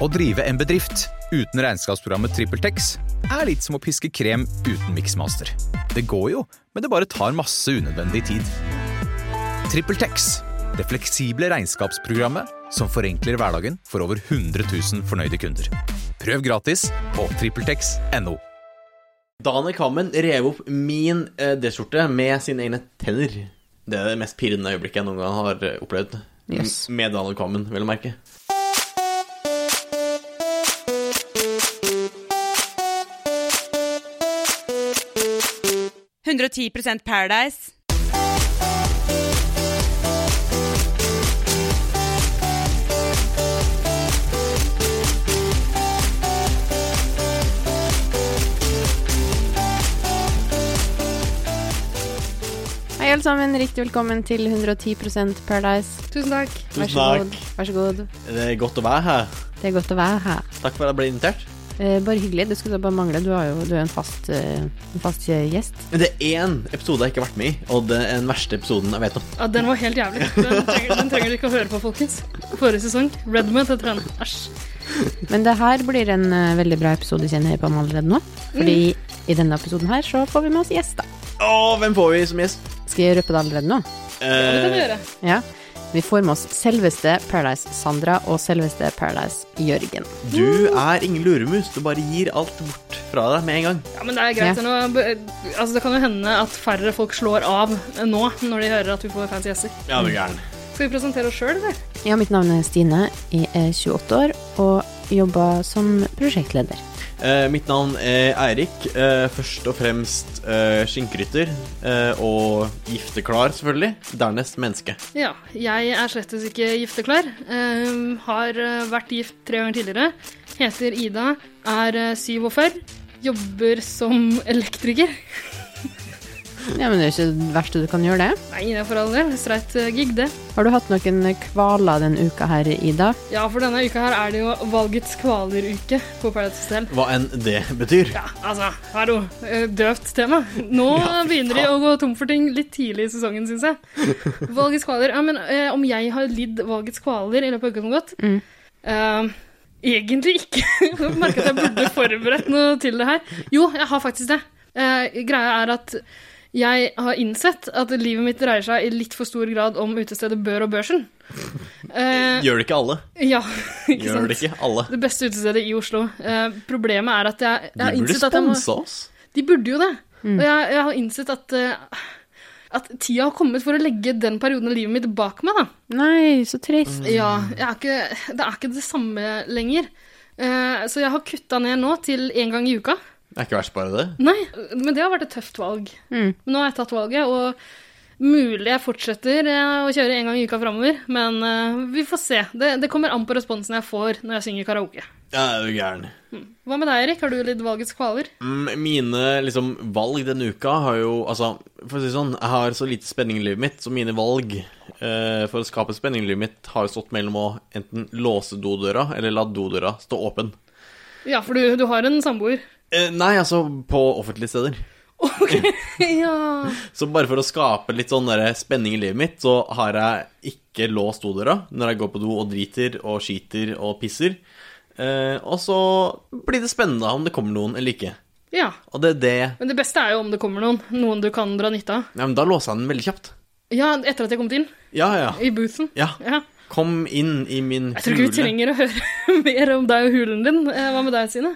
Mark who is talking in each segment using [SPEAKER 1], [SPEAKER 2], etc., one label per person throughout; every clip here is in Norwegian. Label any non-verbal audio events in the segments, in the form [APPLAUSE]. [SPEAKER 1] Å drive en bedrift uten regnskapsprogrammet TrippelTex er litt som å piske krem uten miksmaster. Det går jo, men det bare tar masse unødvendig tid. TrippelTex det fleksible regnskapsprogrammet som forenkler hverdagen for over 100 000 fornøyde kunder. Prøv gratis på TrippelTex.no.
[SPEAKER 2] Daniel Kammen rev opp min eh, D-skjorte med sine egne tenner. Det er det mest pirrende øyeblikket jeg noen gang har eh, opplevd.
[SPEAKER 3] Yes.
[SPEAKER 2] M- Med Daniel Kammen, vel å merke.
[SPEAKER 4] P- 110 Paradise.
[SPEAKER 3] Hei, alle sammen. Riktig velkommen til 110 Paradise.
[SPEAKER 5] Tusen takk.
[SPEAKER 3] Vær så
[SPEAKER 2] Tusen
[SPEAKER 3] god. Vær så god.
[SPEAKER 2] Det er godt å være her.
[SPEAKER 3] Det er godt å være her.
[SPEAKER 2] Takk for at jeg ble invitert.
[SPEAKER 3] Eh, bare hyggelig. Det skulle da bare mangle. Du, har jo, du er jo en fast, eh, en fast eh, gjest.
[SPEAKER 2] Men det er én episode jeg ikke har vært med i, og det er den verste episoden jeg vet om.
[SPEAKER 5] Ja, den var helt jævlig. Den trenger, den trenger du ikke å høre på, folkens. Forrige sesong. Redmond heter han. Æsj.
[SPEAKER 3] Men det her blir en eh, veldig bra episode, kjenner jeg på meg allerede nå. Fordi i denne episoden her så får vi med oss gjester.
[SPEAKER 2] Å, hvem får vi som gjest?
[SPEAKER 3] Skal jeg røpe det allerede nå?
[SPEAKER 5] Det kan du
[SPEAKER 2] Eh,
[SPEAKER 5] gjøre.
[SPEAKER 3] Ja. Vi får med oss selveste Paradise Sandra og selveste Paradise Jørgen.
[SPEAKER 2] du er ingen luremus. Du bare gir alt bort fra deg med en gang.
[SPEAKER 5] Ja, men det er greit.
[SPEAKER 3] Ja.
[SPEAKER 5] Nå, b- altså, det kan jo hende at færre folk slår av nå, når de hører at vi får fancy gjester.
[SPEAKER 2] Ja, du er gæren.
[SPEAKER 5] Skal vi presentere oss sjøl, eller?
[SPEAKER 3] Ja, mitt navn er Stine. Jeg er 28 år og jobber som prosjektleder.
[SPEAKER 2] Eh, mitt navn er Eirik. Eh, først og fremst eh, skinnkrydder. Eh, og gifteklar, selvfølgelig. Dernest menneske.
[SPEAKER 5] Ja. Jeg er slettes ikke gifteklar. Ehm, har eh, vært gift tre ganger tidligere. Heter Ida. Er eh, 47. Jobber som elektriker.
[SPEAKER 3] Ja, men det er ikke det verste du kan gjøre, det.
[SPEAKER 5] Nei, det er for all del. Streit eh, gig, det.
[SPEAKER 3] Har du hatt noen kvaler denne uka her, Ida?
[SPEAKER 5] Ja, for denne uka her er det jo valgets kvaleruke på Paradise Hotel.
[SPEAKER 2] Hva enn det [LAUGHS] betyr.
[SPEAKER 5] Ja, altså, hallo. eh, Døvt tema. Nå begynner de å gå tom for ting litt tidlig i sesongen, syns jeg. Valgets kvaler. Ja, men eh, om jeg har lidd valgets kvaler i løpet av uka som har gått?
[SPEAKER 3] Mm.
[SPEAKER 5] Eh, egentlig ikke. [LAUGHS] Jeg merker at jeg burde forberedt noe til det her. Jo, jeg har faktisk det. Eh, greia er at jeg har innsett at livet mitt dreier seg i litt for stor grad om utestedet Bør og Børsen. Eh,
[SPEAKER 2] Gjør det ikke alle.
[SPEAKER 5] ja, [LAUGHS] ikke sant?
[SPEAKER 2] Gjør det ikke alle.
[SPEAKER 5] Det beste utestedet i Oslo. Eh, problemet er at jeg, jeg
[SPEAKER 2] De
[SPEAKER 5] har
[SPEAKER 2] burde
[SPEAKER 5] innsett at jeg må
[SPEAKER 2] sponse oss.
[SPEAKER 5] De burde jo det. Og jeg, jeg har innsett at eh, at tida har kommet for å legge den perioden av livet mitt bak meg, da.
[SPEAKER 3] Nei, så
[SPEAKER 2] Mm.
[SPEAKER 3] trist.
[SPEAKER 5] Ja, jeg er ikke, det er ikke det samme lenger. Eh, så jeg har kutta ned nå til én gang i uka.
[SPEAKER 2] Det er ikke verst, bare det.
[SPEAKER 5] Nei, men det har vært et tøft valg.
[SPEAKER 3] Mm.
[SPEAKER 5] Men Nå har jeg tatt valget, og mulig jeg fortsetter eh, å kjøre én gang i uka framover. Men eh, vi får se. Det, det kommer an på responsen jeg får når jeg synger karaoke.
[SPEAKER 2] Ja, du er gæren.
[SPEAKER 5] Hva med deg, Erik? Har du lidd valgets kvaler?
[SPEAKER 2] Mm, Mine liksom, valg denne uka har jo Altså, for å si det sånn, jeg har så lite spenning i livet mitt, så mine valg eh, for å skape spenning i livet mitt har jo stått mellom å enten låse dodøra eller la dodøra stå åpen.
[SPEAKER 5] Ja, for du, du har en
[SPEAKER 3] [LAUGHS]
[SPEAKER 5] samboer.
[SPEAKER 2] Eh, nei, altså på offentlige steder.
[SPEAKER 5] ja.
[SPEAKER 2] Så bare for å skape litt sånn der spenning i livet mitt, så har jeg ikke låst dodøra når jeg går på do og driter og skiter og pisser. Eh, og så blir det spennende om det kommer noen eller ikke.
[SPEAKER 5] ja.
[SPEAKER 2] Og det er det
[SPEAKER 5] Men det beste er jo om det kommer noen. Noen du kan dra nytte av.
[SPEAKER 2] Ja, men da låser jeg den veldig kjapt.
[SPEAKER 5] Ja, etter at jeg kom inn.
[SPEAKER 2] Ja, ja.
[SPEAKER 5] I boothen.
[SPEAKER 2] Ja,
[SPEAKER 5] Ja.
[SPEAKER 2] Kom inn i min hule.
[SPEAKER 5] Jeg tror ikke vi trenger å høre [LAUGHS] mer om deg og hulen din. Eh, Hva med deg, Sine?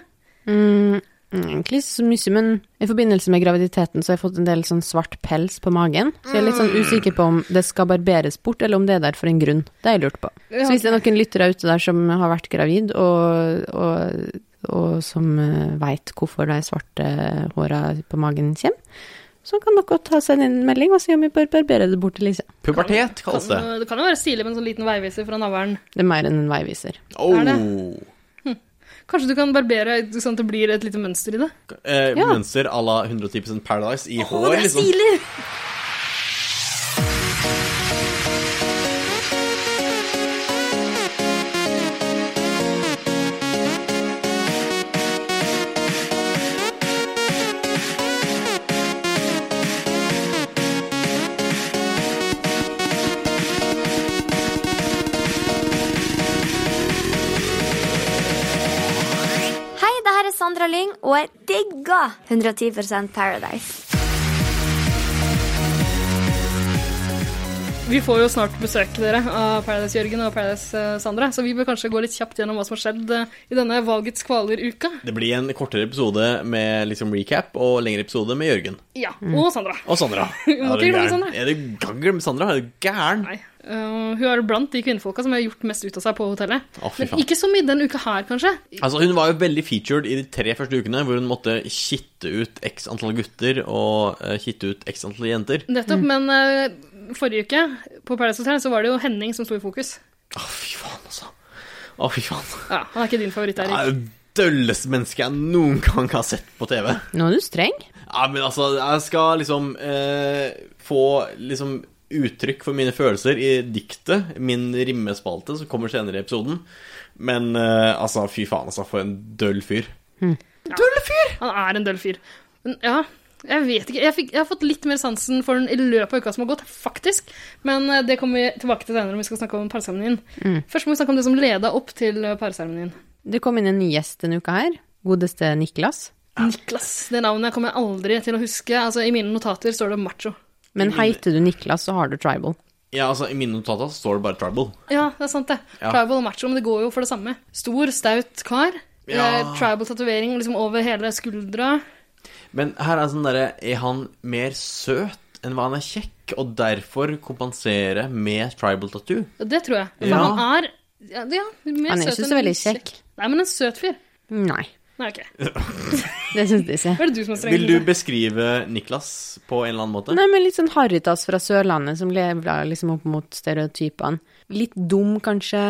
[SPEAKER 3] Mm, egentlig ikke så mye, men i forbindelse med graviditeten så har jeg fått en del sånn svart pels på magen. Så jeg er litt sånn usikker på om det skal barberes bort, eller om det er der for en grunn. Det har jeg lurt på. Så hvis det er noen lyttere ute der som har vært gravid, og, og, og som veit hvorfor de svarte håra på magen kommer, så kan dere ta seg en melding og si om vi bør barbere det bort til Lise.
[SPEAKER 2] Pubertet
[SPEAKER 5] Kan,
[SPEAKER 2] kalles det.
[SPEAKER 5] det kan jo være stilig med en sånn liten veiviser fra navlen.
[SPEAKER 3] Det er mer enn en veiviser.
[SPEAKER 2] Oh.
[SPEAKER 5] er Kanskje du kan barbere sånn at det blir et lite mønster i det?
[SPEAKER 2] Eh,
[SPEAKER 3] Ja.
[SPEAKER 2] Mønster à la 110 Paradise i hår, liksom.
[SPEAKER 5] stilig!
[SPEAKER 6] Sandra Lyng, og jeg digger 110 Paradise.
[SPEAKER 5] Vi får jo snart besøk dere av Paradise-Jørgen og Paradise-Sandra, så vi bør kanskje gå litt kjapt gjennom hva som har skjedd eh, i denne valgets kvaler-uka.
[SPEAKER 2] Det blir en kortere episode med liksom recap og lengre episode med Jørgen.
[SPEAKER 5] Ja,
[SPEAKER 3] Mm.
[SPEAKER 5] og Sandra.
[SPEAKER 2] Og
[SPEAKER 5] [LAUGHS]
[SPEAKER 2] Sandra.
[SPEAKER 5] må
[SPEAKER 2] er du
[SPEAKER 5] ikke glemme
[SPEAKER 2] gæren?
[SPEAKER 5] Sandra.
[SPEAKER 2] Er du gangel med Sandra? Er du gæren?
[SPEAKER 5] Nei. Eh, hun er blant de kvinnefolka som har gjort mest ut av seg på hotellet.
[SPEAKER 2] Å, fy
[SPEAKER 5] Men
[SPEAKER 2] faen.
[SPEAKER 5] ikke så mye denne uka her, kanskje.
[SPEAKER 2] Altså, hun var jo veldig featured i de tre første ukene, hvor hun måtte kitte ut x antall gutter og eh, kitte ut x antall jenter.
[SPEAKER 5] Nettopp, men eh, forrige uke på Paradise Hotel så var det jo Henning som sto i fokus.
[SPEAKER 2] Å, fy faen, altså. Å, fy faen.
[SPEAKER 5] Ja, Han er ikke din favoritt,
[SPEAKER 2] Det er
[SPEAKER 5] Erik.
[SPEAKER 2] jo det dølleste mennesket jeg noen gang har sett på TV.
[SPEAKER 3] Nå er du streng.
[SPEAKER 2] Ja, men altså, jeg skal liksom eh, få liksom uttrykk for mine følelser i diktet, min rimmespalte, som kommer senere i episoden. Men eh, altså, fy faen, altså, for en døll fyr.
[SPEAKER 5] Han er en døll fyr. Men ja, jeg vet ikke. Jeg, fikk, jeg har fått litt mer sansen for den i løpet av uka som har gått, faktisk. Men eh, det kommer vi tilbake til senere når vi skal snakke om parseremonien. Først må vi snakke om det som leda opp til eh, parseremonien.
[SPEAKER 3] Det kom inn en ny gjest denne uka her. Godeste Niklas.
[SPEAKER 5] Niklas. Det navnet kommer jeg aldri til å huske. Altså, I mine notater står det macho.
[SPEAKER 3] Men heiter du Niklas, så har du tribal.
[SPEAKER 2] Ja, altså, i mine notater så står det bare tribal.
[SPEAKER 5] Ja, det er sant, det.
[SPEAKER 2] Ja.
[SPEAKER 5] Tribal og macho, men det går jo for det samme. Stor, staut kar.
[SPEAKER 2] Ja.
[SPEAKER 5] Eh, Tribal-tatovering liksom over hele skuldra.
[SPEAKER 2] Men her er sånn derre Er han mer søt enn hva han er kjekk? Og derfor kompensere med tribal tattoo?
[SPEAKER 5] Det tror jeg. For
[SPEAKER 2] Ja.
[SPEAKER 5] han er ja, det- ja, mer
[SPEAKER 3] Han er
[SPEAKER 5] søt
[SPEAKER 3] ikke så
[SPEAKER 5] enn
[SPEAKER 3] veldig kjekk.
[SPEAKER 5] Nei, men en søt fyr.
[SPEAKER 3] Nei,
[SPEAKER 5] Nei, ok.
[SPEAKER 3] det syns jeg ikke.
[SPEAKER 5] Hva er det du som er streng?
[SPEAKER 2] Vil du
[SPEAKER 5] Lise?
[SPEAKER 2] beskrive Niklas på en eller annen måte?
[SPEAKER 3] Nei, men litt sånn Haritas fra Sørlandet som lever liksom opp mot stereotypene. Litt dum, kanskje.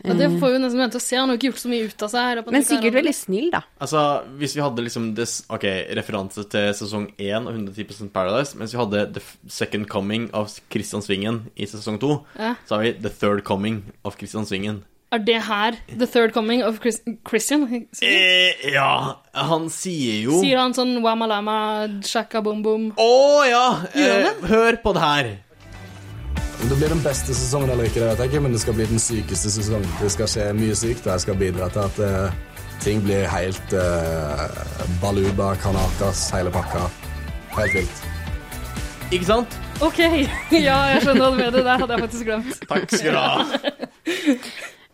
[SPEAKER 5] Ja, det får vi jo nesten vente og se. Han har jo ikke gjort så mye ut av seg. her. og på at
[SPEAKER 3] Men
[SPEAKER 5] det ikke er
[SPEAKER 3] sikkert
[SPEAKER 5] han.
[SPEAKER 3] veldig snill, da.
[SPEAKER 2] Altså, hvis vi hadde liksom det, s- Ok, referanse til sesong 1 av 110 Paradise, mens vi hadde The F- Second Coming av Christian Svingen i sesong 2,
[SPEAKER 5] Ja.
[SPEAKER 2] så har vi The Third Coming av Christian Svingen.
[SPEAKER 5] Er det her The Third Coming of Chris Christian? Sier
[SPEAKER 2] Eh, ja, han sier jo Å
[SPEAKER 5] han sånn wamalama, shaka boom boom?
[SPEAKER 2] ja!
[SPEAKER 5] Gjør
[SPEAKER 2] Eh,
[SPEAKER 5] han
[SPEAKER 2] hør på det her.
[SPEAKER 7] Om det blir den beste sesongen eller ikke, det vet jeg ikke, men det skal bli den sykeste sesongen. Det skal skje mye sykt, og jeg skal bidra til at eh, ting blir helt eh, baluba, kanakas, hele pakka. Helt vilt.
[SPEAKER 2] Ikke sant?
[SPEAKER 5] OK, [LAUGHS] ja, jeg skjønner hva du mener. Det hadde jeg faktisk glemt.
[SPEAKER 2] Takk skal du ha.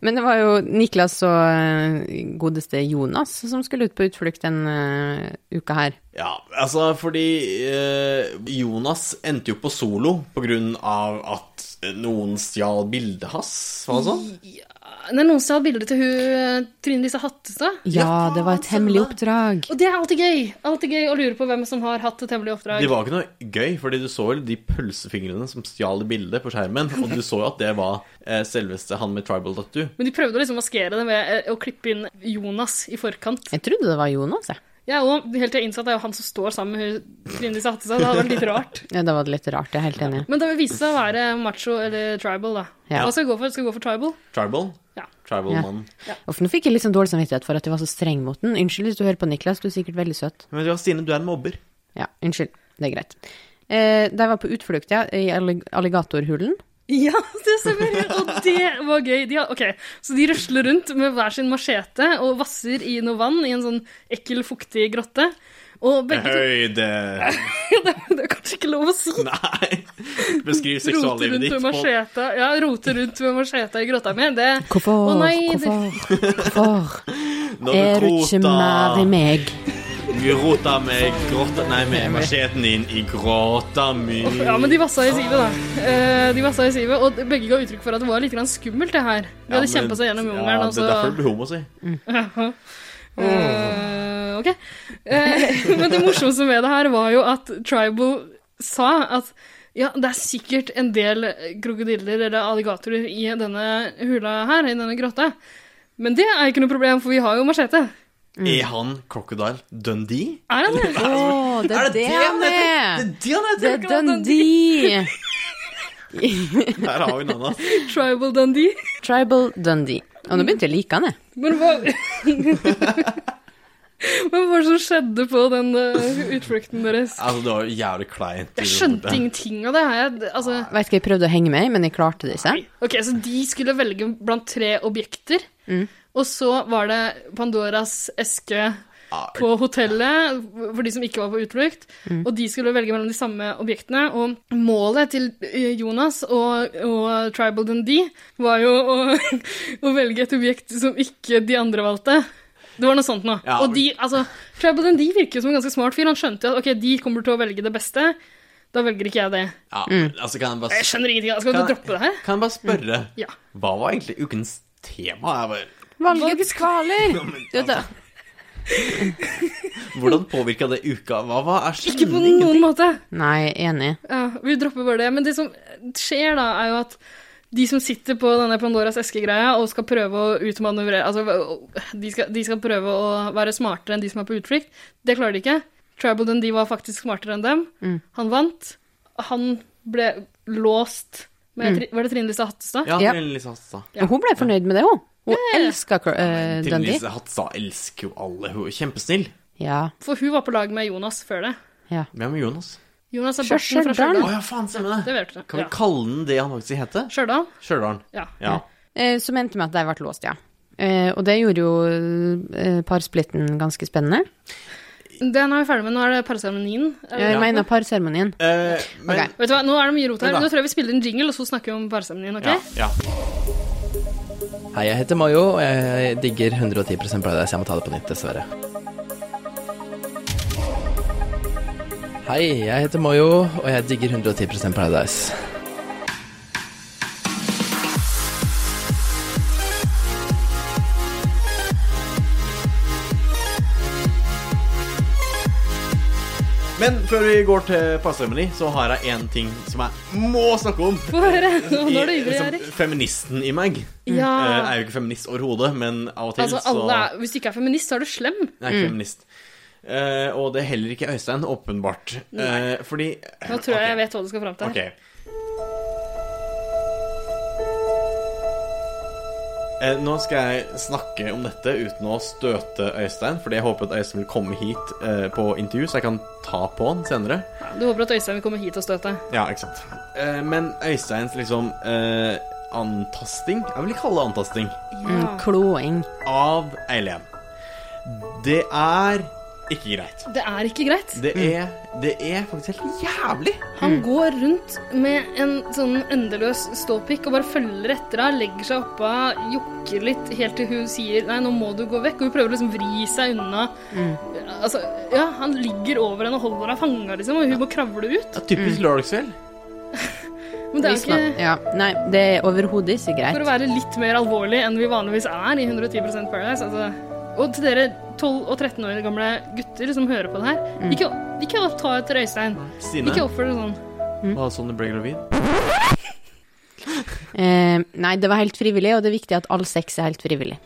[SPEAKER 3] Men det var jo Niklas og eh, godeste Jonas som skulle ut på utflukt den eh, uka her.
[SPEAKER 2] [LAUGHS] Ja, altså fordi eh, Jonas endte jo på solo på grunn av at noen stjal bildet hans, var det sånn?
[SPEAKER 5] Det er noen som har bilde til hun eh, Trine Lise Hattestad.
[SPEAKER 3] Ja, det var et hemmelig oppdrag.
[SPEAKER 5] Og det er alltid gøy. Alltid gøy å lure på hvem som har hatt et hemmelig oppdrag.
[SPEAKER 2] Det var ikke noe gøy, fordi du så jo de pølsefingrene som stjal det bildet på skjermen, og du så jo at det var eh, selveste han med tribal tattoo.
[SPEAKER 5] Men de prøvde å liksom maskere det ved eh, å klippe inn Jonas i forkant.
[SPEAKER 3] Jeg trodde det var Jonas, jeg.
[SPEAKER 5] Jeg er også, helt til jeg innså at det er jo han som står sammen med hun Trine Lise Hattestad. Det hadde vært litt rart.
[SPEAKER 3] Ja, da var det litt rart, jeg er helt enig.
[SPEAKER 5] Men det viste seg å være macho eller tribal, da.
[SPEAKER 3] Ja.
[SPEAKER 5] Hva skal vi gå for? Skal vi gå for tribal?
[SPEAKER 2] Tribal?
[SPEAKER 5] Ja.
[SPEAKER 2] Tribal
[SPEAKER 3] Ja.
[SPEAKER 2] mann.
[SPEAKER 3] Uff, nå fikk jeg litt sånn dårlig samvittighet for at jeg var så streng mot den. Unnskyld hvis du hører på Niklas, du er sikkert veldig søt.
[SPEAKER 2] Men ja, Stine, du er en mobber.
[SPEAKER 3] Ja, unnskyld. Det er greit. Eh, da jeg var på utflukt, ja, i allig alligatorhulen.
[SPEAKER 5] Ja, [LAUGHS] det stemmer! Og det var gøy. De har, ok, Så de rusler rundt med hver sin machete og vasser i noe vann i en sånn ekkel, fuktig grotte. Og begge to
[SPEAKER 2] Høyde
[SPEAKER 5] det, [LAUGHS] det er kanskje ikke lov å si!
[SPEAKER 2] Nei. Beskriv
[SPEAKER 5] Rote rundt
[SPEAKER 2] seksuallivet
[SPEAKER 5] med
[SPEAKER 2] ditt på
[SPEAKER 5] macheta Ja, rote rundt med macheta i grotta mi. Det
[SPEAKER 3] Hvorfor?
[SPEAKER 5] Å nei, det-
[SPEAKER 3] hvorfor? Hvorfor?
[SPEAKER 2] Når du
[SPEAKER 3] Er du ikke
[SPEAKER 2] krota-
[SPEAKER 3] mer i meg?
[SPEAKER 2] Grota med grotta Nei, med macheten din i gråta mi.
[SPEAKER 5] Ja, men de vassa i sivet, da. Eh, De vassa i sivet, Og begge ga uttrykk for at det var litt grann skummelt, det her. De hadde kjempa seg gjennom jungelen. altså.
[SPEAKER 2] Ja,
[SPEAKER 5] og
[SPEAKER 2] det er
[SPEAKER 5] så-
[SPEAKER 2] derfor
[SPEAKER 5] [LAUGHS]
[SPEAKER 2] det blir homo, si.
[SPEAKER 5] Eh, ok. Eh, [LAUGHS] men det morsomste med det her var jo at Tribal sa at ja, det er sikkert en del krokodiller eller alligatorer i denne hula her, i denne grotta. Men det er ikke noe problem, for vi har jo machete.
[SPEAKER 2] Er han Crocodile Dundee? [LAUGHS]
[SPEAKER 5] Er han det?
[SPEAKER 3] Å, det er det han
[SPEAKER 2] Det
[SPEAKER 3] er!
[SPEAKER 2] er det han
[SPEAKER 3] Det
[SPEAKER 2] heter!
[SPEAKER 3] er Dundee!
[SPEAKER 2] Her har vi en annen.
[SPEAKER 5] Tribal Dundee?
[SPEAKER 3] Tribal Dundee. Og nå begynte jeg å like han, jeg.
[SPEAKER 5] Men hva [LAUGHS] Men hva var det som skjedde på den eh, utflukten deres?
[SPEAKER 2] Altså, det var jo jævlig kleint.
[SPEAKER 5] Jeg skjønte ingenting av det her. Jeg- Altså,
[SPEAKER 3] Vet ikke, jeg prøvde å henge med, men jeg klarte det ikke.
[SPEAKER 5] Ok, så de skulle velge blant tre objekter, og så var det Pandoras eske, på hotellet, for de som ikke var på utflukt. Og de skulle velge mellom de samme objektene. Og målet til eh, Jonas og, og Tribal Dundee var jo å, [LAUGHS] å velge et objekt som ikke de andre valgte. Det var noe sånt nå.
[SPEAKER 2] Ja.
[SPEAKER 5] Og de, altså, Tribal Dundee virker jo som en ganske smart fyr. Han skjønte jo at ok, de kommer til å velge det beste. Da velger ikke jeg det.
[SPEAKER 2] Ja, men altså, kan jeg bare
[SPEAKER 5] Jeg skjønner ingenting. Skal
[SPEAKER 2] Kan-
[SPEAKER 5] du droppe det her?
[SPEAKER 2] Kan jeg bare spørre,
[SPEAKER 5] Ja.
[SPEAKER 2] hva var egentlig ukens tema? Jeg bare,
[SPEAKER 3] Valgets kvaler! Du vet det.
[SPEAKER 2] hvordan påvirka det uka? Hva var er
[SPEAKER 5] Ikke på
[SPEAKER 2] stemningen?
[SPEAKER 5] noen måte.
[SPEAKER 3] Nei, enig.
[SPEAKER 5] Ja, vi dropper bare det. Men det som skjer da, er jo at de som sitter på denne Pandoras eske-greia og skal prøve å utmanøvrere Altså, de skal, de skal prøve å være smartere enn de som er på utflukt. Det klarer de ikke. Tribal Dundee var faktisk smartere enn dem. Han vant. Han ble låst med Tri- Var det Trine Lise Hattestad?
[SPEAKER 2] Ja,
[SPEAKER 3] Ja.
[SPEAKER 2] Trine Lise Hatstad.
[SPEAKER 3] Og hun ble fornøyd med det, hun. Hun elska uh,
[SPEAKER 2] Trine
[SPEAKER 3] Dundee.
[SPEAKER 2] Lise Hatstad elsker jo alle. Hun er kjempesnill.
[SPEAKER 3] Ja.
[SPEAKER 5] For hun var på lag med Jonas før det.
[SPEAKER 3] ja.
[SPEAKER 2] Hvem er Jonas?
[SPEAKER 5] Jonas er
[SPEAKER 3] Fra
[SPEAKER 5] borten
[SPEAKER 3] Stjørdal.
[SPEAKER 5] fra
[SPEAKER 2] Å
[SPEAKER 5] Stjørdal.
[SPEAKER 2] ja, faen, stemmer
[SPEAKER 5] Mm. Det
[SPEAKER 2] det.
[SPEAKER 5] vet du.
[SPEAKER 2] Kan vi
[SPEAKER 5] Ja.
[SPEAKER 2] kalle den det han faktisk heter?
[SPEAKER 5] Stjørdal?
[SPEAKER 2] Stjørdal.
[SPEAKER 5] Ja.
[SPEAKER 2] Ja.
[SPEAKER 3] Eh, som endte med at de ble låst, ja. Eh, og det gjorde jo eh, parsplitten ganske spennende.
[SPEAKER 5] Den er vi ferdig med. Nå er det parseremonien. Er
[SPEAKER 3] Jeg
[SPEAKER 5] vi-
[SPEAKER 3] mener parseremonien.
[SPEAKER 2] Eh, men
[SPEAKER 3] Ok.
[SPEAKER 5] Vet du hva, Nå er det mye rot her.
[SPEAKER 2] Vent da.
[SPEAKER 5] Nå tror jeg vi spiller en jingle, og så snakker vi om parseremonien. ok?
[SPEAKER 2] ja, ja.
[SPEAKER 8] Hei, jeg heter Mayo, og jeg digger 110 Paradise. Jeg må ta det på nytt, dessverre. Hei, jeg heter Mayo, og jeg digger 110 Paradise.
[SPEAKER 2] Men før vi går til parseremoni, så har jeg en ting som jeg må snakke om.
[SPEAKER 5] Få
[SPEAKER 2] [LAUGHS]
[SPEAKER 5] høre. Nå nå er du
[SPEAKER 2] I-
[SPEAKER 5] ivrig,
[SPEAKER 2] liksom,
[SPEAKER 5] Erik.
[SPEAKER 2] Feministen i meg.
[SPEAKER 5] Ja.
[SPEAKER 2] Eh, jeg er jo ikke feminist overhodet, men av og til
[SPEAKER 5] Altså,
[SPEAKER 2] så
[SPEAKER 5] alle er, Mm. hvis du ikke er feminist, så er du slem.
[SPEAKER 2] Jeg er ikke feminist. Eh, og det er heller ikke Øystein, åpenbart. Eh, fordi
[SPEAKER 5] Nå tror jeg jeg vet hva du skal fram til. her.
[SPEAKER 2] Ok. Eh, Nå skal jeg snakke om dette uten å støte Øystein, fordi jeg håper at Øystein vil komme hit eh, på intervju, så jeg kan ta på han senere.
[SPEAKER 5] Du håper at Øystein vil komme hit og støte.
[SPEAKER 2] Ja, ikke sant. Eh, men Øysteins liksom eh, antasting Jeg vil kalle det antasting.
[SPEAKER 3] Mm, kloing.
[SPEAKER 2] Av Eileen. Det er ikke greit.
[SPEAKER 5] Det er ikke greit.
[SPEAKER 2] Det er, det er faktisk helt jævlig.
[SPEAKER 5] Han går rundt med en sånn endeløs ståpikk og bare følger etter henne, legger seg oppå henne, jokker litt helt til hun sier 'nei, nå må du gå vekk', og hun prøver å liksom vri seg unna. Altså, ja, han ligger over henne og holder henne fanga, liksom, og hun må kravle ut.
[SPEAKER 2] Det er typisk lørdagskveld.
[SPEAKER 5] Men det er jo
[SPEAKER 3] Hvis man-
[SPEAKER 5] ikke
[SPEAKER 3] Ja. Nei, det er overhodet ikke
[SPEAKER 5] For å
[SPEAKER 3] greit.
[SPEAKER 5] være litt mer alvorlig enn vi vanligvis er i 110 Paradise. Altså. Og til dere 12- og 13 år gamle gutter som hører på det her,
[SPEAKER 2] Mm.
[SPEAKER 5] ikke, ikke ta etter Øystein.
[SPEAKER 2] Stine,
[SPEAKER 5] Ikke oppfør dere sånn.
[SPEAKER 2] var det sånn du ble gravid?
[SPEAKER 3] Eh, nei, det var helt frivillig, og det er viktig at all sex er helt frivillig.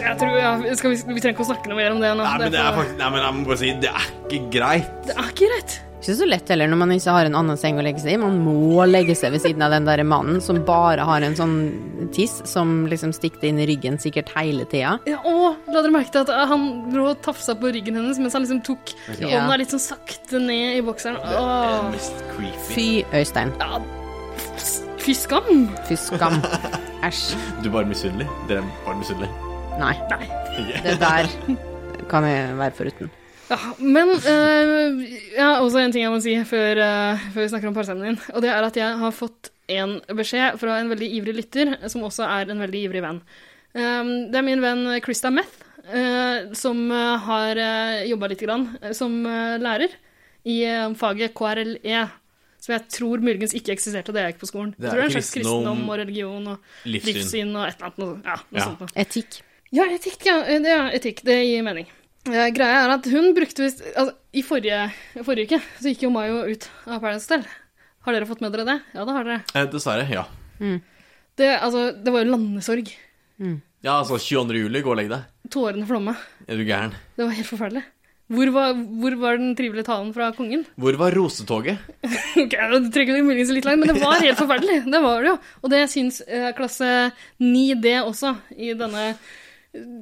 [SPEAKER 5] Jeg tror, ja, skal vi, vi trenger ikke å snakke noe mer om det nå.
[SPEAKER 2] Nei, men det er
[SPEAKER 5] for-
[SPEAKER 2] faktisk Nei, men jeg må bare si det er ikke greit.
[SPEAKER 5] det er ikke greit.
[SPEAKER 3] Ikke så lett heller når man ikke har en annen seng å legge seg i. Man må legge seg ved siden av den der mannen som bare har en sånn tiss som liksom stikker inn i ryggen sikkert hele tida.
[SPEAKER 5] Ja, og la dere merke til at han lå og tafsa på ryggen hennes mens han liksom tok
[SPEAKER 3] Ja.
[SPEAKER 5] hånda litt sånn sakte ned i bokseren.
[SPEAKER 2] Det er
[SPEAKER 5] Åh.
[SPEAKER 2] mest creepy.
[SPEAKER 3] Fy, Øystein.
[SPEAKER 5] Ja, fy skam.
[SPEAKER 3] Fy skam. Æsj.
[SPEAKER 2] Du er bare misunnelig. Dere er bare misunnelig.
[SPEAKER 3] Nei. Det der kan jeg være foruten.
[SPEAKER 5] Ja, men eh, ja, også en ting jeg må si før, eh, før vi snakker om parsemmen din. Og det er at jeg har fått en beskjed fra en veldig ivrig lytter, som også er en veldig ivrig venn. Um, det er min venn Krista Meth, eh, som eh, har uh, jobba lite grann eh, som eh, lærer i eh, faget KRLE. E, Som jeg tror muligens ikke eksisterte da jeg gikk på skolen.
[SPEAKER 2] Det er
[SPEAKER 5] jeg tror det er en slags
[SPEAKER 2] kristendom-
[SPEAKER 5] kristendom og religion og
[SPEAKER 2] Livssyn.
[SPEAKER 5] livssyn og et eller annet. Noe, sånt. ja, noe
[SPEAKER 2] Ja.
[SPEAKER 5] sånt noe.
[SPEAKER 3] Etikk.
[SPEAKER 5] Ja, etikk, ja. Eh, Det, ja, etikk. det gir mening. Eh, greia er at hun brukte visst altså, I forrige, forrige uke så gikk jo Mayo ut av Paradise Hotel. Har dere fått med dere det? Ja, det har dere.
[SPEAKER 2] Eh, dessverre, ja.
[SPEAKER 5] Det, altså, det var jo landesorg.
[SPEAKER 2] Ja, altså 22. juli, gå og legg deg.
[SPEAKER 5] Tårene flomma.
[SPEAKER 2] Er du gæren?
[SPEAKER 5] Det var helt forferdelig. Hvor var, hvor var den trivelige talen fra kongen? [LAUGHS]
[SPEAKER 2] Hvor var rosetoget?
[SPEAKER 5] Ok, nå trekker det muligens litt langt, men det var helt forferdelig. Det var det jo. Og det syns eh, klasse 9D også i denne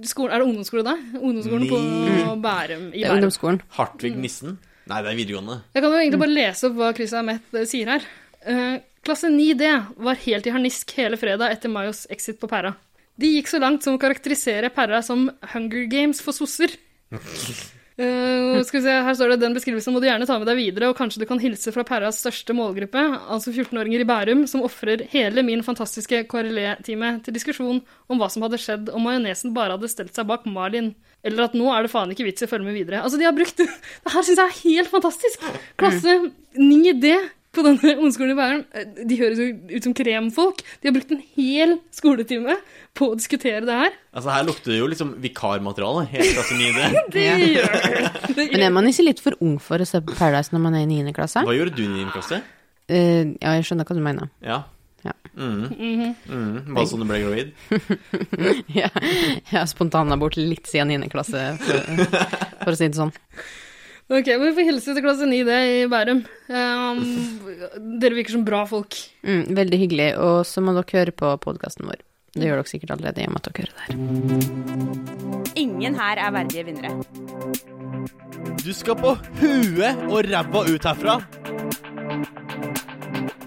[SPEAKER 5] skolen Er det ungdomsskole da? Ungdomsskolen på Bærum.
[SPEAKER 3] Det
[SPEAKER 5] I
[SPEAKER 3] er
[SPEAKER 5] Bærum.
[SPEAKER 3] ungdomsskolen.
[SPEAKER 2] Hartvig Nissen? Nei, det er videregående.
[SPEAKER 5] Jeg kan jo egentlig bare lese opp hva Chris Ahmet eh, sier her. Eh, klasse 9D var helt i harnisk hele fredag etter Mayos exit på pæra. De gikk så langt som å karakterisere Perra som Hunger Games for sosser. Eh, skal vi se, her står det den beskrivelsen må du gjerne ta med deg videre, og kanskje du kan hilse fra Perras største målgruppe, altså 14-åringer i Bærum, som ofrer hele min fantastiske KRLE-time til diskusjon om hva som hadde skjedd om majonesen bare hadde stelt seg bak Marlin. Eller at nå er det faen ikke vits i å følge med videre. Altså, de har brukt [LAUGHS] Det her syns jeg er helt fantastisk! Klasse 9D på denne ungdomsskolen i Bærum. Eh, De høres jo ut som kremfolk. De har brukt en hel skoletime på å diskutere det her.
[SPEAKER 2] Altså, her lukter det jo liksom vikarmateriale. Helt klasse
[SPEAKER 3] [LAUGHS]
[SPEAKER 2] 9D.
[SPEAKER 5] Det
[SPEAKER 3] Ja.
[SPEAKER 5] gjør det. det.
[SPEAKER 3] Men
[SPEAKER 5] gjør
[SPEAKER 3] er man ikke litt for ung for å se på Paradise når man er i 9. klasse?
[SPEAKER 2] Hva gjorde du i din klasse?
[SPEAKER 3] Eh, ja, jeg skjønner hva du mener.
[SPEAKER 2] Ja.
[SPEAKER 3] Ja.
[SPEAKER 2] Mm. Mm. Bare sånn du ble gravid?
[SPEAKER 3] [LAUGHS] Ja, jeg har spontanabort litt siden 9. klasse, for, for å si det sånn.
[SPEAKER 5] Ok, men vi får hilse til klasse 9D i Bærum. Ehm, dere virker som bra folk.
[SPEAKER 3] Mm, veldig hyggelig. Og så må dere høre på podkasten vår. Det gjør dere sikkert allerede i og med at dere hører det her.
[SPEAKER 4] Ingen her er verdige vinnere.
[SPEAKER 2] Du skal på huet og ræva ut herfra.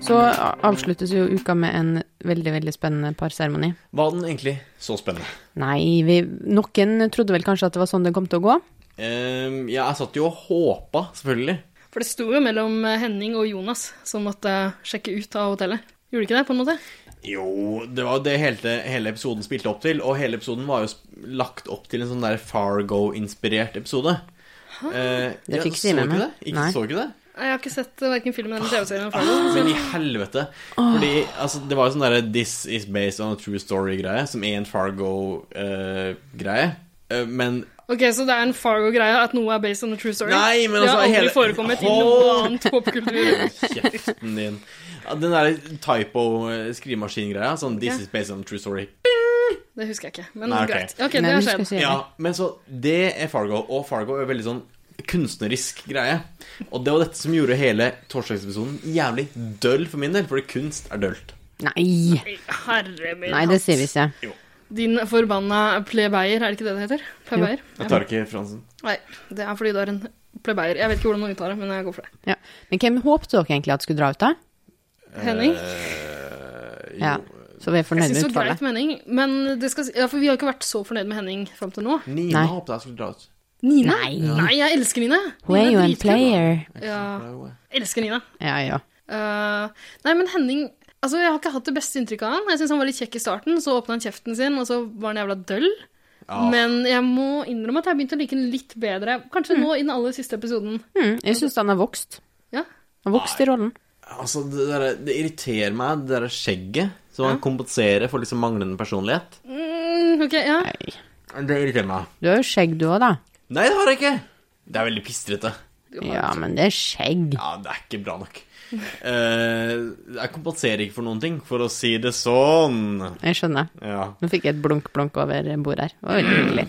[SPEAKER 3] Så a- avsluttes jo uka med en veldig, veldig spennende parseremoni.
[SPEAKER 2] Var den egentlig så spennende?
[SPEAKER 3] Nei, vi, noen trodde vel kanskje at det var sånn det kom til å gå.
[SPEAKER 2] Ehm, ja, jeg satt jo og håpa, selvfølgelig.
[SPEAKER 5] For det sto jo mellom Henning og Jonas som måtte sjekke ut av hotellet. Gjorde de ikke det, på en måte?
[SPEAKER 2] Jo, det var jo det hele, hele episoden spilte opp til, og hele episoden var jo sp- lagt opp til en sånn der Fargo-inspirert episode. Eh,
[SPEAKER 3] Det
[SPEAKER 2] ja,
[SPEAKER 3] fikk
[SPEAKER 2] så
[SPEAKER 3] vi med
[SPEAKER 2] ikke
[SPEAKER 3] meg.
[SPEAKER 2] det? Ikke,
[SPEAKER 3] Nei.
[SPEAKER 2] Så ikke det?
[SPEAKER 5] Nei, Jeg har ikke sett verken filmen eller [GASPS] TV-serien.
[SPEAKER 2] Men i helvete. Fordi altså, det var jo sånn derre 'This is based on a true story'-greie, som er en Fargo-greie. Eh, men
[SPEAKER 5] Ok, Så det er en Fargo-greie at noe er based on a true story?
[SPEAKER 2] Nei, men altså,
[SPEAKER 5] Det har aldri
[SPEAKER 2] hele-
[SPEAKER 5] forekommet i noe
[SPEAKER 2] Hold-
[SPEAKER 5] annet popkultur.
[SPEAKER 2] Kjeften din. Ja, Den der typo-skrivemaskingreia. Sånn 'This
[SPEAKER 5] Ok.
[SPEAKER 2] is based on a true story'.
[SPEAKER 5] Det husker jeg ikke, men
[SPEAKER 2] Nei, ok.
[SPEAKER 5] greit. Ok,
[SPEAKER 3] Nei,
[SPEAKER 5] det har
[SPEAKER 3] vi skal
[SPEAKER 5] skjedd.
[SPEAKER 3] si det.
[SPEAKER 2] Ja, men så Det er Fargo, og Fargo er veldig sånn kunstnerisk greie. Og det var dette som gjorde hele torsdagsepisoden jævlig døll for min del, fordi kunst er dølt.
[SPEAKER 3] Nei!
[SPEAKER 5] Herre min
[SPEAKER 3] Nei, det sier vi ikke.
[SPEAKER 5] Din forbanna plebeier, er det ikke det det heter? Plebeier?
[SPEAKER 2] Jeg tar ikke Fransen.
[SPEAKER 5] Nei, det er fordi du er en plebeier. Jeg vet ikke hvordan man uttaler det, men jeg går for det.
[SPEAKER 3] Ja. Men hvem håpte dere egentlig at skulle dra ut, da?
[SPEAKER 5] Henning?
[SPEAKER 2] Eh,
[SPEAKER 3] Ja. Så vi er
[SPEAKER 5] Jeg
[SPEAKER 3] fornøyd
[SPEAKER 5] synes
[SPEAKER 3] med
[SPEAKER 5] det var greit
[SPEAKER 3] utfallet.
[SPEAKER 5] med Henning, men det skal, si- ja, for vi har ikke vært så fornøyd med Henning fram til nå.
[SPEAKER 2] Nina
[SPEAKER 3] Nei.
[SPEAKER 2] håpet jeg skulle dra ut.
[SPEAKER 5] Nina? Nei, jeg elsker Nina.
[SPEAKER 3] Hun er
[SPEAKER 5] Nina
[SPEAKER 3] jo en
[SPEAKER 5] dritkul.
[SPEAKER 3] player.
[SPEAKER 5] Ja, elsker Nina.
[SPEAKER 3] Ja, ja.
[SPEAKER 5] Eh, nei, men Henning Altså, jeg har ikke hatt det beste inntrykket av han. Jeg synes han var litt kjekk i starten, så åpna han kjeften sin, og så var han jævla døll. Men jeg må innrømme at jeg begynte å like han litt bedre. Kanskje nå i den aller siste episoden.
[SPEAKER 3] Mm, jeg syns han har vokst.
[SPEAKER 5] Ja.
[SPEAKER 3] Han har vokst i rollen.
[SPEAKER 2] Altså, det, der, det irriterer meg, det derre skjegget. Så man kompenserer for liksom manglende personlighet.
[SPEAKER 5] Mm, ok, ja.
[SPEAKER 3] Nei.
[SPEAKER 2] Det irriterer meg.
[SPEAKER 3] Du har jo skjegg, du òg, da.
[SPEAKER 2] Nei, det har jeg ikke! Det er veldig pistrete.
[SPEAKER 3] Ja, men det er skjegg.
[SPEAKER 2] Ja, det er ikke bra
[SPEAKER 5] [LAUGHS]
[SPEAKER 2] nok. Eh, jeg kompenserer ikke for noen ting, for å si det sånn.
[SPEAKER 3] Jeg skjønner.
[SPEAKER 2] Ja.
[SPEAKER 3] Nå fikk jeg et blunk-blunk over bordet her. Det var veldig hyggelig.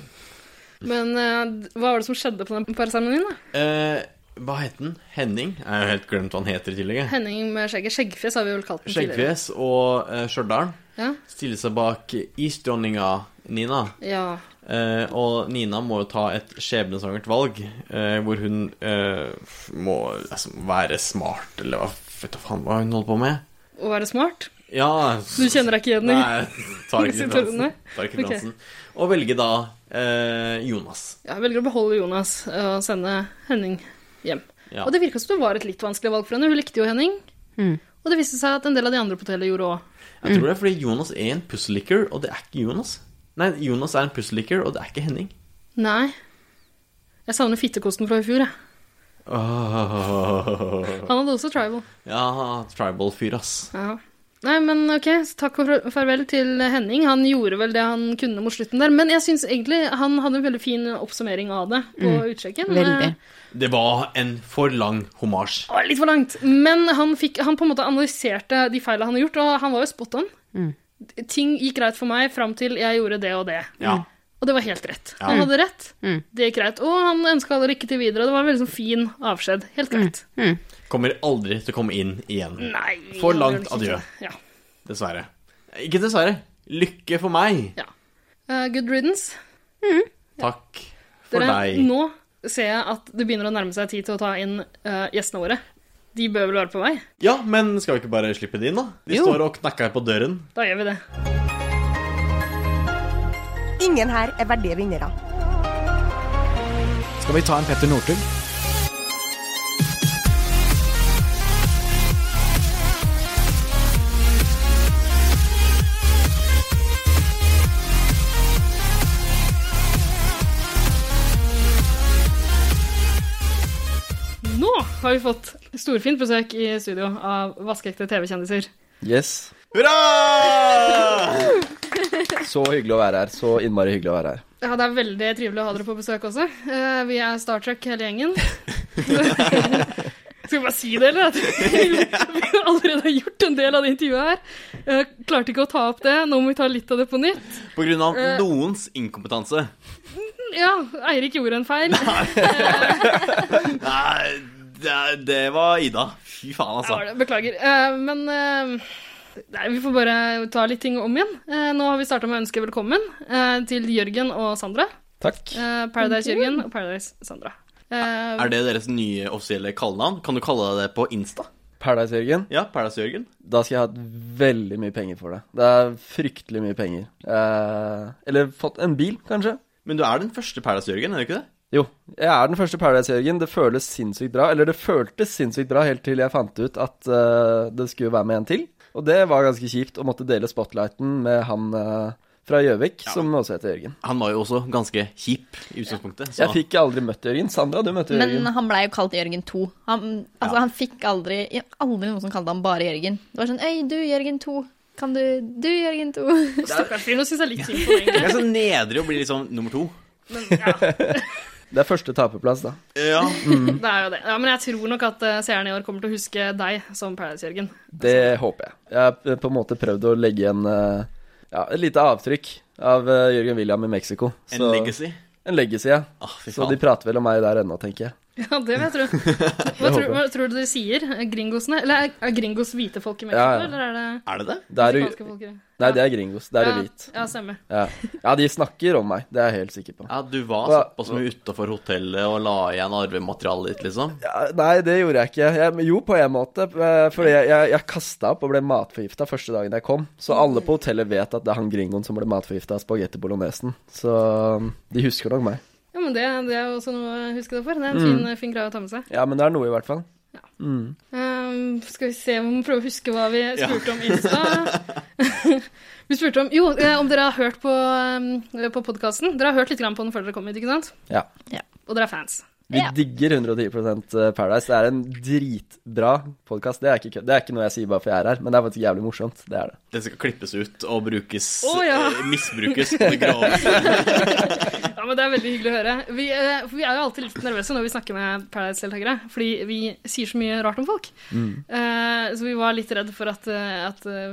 [SPEAKER 5] Men eh, hva var det som skjedde på den parseremonien, da?
[SPEAKER 2] Eh, hva het den? Henning? Jeg har jo helt glemt hva han heter i tillegg. jeg.
[SPEAKER 5] Henning med skjegget. Skjeggfjes har vi vel kalt den tidligere.
[SPEAKER 2] Skjeggfjes og uh, Stjørdal
[SPEAKER 5] Ja.
[SPEAKER 2] stiller seg bak isdronninga Nina.
[SPEAKER 5] ja.
[SPEAKER 2] Eh, og Nina må jo ta et skjebnesvangert valg, eh, hvor hun eh, må liksom, være smart, eller hva vet du faen hva hun holder på med.
[SPEAKER 5] Å være smart?
[SPEAKER 2] Ja
[SPEAKER 5] Du kjenner deg ikke igjen i
[SPEAKER 2] Nei, tar
[SPEAKER 5] [LAUGHS]
[SPEAKER 2] ikke
[SPEAKER 5] Sitter
[SPEAKER 2] Fransen.
[SPEAKER 5] under?
[SPEAKER 2] Tar ikke
[SPEAKER 5] Ok.
[SPEAKER 2] Fransen. Og velger da eh, Jonas.
[SPEAKER 5] Ja, Jeg velger å beholde Jonas eh, og sende Henning hjem.
[SPEAKER 2] Ja.
[SPEAKER 5] Og det virka som det var et litt vanskelig valg for henne. Hun likte jo Henning. Og det viste seg at en del av de andre på hotellet gjorde òg.
[SPEAKER 2] Jeg tror det er fordi Jonas er en pusselicker, og det er ikke Jonas. Nei, Jonas er en pusselicker, og det er ikke Henning.
[SPEAKER 5] Nei. Jeg savner fittekosten fra i fjor, jeg.
[SPEAKER 2] Åh.
[SPEAKER 5] Han hadde også tribal.
[SPEAKER 2] Ja, tribal-fyr, ass.
[SPEAKER 5] Ja. Nei, men ok, så takk og farvel til Henning. Han gjorde vel det han kunne mot slutten der. Men jeg syns egentlig han hadde en veldig fin oppsummering av det på utsjekken.
[SPEAKER 3] Veldig.
[SPEAKER 5] Eh,
[SPEAKER 2] Det var en for lang homasj.
[SPEAKER 5] Det var litt for langt. Men han, fikk, han på en måte analyserte de feilene han har gjort, og han var jo spot on.
[SPEAKER 2] Mm.
[SPEAKER 5] Ting gikk greit for meg fram til jeg gjorde det og det.
[SPEAKER 2] Ja.
[SPEAKER 5] Og det var helt rett. Han
[SPEAKER 2] Mm.
[SPEAKER 5] hadde rett. Det gikk greit. Og han ønska alle lykke til videre. og Det var en veldig sånn fin avskjed.
[SPEAKER 2] Mm.
[SPEAKER 5] Helt greit.
[SPEAKER 2] Kommer aldri til å komme inn igjen.
[SPEAKER 5] Nei.
[SPEAKER 2] For
[SPEAKER 5] han
[SPEAKER 2] langt
[SPEAKER 5] gjør det ikke.
[SPEAKER 2] adjø.
[SPEAKER 5] Ja.
[SPEAKER 2] Dessverre. Ikke dessverre. Lykke for meg.
[SPEAKER 5] ja. Eh, good riddance.
[SPEAKER 2] Takk for
[SPEAKER 5] Dere,
[SPEAKER 2] deg.
[SPEAKER 5] nå ser jeg at det begynner å nærme seg tid til å ta inn eh, gjestene våre. De bør vel være på vei?
[SPEAKER 2] Ja, men skal vi ikke bare slippe det inn, da? De
[SPEAKER 3] Jo.
[SPEAKER 2] står og knakker på døren.
[SPEAKER 5] Da gjør vi det.
[SPEAKER 9] Ingen her er verdige vinnere.
[SPEAKER 10] Skal vi ta en Petter Northug?
[SPEAKER 5] Nå har vi fått storfint besøk i studio av vaskeekte TV-kjendiser.
[SPEAKER 11] Yes.
[SPEAKER 2] Hurra!
[SPEAKER 11] Så hyggelig å være her. Så innmari hyggelig å være her.
[SPEAKER 5] Ja, Det er veldig trivelig å ha dere på besøk også. Eh, Vi er Star Trek hele
[SPEAKER 2] [LAUGHS]
[SPEAKER 5] gjengen. Skal vi bare si det, eller? At vi allerede har gjort en del av det intervjuet her. Eh, Klarte ikke å ta opp det. Nå må vi ta litt av det på nytt.
[SPEAKER 2] På grunn av
[SPEAKER 5] Eh.
[SPEAKER 2] noens inkompetanse.
[SPEAKER 5] Ja, Eirik gjorde en
[SPEAKER 2] [LAUGHS]
[SPEAKER 5] feil.
[SPEAKER 2] Nei, det, det var Ida. Fy faen,
[SPEAKER 5] Ja, var
[SPEAKER 2] altså.
[SPEAKER 5] det. Beklager. Eh, men eh, nei, vi får bare ta litt ting om igjen. Eh, nå har vi starta med å ønske velkommen eh, til Jørgen og Sandra.
[SPEAKER 11] Takk.
[SPEAKER 5] Eh, Paradise Jørgen og Paradise Sandra. Eh,
[SPEAKER 2] Er det deres nye offisielle kallenavn? Kan du kalle deg det på Insta?
[SPEAKER 11] Paradise Jørgen.
[SPEAKER 2] Ja, Paradise Jørgen.
[SPEAKER 11] Da skal jeg ha hatt veldig mye penger for det. Det er fryktelig mye penger. Eh, eller fått en bil, kanskje.
[SPEAKER 2] Men du er den første Paradise Jørgen, er du ikke det?
[SPEAKER 11] Jo, jeg er den første Paradise Jørgen. Det føles sinnssykt bra. Eller det føltes sinnssykt bra helt til jeg fant ut at eh, det skulle være med en til. Og det var ganske kjipt å måtte dele spotlighten med han eh, fra Gjøvik, som også heter Jørgen.
[SPEAKER 2] Han var jo også ganske kjip i utgangspunktet.
[SPEAKER 11] Jeg fikk aldri møtt Jørgen. Sandra, du møtte
[SPEAKER 12] Men
[SPEAKER 11] Jørgen.
[SPEAKER 12] han blei jo kalt Jørgen 2. Han, altså, han fikk aldri aldri noen som kalte ham bare Jørgen. Det var sånn Øy, du, Jørgen 2. Kan du Du, Jørgen
[SPEAKER 6] [LAUGHS]
[SPEAKER 12] 2.
[SPEAKER 5] Stakkars fyr, nå syns jeg litt synd på
[SPEAKER 2] [LAUGHS] Det er så nedrig å bli liksom nummer to.
[SPEAKER 11] Det er første taperplass, da.
[SPEAKER 2] Ja.
[SPEAKER 5] Det er jo det. Ja, men jeg tror nok at eh, seerne i år kommer til å huske deg som Paradise Jørgen. [LAUGHS]
[SPEAKER 11] Det håper jeg. Jeg har p- på en måte prøvd å legge en eh, ja, et lite avtrykk av eh, Jørgen William i Mexico.
[SPEAKER 2] En legacy?
[SPEAKER 11] En legacy, ja.
[SPEAKER 2] Ah, fy
[SPEAKER 11] så
[SPEAKER 2] faen.
[SPEAKER 11] de prater vel om meg der ennå, tenker jeg.
[SPEAKER 5] Ja, det vil jeg
[SPEAKER 11] [LAUGHS]
[SPEAKER 5] tro. Hva,
[SPEAKER 11] håper
[SPEAKER 5] tror,
[SPEAKER 11] jeg.
[SPEAKER 5] hva tror du de sier? Gringosene? Eller er- er gringos hvite folk i Mexico,
[SPEAKER 11] Ja, ja.
[SPEAKER 5] eller er det
[SPEAKER 2] Er det det?
[SPEAKER 11] Der,
[SPEAKER 5] meksikanske folk?
[SPEAKER 11] nei, det er gringos. Det er
[SPEAKER 5] ja,
[SPEAKER 11] hvit.
[SPEAKER 5] Ja, stemmer.
[SPEAKER 11] Ja. ja, de snakker om meg. Det er jeg helt sikker på.
[SPEAKER 2] Ja, du var
[SPEAKER 11] Hva-
[SPEAKER 2] såpass mye utafor hotellet og la igjen arvematerialet ditt, liksom?
[SPEAKER 11] Ja, nei, det gjorde jeg ikke. Jeg, men jo, på en måte. eh, Fordi jeg, jeg, jeg kasta opp og ble matforgifta første dagen jeg kom. Så alle på hotellet vet at det er han gringoen som ble matforgifta av spagetti bolognesen. Så um, de husker nok meg.
[SPEAKER 5] Ja, men det, det er jo også noe å huske det for. Det er en
[SPEAKER 11] Mm.
[SPEAKER 5] fin, fin greie å ta med seg.
[SPEAKER 11] Ja, men det er noe, i hvert fall. Mm.
[SPEAKER 5] Ehm, skal vi se, vi må prøve å huske hva vi
[SPEAKER 11] Ja.
[SPEAKER 5] spurte om i stad.
[SPEAKER 11] [LAUGHS]
[SPEAKER 5] vi spurte om Jo, eh, om dere har hørt på, eh, på podkasten. Dere har hørt litt grann på den før dere kom hit, ikke sant?
[SPEAKER 11] Ja.
[SPEAKER 5] Og dere er fans.
[SPEAKER 11] Vi digger 110 eh, Paradise. Det er en dritbra podkast. Det, er ikke kødd. det er ikke noe jeg sier bare for jeg er her, men det er faktisk jævlig morsomt. Det er det.
[SPEAKER 2] Det skal klippes ut og brukes
[SPEAKER 5] Å, ja.
[SPEAKER 2] eh, Misbrukes på det [LAUGHS] groveste.
[SPEAKER 5] Ja, men Det er veldig hyggelig å høre. Vi, eh, for vi er jo alltid litt nervøse når vi snakker med Paradise-deltakere, fordi vi sier så mye rart om folk.
[SPEAKER 2] Mm.
[SPEAKER 5] Eh, så vi var litt redd for at, eh, at eh,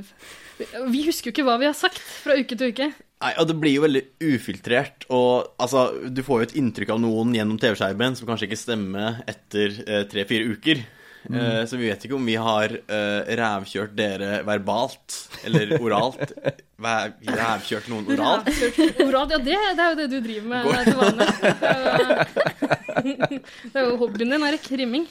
[SPEAKER 5] vi- Vi husker jo ikke hva vi har sagt fra uke til uke.
[SPEAKER 2] Nei, og det blir jo veldig ufiltrert, og altså, du får jo et inntrykk av noen gjennom TV-skjermen som kanskje ikke stemmer etter eh, tre-fire uker.
[SPEAKER 11] Mm.
[SPEAKER 2] Eh, så vi vet ikke om vi har eh, rævkjørt dere verbalt, eller [LAUGHS] oralt. Hva- Rævkjørt noen oralt?
[SPEAKER 5] Oralt, ja, det, det er jo det du driver med
[SPEAKER 2] Går-
[SPEAKER 5] til vanlig. Det er jo- [LAUGHS] Det er jo hobbyen din, Erik. Rimming.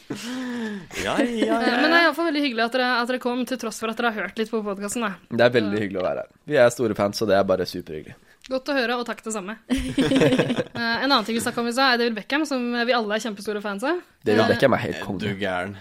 [SPEAKER 2] Ja, ja,
[SPEAKER 5] Eh, Men det er iallfall veldig hyggelig at dere, at dere kom, til tross for at dere har hørt litt på podkasten.
[SPEAKER 11] Det er veldig hyggelig å være her. Vi er store fans, så det er bare superhyggelig.
[SPEAKER 5] Godt å høre, og takk det
[SPEAKER 2] [LAUGHS]
[SPEAKER 5] samme. Eh, En annen ting vi snakka om i stad, er David Beckham, som vi alle er kjempestore fans av.
[SPEAKER 11] David
[SPEAKER 5] Eh,
[SPEAKER 11] Beckham er helt konge.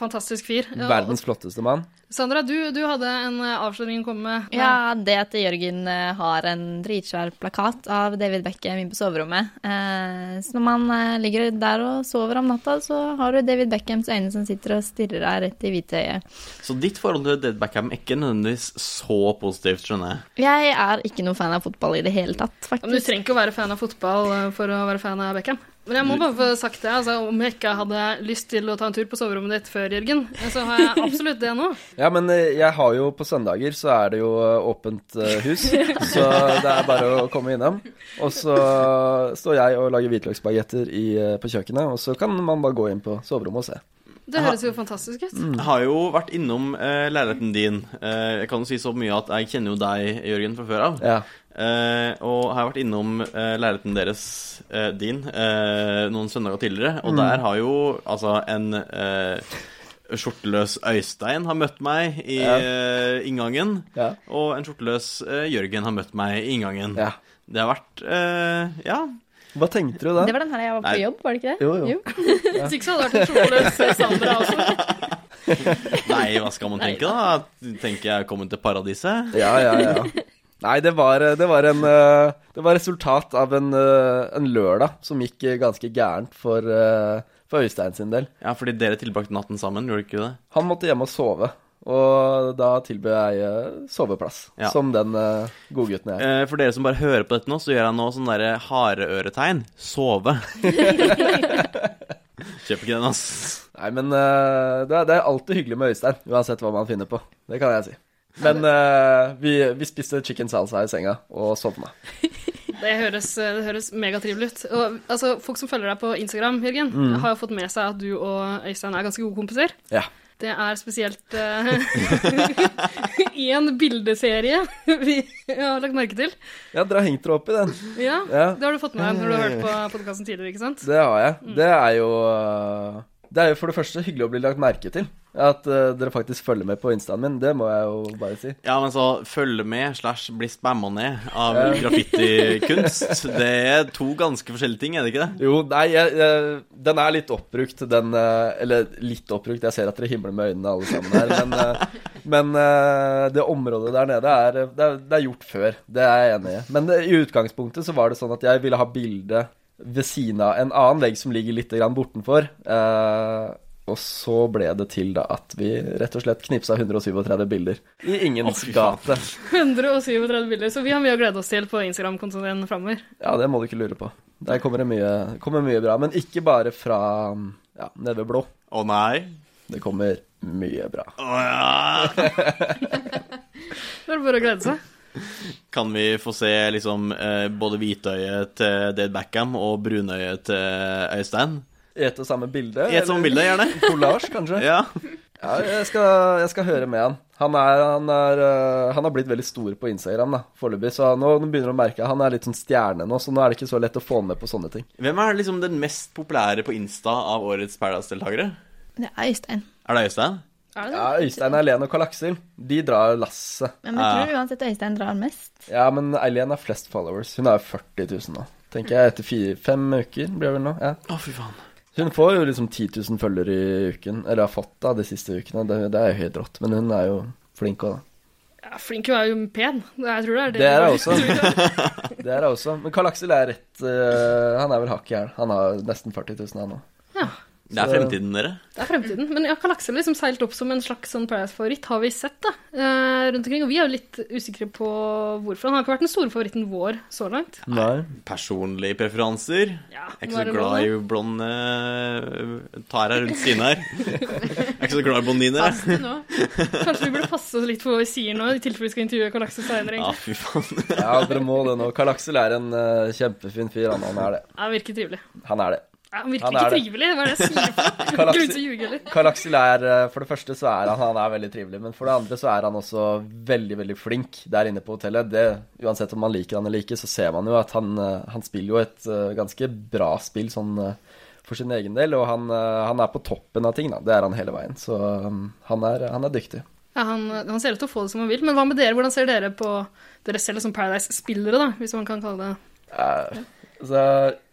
[SPEAKER 5] Fantastisk fyr. Ja, og-
[SPEAKER 11] Verdens flotteste mann.
[SPEAKER 5] Sandra, du, du hadde en eh, avsløring å komme med.
[SPEAKER 12] Ja, det at Jørgen eh, har en dritsvær plakat av David Beckham inne på soverommet. Eh, Så når man eh, ligger der og sover om natta, så har du David Beckhams øyne som sitter og stirrer deg rett i hvite øyet.
[SPEAKER 2] Så ditt forhold til Dead Backham er ikke nødvendigvis så positivt, skjønner jeg.
[SPEAKER 12] Jeg er ikke noe fan av fotball i det hele tatt,
[SPEAKER 5] Ja, men Du
[SPEAKER 12] faktisk.
[SPEAKER 5] trenger ikke å være fan av fotball eh, for å være fan av Beckham. Men jeg må bare få sagt det, altså, om jeg ikke hadde lyst til å ta en tur på soverommet ditt før, Jørgen, eh, så har jeg absolutt det nå.
[SPEAKER 11] Ja, men eh, jeg har jo på søndager så er det jo eh, åpent eh,
[SPEAKER 12] [LAUGHS]
[SPEAKER 11] hus, så det er bare å komme innom. Og så står jeg og lager hvitløksbagetter i, eh, på kjøkkenet, og så kan man bare gå inn på soverommet og se.
[SPEAKER 5] Det høres jo fantastisk ut.
[SPEAKER 2] Jeg har jo vært innom eh, leiligheten din. Eh, jeg kan jo si så mye at jeg kjenner jo deg, Jørgen, fra før av. Eh, og har vært innom eh, leiligheten deres, eh, din, eh, noen søndager tidligere. Og
[SPEAKER 11] Mm.
[SPEAKER 2] der har jo altså en eh, skjorteløs Øystein har møtt meg i
[SPEAKER 11] Ja.
[SPEAKER 2] eh, inngangen.
[SPEAKER 11] Ja.
[SPEAKER 2] Og en skjorteløs eh, Jørgen har møtt meg i inngangen.
[SPEAKER 11] Ja.
[SPEAKER 2] Det har vært eh, Ja.
[SPEAKER 11] Hva tenkte du da?
[SPEAKER 12] Det var den her jeg var på
[SPEAKER 2] Nei.
[SPEAKER 12] jobb, var det ikke det?
[SPEAKER 11] Jo, jo.
[SPEAKER 5] Hvis ikke så hadde det vært en skjorteløs Sandra også.
[SPEAKER 2] Nei, hva skal man tenke, da? Tenker jeg er kommet til paradiset?
[SPEAKER 11] Ja, ja, ja. Nei, det var, det var, en, eh, det var resultat av en, eh, en lørdag som gikk eh, ganske gærent for, eh, for Øystein sin del.
[SPEAKER 2] Ja, fordi dere tilbrakte natten sammen, gjorde dere ikke det?
[SPEAKER 11] Han måtte hjem og sove, og da tilbød jeg eh, soveplass,
[SPEAKER 2] Ja.
[SPEAKER 11] som den eh, godgutten jeg er.
[SPEAKER 2] Eh, For dere som bare hører på dette nå, så gjør jeg nå sånn derre hareøretegn. [LAUGHS] Sove. Kjøper ikke den, ass.
[SPEAKER 11] Nei, men eh, det er, det er alltid hyggelig med Øystein, uansett hva man finner på. Det kan jeg si. Men eh, vi, vi spiste chicken salsa i senga og sovna.
[SPEAKER 5] Det høres, eh, det høres megatrivelig ut. Og, altså, folk som følger deg på Instagram, Jørgen,
[SPEAKER 11] Mm.
[SPEAKER 5] har jo fått med seg at du og Øystein er ganske gode kompiser.
[SPEAKER 11] Ja.
[SPEAKER 5] Det er spesielt [LAUGHS] én bildeserie vi har lagt merke til.
[SPEAKER 11] Ja, dere har hengt dere opp i den.
[SPEAKER 5] Ja,
[SPEAKER 11] Ja.
[SPEAKER 5] Det har du fått med deg når du har hørt på podkasten tidligere, ikke sant?
[SPEAKER 11] Det har jeg. Det er jo øh, Det er jo for det første hyggelig å bli lagt merke til. At øh, dere faktisk følger med på instaen min. Det må jeg jo bare si.
[SPEAKER 2] Ja, men så følge med slash bli spamma ned av
[SPEAKER 11] Ja.
[SPEAKER 2] [LAUGHS] graffitikunst. Det er to ganske forskjellige ting, er det ikke det?
[SPEAKER 11] Jo, nei, jeg, jeg, den er litt oppbrukt, den øh, Eller litt oppbrukt, jeg ser at dere himler med øynene alle sammen her. Men, øh, men øh, det området der nede er øh, det, er det er gjort før. Det er jeg enig i. Men øh, i utgangspunktet så var det sånn at jeg ville ha bilde ved siden av en annen vegg som ligger litt grann bortenfor. Eh, og så ble det til da at vi rett og slett knipsa 137 bilder i ingens gate.
[SPEAKER 5] 137 bilder, så vi har mye å glede oss til på Instagram-kontoen din framover.
[SPEAKER 11] Ja, det må du ikke lure på. Der kommer det mye, kommer mye bra. Men ikke bare fra ja, nede ved blå.
[SPEAKER 2] Å nei.
[SPEAKER 11] Det kommer mye bra.
[SPEAKER 2] Å ja.
[SPEAKER 5] Det er bare å glede seg.
[SPEAKER 2] Kan vi få se liksom eh, både hvitøyet til Dade Backham og brunøyet til Øystein?
[SPEAKER 11] I ett og samme bilde.
[SPEAKER 2] I et sånt bilde, gjerne.
[SPEAKER 11] [LAUGHS] Kollasj, kanskje.
[SPEAKER 2] Ja.
[SPEAKER 11] Ja, jeg, skal, jeg skal høre med han. Han, er, han, er, øh, han har blitt veldig stor på Instagram da, foreløpig, så nå nå begynner du å merke at han er litt sånn stjerne nå, så nå er det ikke så lett å få han med på sånne ting.
[SPEAKER 2] Hvem er liksom den mest populære på Insta av årets Paradise-deltakere?
[SPEAKER 12] Det er Øystein.
[SPEAKER 2] Er det Øystein?
[SPEAKER 5] Er det
[SPEAKER 11] Ja, Øystein, Eileen og Karl Aksel, de drar lasset.
[SPEAKER 12] Men jeg tror uansett Øystein drar mest.
[SPEAKER 11] Ja, men Eileen har flest followers. Hun har jo 40 000 nå, tenker jeg. Etter fire, fem uker blir det vel nå. Ja.
[SPEAKER 2] Å, fy faen.
[SPEAKER 11] Hun får jo liksom 10 000 følgere i uken, eller har fått da de siste ukene. Det, det er jo helt rått. Men hun er jo flink òg, da.
[SPEAKER 5] Ja, flink hun er jo pen. Jeg tror det er det.
[SPEAKER 11] Det er hun også. Det er hun også. Men Karl Aksel er rett eh, Han er vel hakk i hæl. Han har nesten 40 000, han òg.
[SPEAKER 2] Det er
[SPEAKER 11] Så-
[SPEAKER 2] fremtiden, dere.
[SPEAKER 5] [LAUGHS] Det er fremtiden. Men ja, Karl Aksel liksom seilt opp som en slags sånn Paradise-favoritt, har vi sett da, eh, rundt omkring. Og vi er jo litt usikre på hvorfor. Han har ikke vært den store favoritten vår så langt.
[SPEAKER 11] Nei.
[SPEAKER 2] Personlige preferanser.
[SPEAKER 5] Ja,
[SPEAKER 2] Jeg er
[SPEAKER 5] nå
[SPEAKER 2] ikke så
[SPEAKER 5] det
[SPEAKER 2] glad
[SPEAKER 5] bra,
[SPEAKER 2] i blonde eh, Tara rundt siden
[SPEAKER 5] [LAUGHS]
[SPEAKER 2] her. Jeg er ikke så glad i blondiner. jeg.
[SPEAKER 5] det. Nå. Kanskje vi burde passe oss litt for hva vi sier nå, i tilfelle vi skal intervjue Karl Aksel seinere.
[SPEAKER 2] Ja, fy
[SPEAKER 5] egentlig.
[SPEAKER 2] faen. [LAUGHS]
[SPEAKER 11] Ja, dere må det nå. Karl Aksel er en eh, kjempefin fyr, han. Han er det.
[SPEAKER 5] Ja, Han virker trivelig.
[SPEAKER 11] Han er det.
[SPEAKER 5] Ja, Han virker
[SPEAKER 11] Han er
[SPEAKER 5] ikke
[SPEAKER 11] det.
[SPEAKER 5] trivelig, hva er det jeg sier? Grunn
[SPEAKER 11] [LAUGHS] Karl
[SPEAKER 5] til å
[SPEAKER 11] Aksel,
[SPEAKER 5] ljuge, eller?
[SPEAKER 11] Karl Aksel er eh, For det første så er han, han er veldig trivelig, men for det andre så er han også veldig, veldig flink der inne på hotellet. Det, uansett om man liker han eller ikke, så ser man jo at han, eh, han spiller jo et eh, ganske bra spill sånn eh, for sin egen del, og han, eh, han er på toppen av ting, da. Det er han hele veien. Så um, han er, han er dyktig.
[SPEAKER 5] Ja, han, han ser ut til å få det som han vil, men hva med dere? Hvordan ser dere på dere selv som Paradise-spillere, da, hvis man kan kalle det
[SPEAKER 11] Eh, Så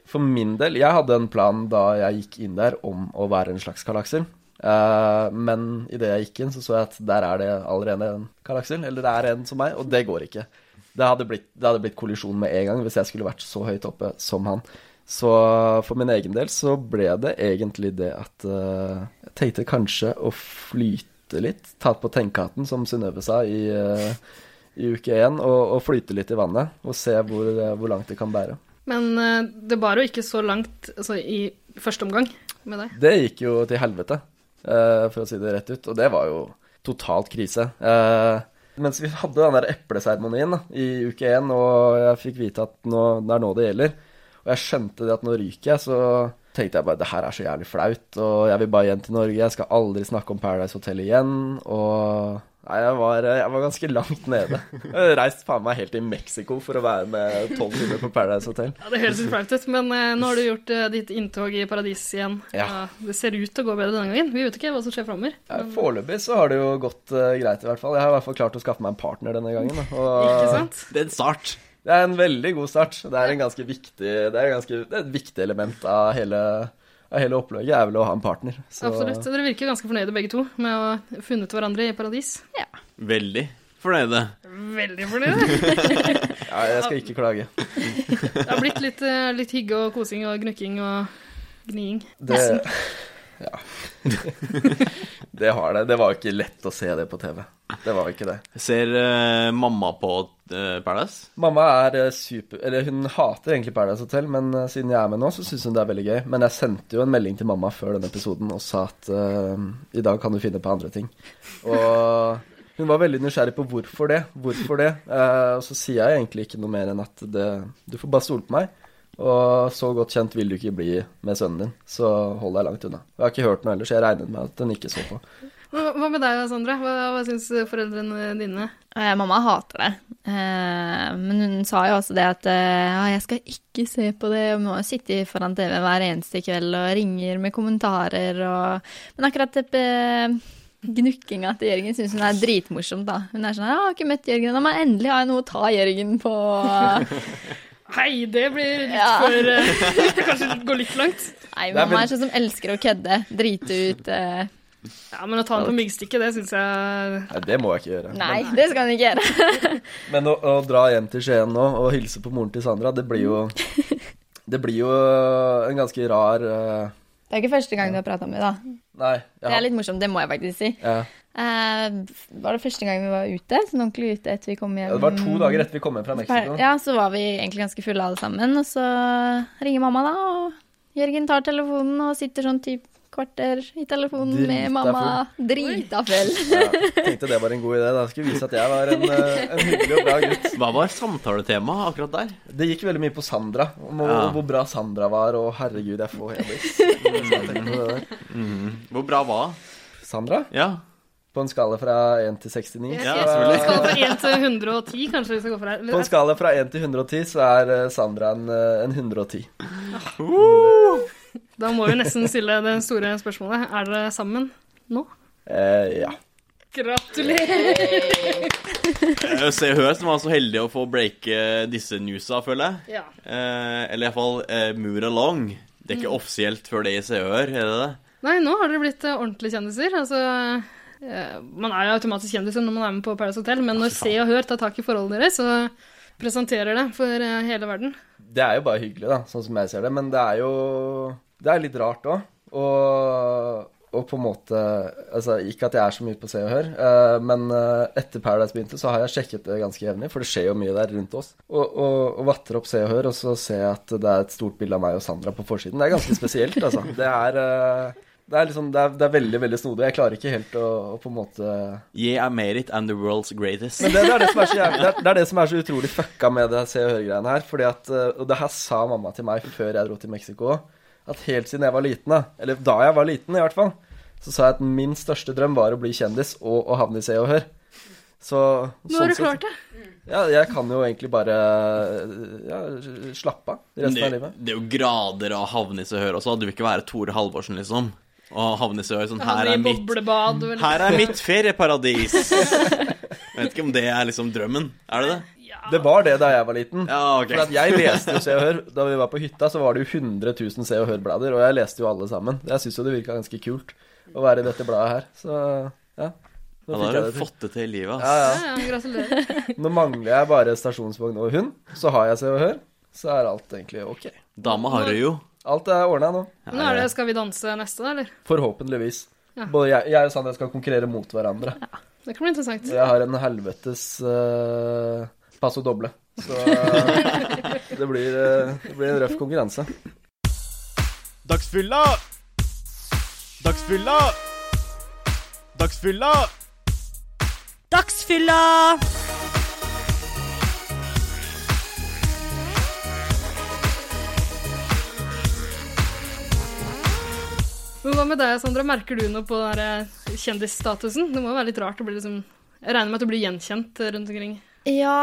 [SPEAKER 11] for min del, jeg hadde en plan da jeg gikk inn der om å være en slags Karl Aksel. Eh, men idet jeg gikk inn, så så jeg at der er det allerede en Karl Aksel, eller det er en som meg, og det går ikke. Det hadde, blitt, det hadde blitt kollisjon med en gang hvis jeg skulle vært så høyt oppe som han. Så for min egen del så ble det egentlig det at eh, jeg tenkte kanskje å flyte litt. Ta på tenkehatten, som Synnøve sa i, eh, i uke én, og, og flyte litt i vannet. Og se hvor, eh, hvor langt det kan bære.
[SPEAKER 5] Men eh, det bar jo ikke så langt altså, i første omgang med deg.
[SPEAKER 11] Det gikk jo til helvete, eh, for å si det rett ut. Og det var jo totalt krise. Eh, mens vi hadde den der epleseremonien da, i uke én, og jeg fikk vite at nå, det er nå det gjelder, og jeg skjønte det at nå ryker jeg, så tenkte jeg bare det her er så jævlig flaut, og jeg vil bare hjem til Norge, jeg skal aldri snakke om Paradise Hotel igjen, og Nei, jeg var, jeg var ganske langt nede. Jeg hadde reist faen meg helt til Mexico for å være med tolv timer på Paradise Hotel.
[SPEAKER 5] Ja, det høres litt flaut ut, men eh, nå har du gjort eh, ditt inntog i paradis igjen.
[SPEAKER 11] Ja.
[SPEAKER 5] det ser ut til å gå bedre denne gangen. Vi vet ikke hva som skjer framover.
[SPEAKER 11] Ja, Foreløpig så har det jo gått eh, greit, i hvert fall. Jeg har i hvert fall klart å skaffe meg en partner denne gangen. da, Og,
[SPEAKER 5] [LAUGHS] Ikke sant?
[SPEAKER 2] Det er en start.
[SPEAKER 11] Det er en veldig god start. Det er, en ganske viktig, det er, en ganske, det er et viktig element av hele, av hele opplegget, er vel å ha en partner. Så-
[SPEAKER 5] Absolutt. Dere virker ganske fornøyde begge to med å ha funnet hverandre i paradis. Ja.
[SPEAKER 2] Veldig fornøyde.
[SPEAKER 5] Veldig fornøyde.
[SPEAKER 11] Ja, jeg skal ikke klage.
[SPEAKER 5] [LAUGHS] Det har blitt litt, eh, litt hygge og kosing og gnukking og gniing.
[SPEAKER 11] Det, ja. [LAUGHS] det har det. Det var jo ikke lett å se det på TV. Det var jo ikke det.
[SPEAKER 2] Ser eh, mamma på eh, Paradise?
[SPEAKER 11] Mamma er eh, super Eller hun hater egentlig Paradise Hotel, men eh, siden jeg er med nå, så syns hun det er veldig gøy. Men jeg sendte jo en melding til mamma før denne episoden og sa at eh, i dag kan du finne på andre ting. Og hun var veldig nysgjerrig på hvorfor det. Hvorfor det? Eh, og så sier jeg egentlig ikke noe mer enn at det, du får bare stole på meg. Og så godt kjent vil du ikke bli med sønnen din, så hold deg langt unna. Jeg har ikke hørt noe ellers, jeg regnet med at hun ikke så på.
[SPEAKER 5] Hva hva med deg, Sandra? Hva, hva syns foreldrene dine?
[SPEAKER 12] Eh, mamma hater det. Eh, men hun sa jo også det at eh, ja, jeg skal ikke se på det. Jeg må jo sitte foran TV hver eneste kveld og ringer med kommentarer og Men akkurat det eh, gnukkinga til Jørgen syns hun er dritmorsomt, da. Hun er sånn 'Jeg har ikke møtt Jørgen ennå, men endelig har jeg noe å ta Jørgen på'.
[SPEAKER 5] Hei, det blir litt
[SPEAKER 12] [LAUGHS] Ja.
[SPEAKER 5] for eh, [LAUGHS] Kanskje det går litt langt.
[SPEAKER 12] Nei,
[SPEAKER 5] Det er
[SPEAKER 12] mamma
[SPEAKER 5] vel-
[SPEAKER 12] er sånn som elsker å kødde. Drite ut eh.
[SPEAKER 5] Ja, Men å ta den på myggstikket, det syns jeg
[SPEAKER 11] Nei, det må jeg ikke gjøre.
[SPEAKER 12] Nei, det skal hun ikke gjøre.
[SPEAKER 11] Men å, å dra hjem til Skien nå og hilse på moren til Sandra, det blir jo
[SPEAKER 12] Mm. [LAUGHS]
[SPEAKER 11] Det blir jo en ganske rar eh,
[SPEAKER 12] Det er ikke første gang du har prata med henne, da.
[SPEAKER 11] Nei.
[SPEAKER 12] Det er litt morsomt, det må jeg faktisk si.
[SPEAKER 11] ja.
[SPEAKER 12] Eh, var det første gang vi var ute? Sånn ordentlig ute etter vi kom hjem?
[SPEAKER 11] Ja, Det var to dager etter vi kom hjem fra Mexico.
[SPEAKER 12] Mm. Ja, så var vi egentlig ganske fulle alle sammen. Og så ringer mamma, da, og Jørgen tar telefonen og sitter sånn typ kvarter i telefonen
[SPEAKER 11] Drita
[SPEAKER 12] med mamma. Drita full.
[SPEAKER 11] Tenkte det var en god idé. Da skulle vise at jeg var en, eh, en hyggelig og bra gutt.
[SPEAKER 2] Hva var samtaletemaet akkurat der?
[SPEAKER 11] Det gikk veldig mye på Sandra, om hvor,
[SPEAKER 2] Ja.
[SPEAKER 11] hvor bra Sandra var, og herregud, jeg får hebris. Så jeg tenkte på det der.
[SPEAKER 2] Hvor bra var hun?
[SPEAKER 11] Sandra?
[SPEAKER 2] Ja.
[SPEAKER 11] På en skala fra 1 til 69.
[SPEAKER 5] Jeg
[SPEAKER 11] så-
[SPEAKER 5] skal- Skal fra 1 til 110, kanskje vi skal gå for her.
[SPEAKER 11] På en skala fra 1 til 110 så er eh, Sandra en, eh, en 110.
[SPEAKER 5] Da må vi nesten stille det store spørsmålet. Er dere sammen nå?
[SPEAKER 11] Eh, ja.
[SPEAKER 5] Gratulerer!
[SPEAKER 2] Eh, Se og Hør som var så heldig å få breake disse newsa, føler jeg.
[SPEAKER 5] Ja.
[SPEAKER 2] Eh, eller iallfall eh, Move It Along. Det er ikke
[SPEAKER 5] Mm.
[SPEAKER 2] offisielt før det i Se og Hør, er det det?
[SPEAKER 5] Nei, nå har dere blitt eh, ordentlige kjendiser. Altså, eh, man er jo automatisk kjendiser når man er med på Paradise Hotel, men når Se og Hør tar tak i forholdene deres og presenterer det for eh, hele verden
[SPEAKER 11] Det er jo bare hyggelig, da, sånn som jeg ser det. Men det er jo Det er litt rart òg. Og, og på en måte Altså, ikke at jeg er så mye på Se og Hør, eh, men eh, etter Paradise begynte, så har jeg sjekket det ganske jevnlig, for det skjer jo mye der rundt oss. Og, og, og vatter opp Se og Hør, og så ser jeg at det er et stort bilde av meg og Sandra på forsiden. Det er ganske spesielt, altså. Det er eh, det er, liksom, det, er, det er veldig veldig snodig. Jeg klarer ikke helt å, å på en måte
[SPEAKER 2] Yeah, I made it, I'm the world's greatest.
[SPEAKER 11] Men det, det, er det, som er så jævlig, det, er, det er det som er så utrolig fucka med det Se og Hør-greiene her. Fordi at, eh, Og det her sa mamma til meg før jeg dro til Mexico. At helt siden jeg var liten, da, eller da jeg var liten i hvert fall, så sa jeg at min største drøm var å bli kjendis og å havne i Se og Hør. Så
[SPEAKER 5] Nå har
[SPEAKER 11] sånn
[SPEAKER 5] du klart det.
[SPEAKER 11] Ja, jeg kan jo egentlig bare ja, slappe av resten av
[SPEAKER 2] det,
[SPEAKER 11] livet.
[SPEAKER 2] det er jo grader av havne i Se og Hør også. Du vil ikke være Tore Halvorsen, liksom. Og havne i Se og Hør sånn Her
[SPEAKER 5] Havne i
[SPEAKER 2] er mitt,
[SPEAKER 5] boblebad. og-
[SPEAKER 2] her er mitt ferieparadis. Jeg vet ikke om det er liksom drømmen. Er det det?
[SPEAKER 11] Det var det da jeg var liten.
[SPEAKER 2] Ja, ok.
[SPEAKER 11] For at jeg leste jo Se og Hør. Da vi var på hytta, så var det jo 100 000 Se og Hør-blader, og jeg leste jo alle sammen. Jeg syns jo det virka ganske kult å være i dette bladet her, så ja. Nå
[SPEAKER 2] Ja,
[SPEAKER 11] fikk
[SPEAKER 2] da
[SPEAKER 11] jeg
[SPEAKER 2] har
[SPEAKER 11] det
[SPEAKER 2] du
[SPEAKER 11] til.
[SPEAKER 2] fått det til i livet,
[SPEAKER 11] Ja,
[SPEAKER 2] ass.
[SPEAKER 11] ja.
[SPEAKER 5] Ja, gratulerer.
[SPEAKER 11] Nå mangler jeg bare stasjonsvogn og hund, så har jeg Se og Hør. Så er alt egentlig ok.
[SPEAKER 2] Dama har det jo.
[SPEAKER 11] Alt er ordna nå.
[SPEAKER 5] Nå er det Skal vi danse neste, da, eller?
[SPEAKER 11] Forhåpentligvis.
[SPEAKER 5] Ja.
[SPEAKER 11] Både jeg, jeg og Sandra skal konkurrere mot hverandre.
[SPEAKER 5] Det kan bli interessant.
[SPEAKER 11] Og jeg har en helvetes eh, passo doble. Så eh, det, blir, eh, det blir en røff konkurranse.
[SPEAKER 9] Dagsfylla! Dagsfylla! Dagsfylla!
[SPEAKER 10] Dagsfylla!
[SPEAKER 5] eh, Men hva med deg, Sandra? Merker du noe på den der kjendisstatusen? Det må jo være litt rart å bli liksom Jeg regner med at du blir gjenkjent rundt omkring.
[SPEAKER 12] Ja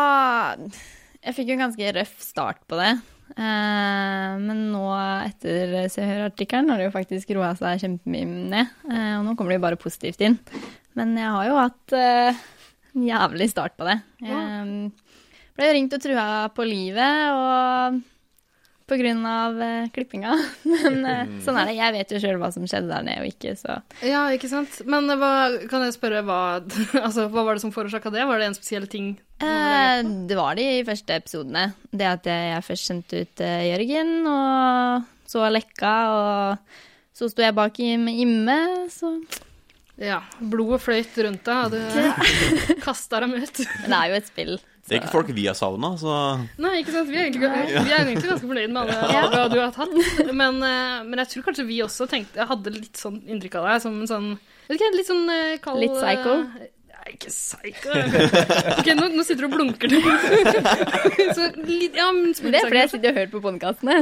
[SPEAKER 12] Jeg fikk jo en ganske røff start på det. Eh, men nå, etter Se og Hør-artikkelen, har det jo faktisk roa seg kjempemye ned. Eh, og nå kommer det jo bare positivt inn. Men jeg har jo hatt eh, en jævlig start på det. Jeg ble ringt og trua på livet og på grunn av eh, klippinga. [LAUGHS] Men eh, sånn er det. Jeg vet jo sjøl hva som skjedde der nede og ikke, så
[SPEAKER 5] Ja, ikke sant? Men hva, kan jeg spørre hva, [LAUGHS] altså, hva var det som forårsaka det? Var det en spesiell ting?
[SPEAKER 12] Eh, det var de første episodene. Det at jeg, jeg først sendte ut eh, Jørgen, og så Lekka, og så sto jeg bak i- med Imme, så
[SPEAKER 5] Ja, blodet fløyt rundt deg, og du kasta dem ut.
[SPEAKER 12] Men det er jo et spill.
[SPEAKER 2] Det er ikke folk vi har savna, så
[SPEAKER 5] Nei, ikke sant? Vi er egentlig, vi er egentlig ganske fornøyd med alle
[SPEAKER 12] Ja.
[SPEAKER 5] alle du har hatt. Men, eh, men jeg tror kanskje vi også tenkte Jeg hadde litt sånn inntrykk av deg som en sånn jeg vet ikke, Litt sånn eh, kald
[SPEAKER 12] Litt psycho?
[SPEAKER 5] eh, Nei, ikke psycho. Ok, nå, nå sitter du og blunker til. [LAUGHS] Så litt Ja, men
[SPEAKER 12] Men det er fordi jeg sitter og hører på podkastene.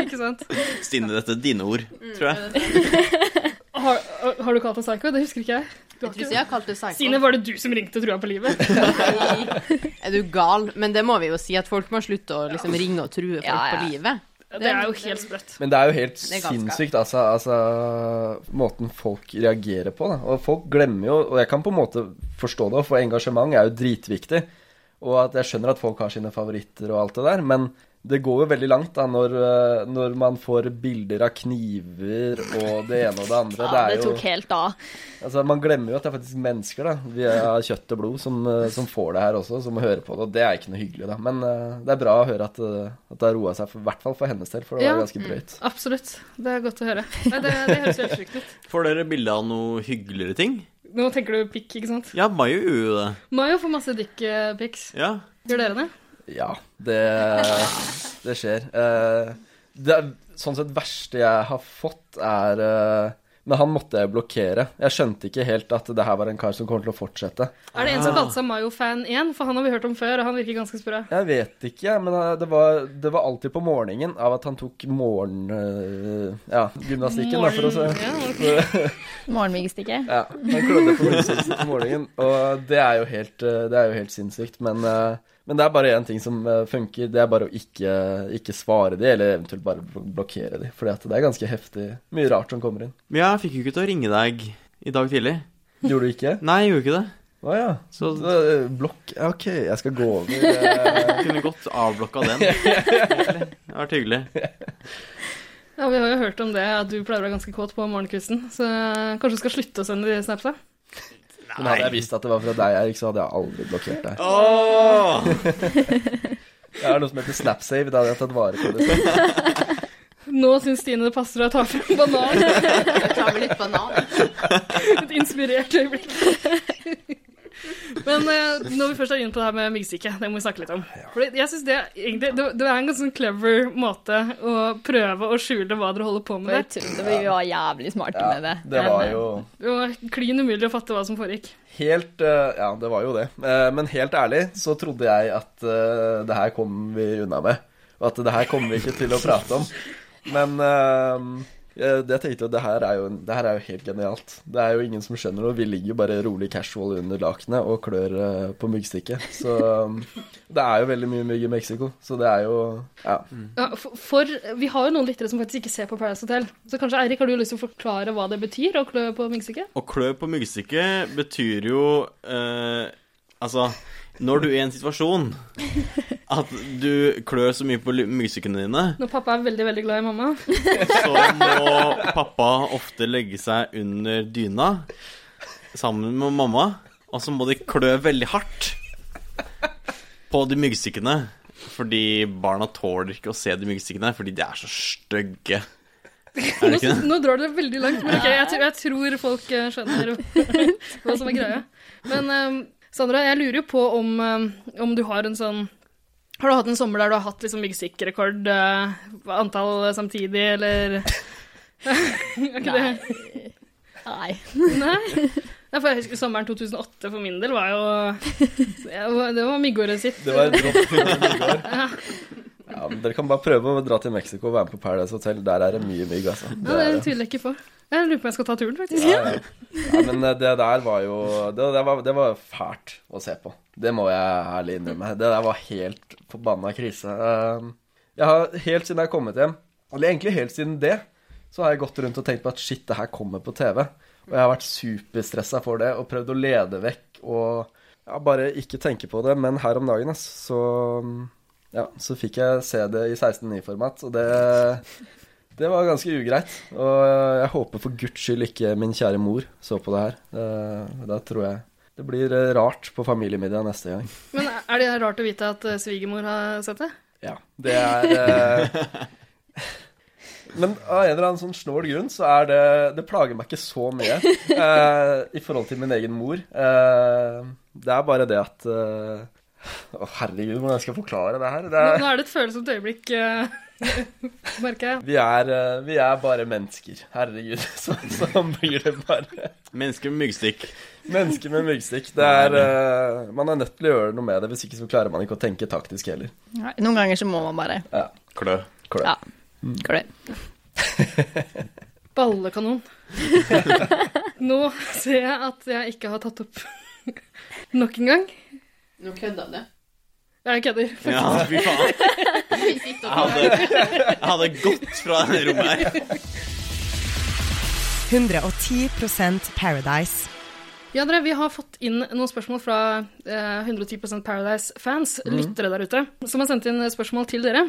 [SPEAKER 5] [LAUGHS] Ikke sant?
[SPEAKER 2] Stine, dette er dine ord, tror jeg.
[SPEAKER 5] Har, har du kalt deg psycho? Det husker ikke jeg.
[SPEAKER 3] Jeg
[SPEAKER 5] Du har
[SPEAKER 3] tror
[SPEAKER 5] ikke-
[SPEAKER 3] ikke jeg har kalt det psycho.
[SPEAKER 5] Stine, var det du som ringte og trua på livet?
[SPEAKER 3] Er du gal? Men det må vi jo si, at folk må slutte å liksom ringe og true folk
[SPEAKER 12] Ja, ja.
[SPEAKER 3] på livet.
[SPEAKER 5] Det er jo helt sprøtt.
[SPEAKER 11] Men det er jo helt
[SPEAKER 3] Det er galskap.
[SPEAKER 11] sinnssykt, altså, altså Måten folk reagerer på, da. Og folk glemmer jo Og jeg kan på en måte forstå det, for engasjement er jo dritviktig. Og at jeg skjønner at folk har sine favoritter og alt det der, men det går jo veldig langt da når, eh, når man får bilder av kniver og det ene og det andre.
[SPEAKER 12] Ja,
[SPEAKER 11] er
[SPEAKER 12] det
[SPEAKER 11] jo-
[SPEAKER 12] tok helt av.
[SPEAKER 11] Altså, Man glemmer jo at det er faktisk mennesker da, vi er av kjøtt og blod som, eh, som får det her også, som hører på det. Og det er ikke noe hyggelig, da. Men eh, det er bra å høre at, eh, at det har roa seg, for, i hvert fall for hennes del, for det var
[SPEAKER 5] Ja.
[SPEAKER 11] ganske drøyt.
[SPEAKER 5] Absolutt. Det er godt å høre. Nei, det, det høres helt sjukt ut.
[SPEAKER 2] Får dere bilde av noe hyggeligere ting?
[SPEAKER 5] Nå tenker du pikk, ikke sant?
[SPEAKER 2] Ja, Mayo gjorde jo det.
[SPEAKER 5] Mayo får masse dickpics.
[SPEAKER 2] Ja.
[SPEAKER 5] Gjør dere det?
[SPEAKER 11] Ja, det, det skjer. Eh, det er, sånn sett verste jeg har fått, er eh, Men han måtte jeg blokkere. Jeg skjønte ikke helt at det her var en kar som kommer til å fortsette.
[SPEAKER 5] Er det en som kalte seg Mayo-fan 1? For han har vi hørt om før, og han virker ganske sprø.
[SPEAKER 11] Jeg vet ikke, jeg, men eh, det var, det var alltid på morgenen av at han tok morgen... eh, ja, gymnastikken, da, for å se. [LAUGHS]
[SPEAKER 12] Morgenmyggestikket.
[SPEAKER 11] Ja, han klødde på munnsosen på morgenen, og det er jo helt, eh, det er jo helt sinnssykt. Men, eh, men det er bare én ting som eh, funker, det er bare å ikke, ikke svare de, eller eventuelt bare bl- blokkere de. For det er ganske heftig. Mye rart som kommer inn.
[SPEAKER 2] Men jeg fikk jo ikke til å ringe deg i dag tidlig.
[SPEAKER 11] Gjorde du ikke?
[SPEAKER 2] Nei, jeg gjorde ikke det.
[SPEAKER 11] [LAUGHS] Å ja.
[SPEAKER 2] Så
[SPEAKER 11] Så, eh, Blokk ja, OK, jeg skal gå over. [LAUGHS] eh.
[SPEAKER 2] jeg kunne godt avblokka
[SPEAKER 11] [LAUGHS]
[SPEAKER 2] den. egentlig. Det har vært hyggelig.
[SPEAKER 5] Ja, Vi har jo hørt om det, at du pleier å være ganske kåt på morgenkvisten. Så eh, kanskje du skal slutte å sende de snapsa?
[SPEAKER 11] Men hadde jeg visst at det var fra deg, Erik, så hadde jeg aldri blokkert [LAUGHS] deg.
[SPEAKER 2] Åh!
[SPEAKER 11] Jeg har noe som heter SnapSave, da hadde jeg tatt vare på [LAUGHS] det.
[SPEAKER 5] Nå syns Stine det passer å ta frem banan. [LAUGHS]
[SPEAKER 3] Jeg tar vel litt banan.
[SPEAKER 5] Et inspirert øyeblikk. Men eh, når vi først er inne på det her med myggsyke, det må vi snakke litt om. For jeg synes det, er egentlig, det, det er en ganske sånn clever måte å prøve å skjule hva dere holder på med
[SPEAKER 12] For
[SPEAKER 5] der.
[SPEAKER 12] tull, det var- Vi var jævlig smarte med det.
[SPEAKER 11] Det var
[SPEAKER 12] Men,
[SPEAKER 11] jo
[SPEAKER 5] Det var klin umulig å fatte hva som foregikk.
[SPEAKER 11] Helt eh, Ja, det var jo det. Eh, Men helt ærlig så trodde jeg at eh, det her kom vi unna med. Og at det her kommer vi ikke til å prate om. Men eh, eh, det jeg tenkte jo, det her er jo, det her er jo helt genialt. Det er jo ingen som skjønner noe. Vi ligger jo bare rolig casual under lakenet og klør eh, på myggstikket. Så eh, det er jo veldig mye mygg i Mexico. Så det er jo Ja.
[SPEAKER 2] Mm.
[SPEAKER 5] Ja, for, for vi har jo noen lyttere som faktisk ikke ser på Paradise Hotel. Så kanskje Eirik, har du lyst til å forklare hva det betyr å klø på myggstykke?
[SPEAKER 2] Å klø på myggstikket betyr jo eh, Altså, når du er i en situasjon at du klør så mye på ly- myggstykkene dine,
[SPEAKER 5] Når pappa er veldig, veldig glad i mamma.
[SPEAKER 2] så må pappa ofte legge seg under dyna sammen med mamma, og så må de klø veldig hardt på de myggstikkene. Fordi barna tåler ikke å se de myggstikkene, fordi de er så stygge. Er det
[SPEAKER 5] Nå,
[SPEAKER 2] ikke det?
[SPEAKER 5] nå drar dere veldig langt, men ok, jeg, tror- jeg tror folk eh,
[SPEAKER 2] [LAUGHS]
[SPEAKER 5] skjønner hva som er greia. Men eh, Sandra, jeg lurer jo på om, eh, om du har en sånn Har du hatt en sommer der du har hatt liksom myggstikkrekord, eh, antall samtidig, eller [LAUGHS] Er ikke det?
[SPEAKER 12] Nei.
[SPEAKER 5] Nei. Nei, for jeg husker Sommeren 2008 for min del var jo Det var- det var myggåret sitt.
[SPEAKER 11] Det var en dropp fra mygg i går. Ja, men dere kan bare prøve å dra til Mexico og være med på Paradise Hotel. Der er det mye mygg, altså.
[SPEAKER 5] Ja, det tviler jeg ikke på. Jeg lurer på om jeg skal ta turen, faktisk.
[SPEAKER 11] Ja, ja. ja, men eh, det der var jo det, der var, det var fælt å se på. Det må jeg ærlig innrømme. Det der var helt forbanna krise. Eh, Jeg har helt siden jeg har kommet hjem, eller egentlig helt siden det, så har jeg gått rundt og tenkt på at shit, det her kommer på TV. Og jeg har vært superstressa for det og prøvd å lede vekk og ja, bare ikke tenke på det. Men her om dagen, ass, så ja, så fikk jeg se det i 16.9-format, og det det var ganske ugreit, og jeg håper for guds skyld ikke min kjære mor så på det her. Eh, Da tror jeg det blir eh, rart på familiemiddag neste gang.
[SPEAKER 5] Men er det rart å vite at eh, svigermor har sett det?
[SPEAKER 11] Ja, det er eh, [LAUGHS] Men av en eller annen sånn snål grunn så er det Det plager meg ikke så mye eh, i forhold til min egen mor. Eh, det er bare det at eh, Å, herregud, hvordan jeg skal forklare det her. Det
[SPEAKER 5] Nå
[SPEAKER 11] er,
[SPEAKER 5] nå er det et følsomt øyeblikk, eh, [LAUGHS] merker jeg.
[SPEAKER 11] vi, er, eh, vi er bare mennesker. Herregud, [LAUGHS] så, så blir det bare
[SPEAKER 2] Mennesker med myggstikk.
[SPEAKER 11] Mennesker med myggstikk. Det er, eh, man er nødt til å gjøre noe med det, hvis ikke så klarer man ikke å tenke taktisk heller.
[SPEAKER 12] Nei, Noen ganger så må man bare
[SPEAKER 11] Ja.
[SPEAKER 2] Klø.
[SPEAKER 11] Klø.
[SPEAKER 12] Ja.
[SPEAKER 11] Mm.
[SPEAKER 12] klø.
[SPEAKER 11] [LAUGHS]
[SPEAKER 5] Ballekanon. Nå ser jeg at jeg ikke har tatt opp [LAUGHS] nok en gang.
[SPEAKER 3] Nå kødda du.
[SPEAKER 5] Jeg kødder.
[SPEAKER 2] Ja, fy faen. Jeg hadde, jeg hadde gått fra det rommet her.
[SPEAKER 9] 110 Paradise.
[SPEAKER 5] Ja, dere, vi har fått inn noen spørsmål fra eh, 110 Paradise-fans,
[SPEAKER 11] Mhm.
[SPEAKER 5] lyttere der ute, som har sendt inn spørsmål til dere.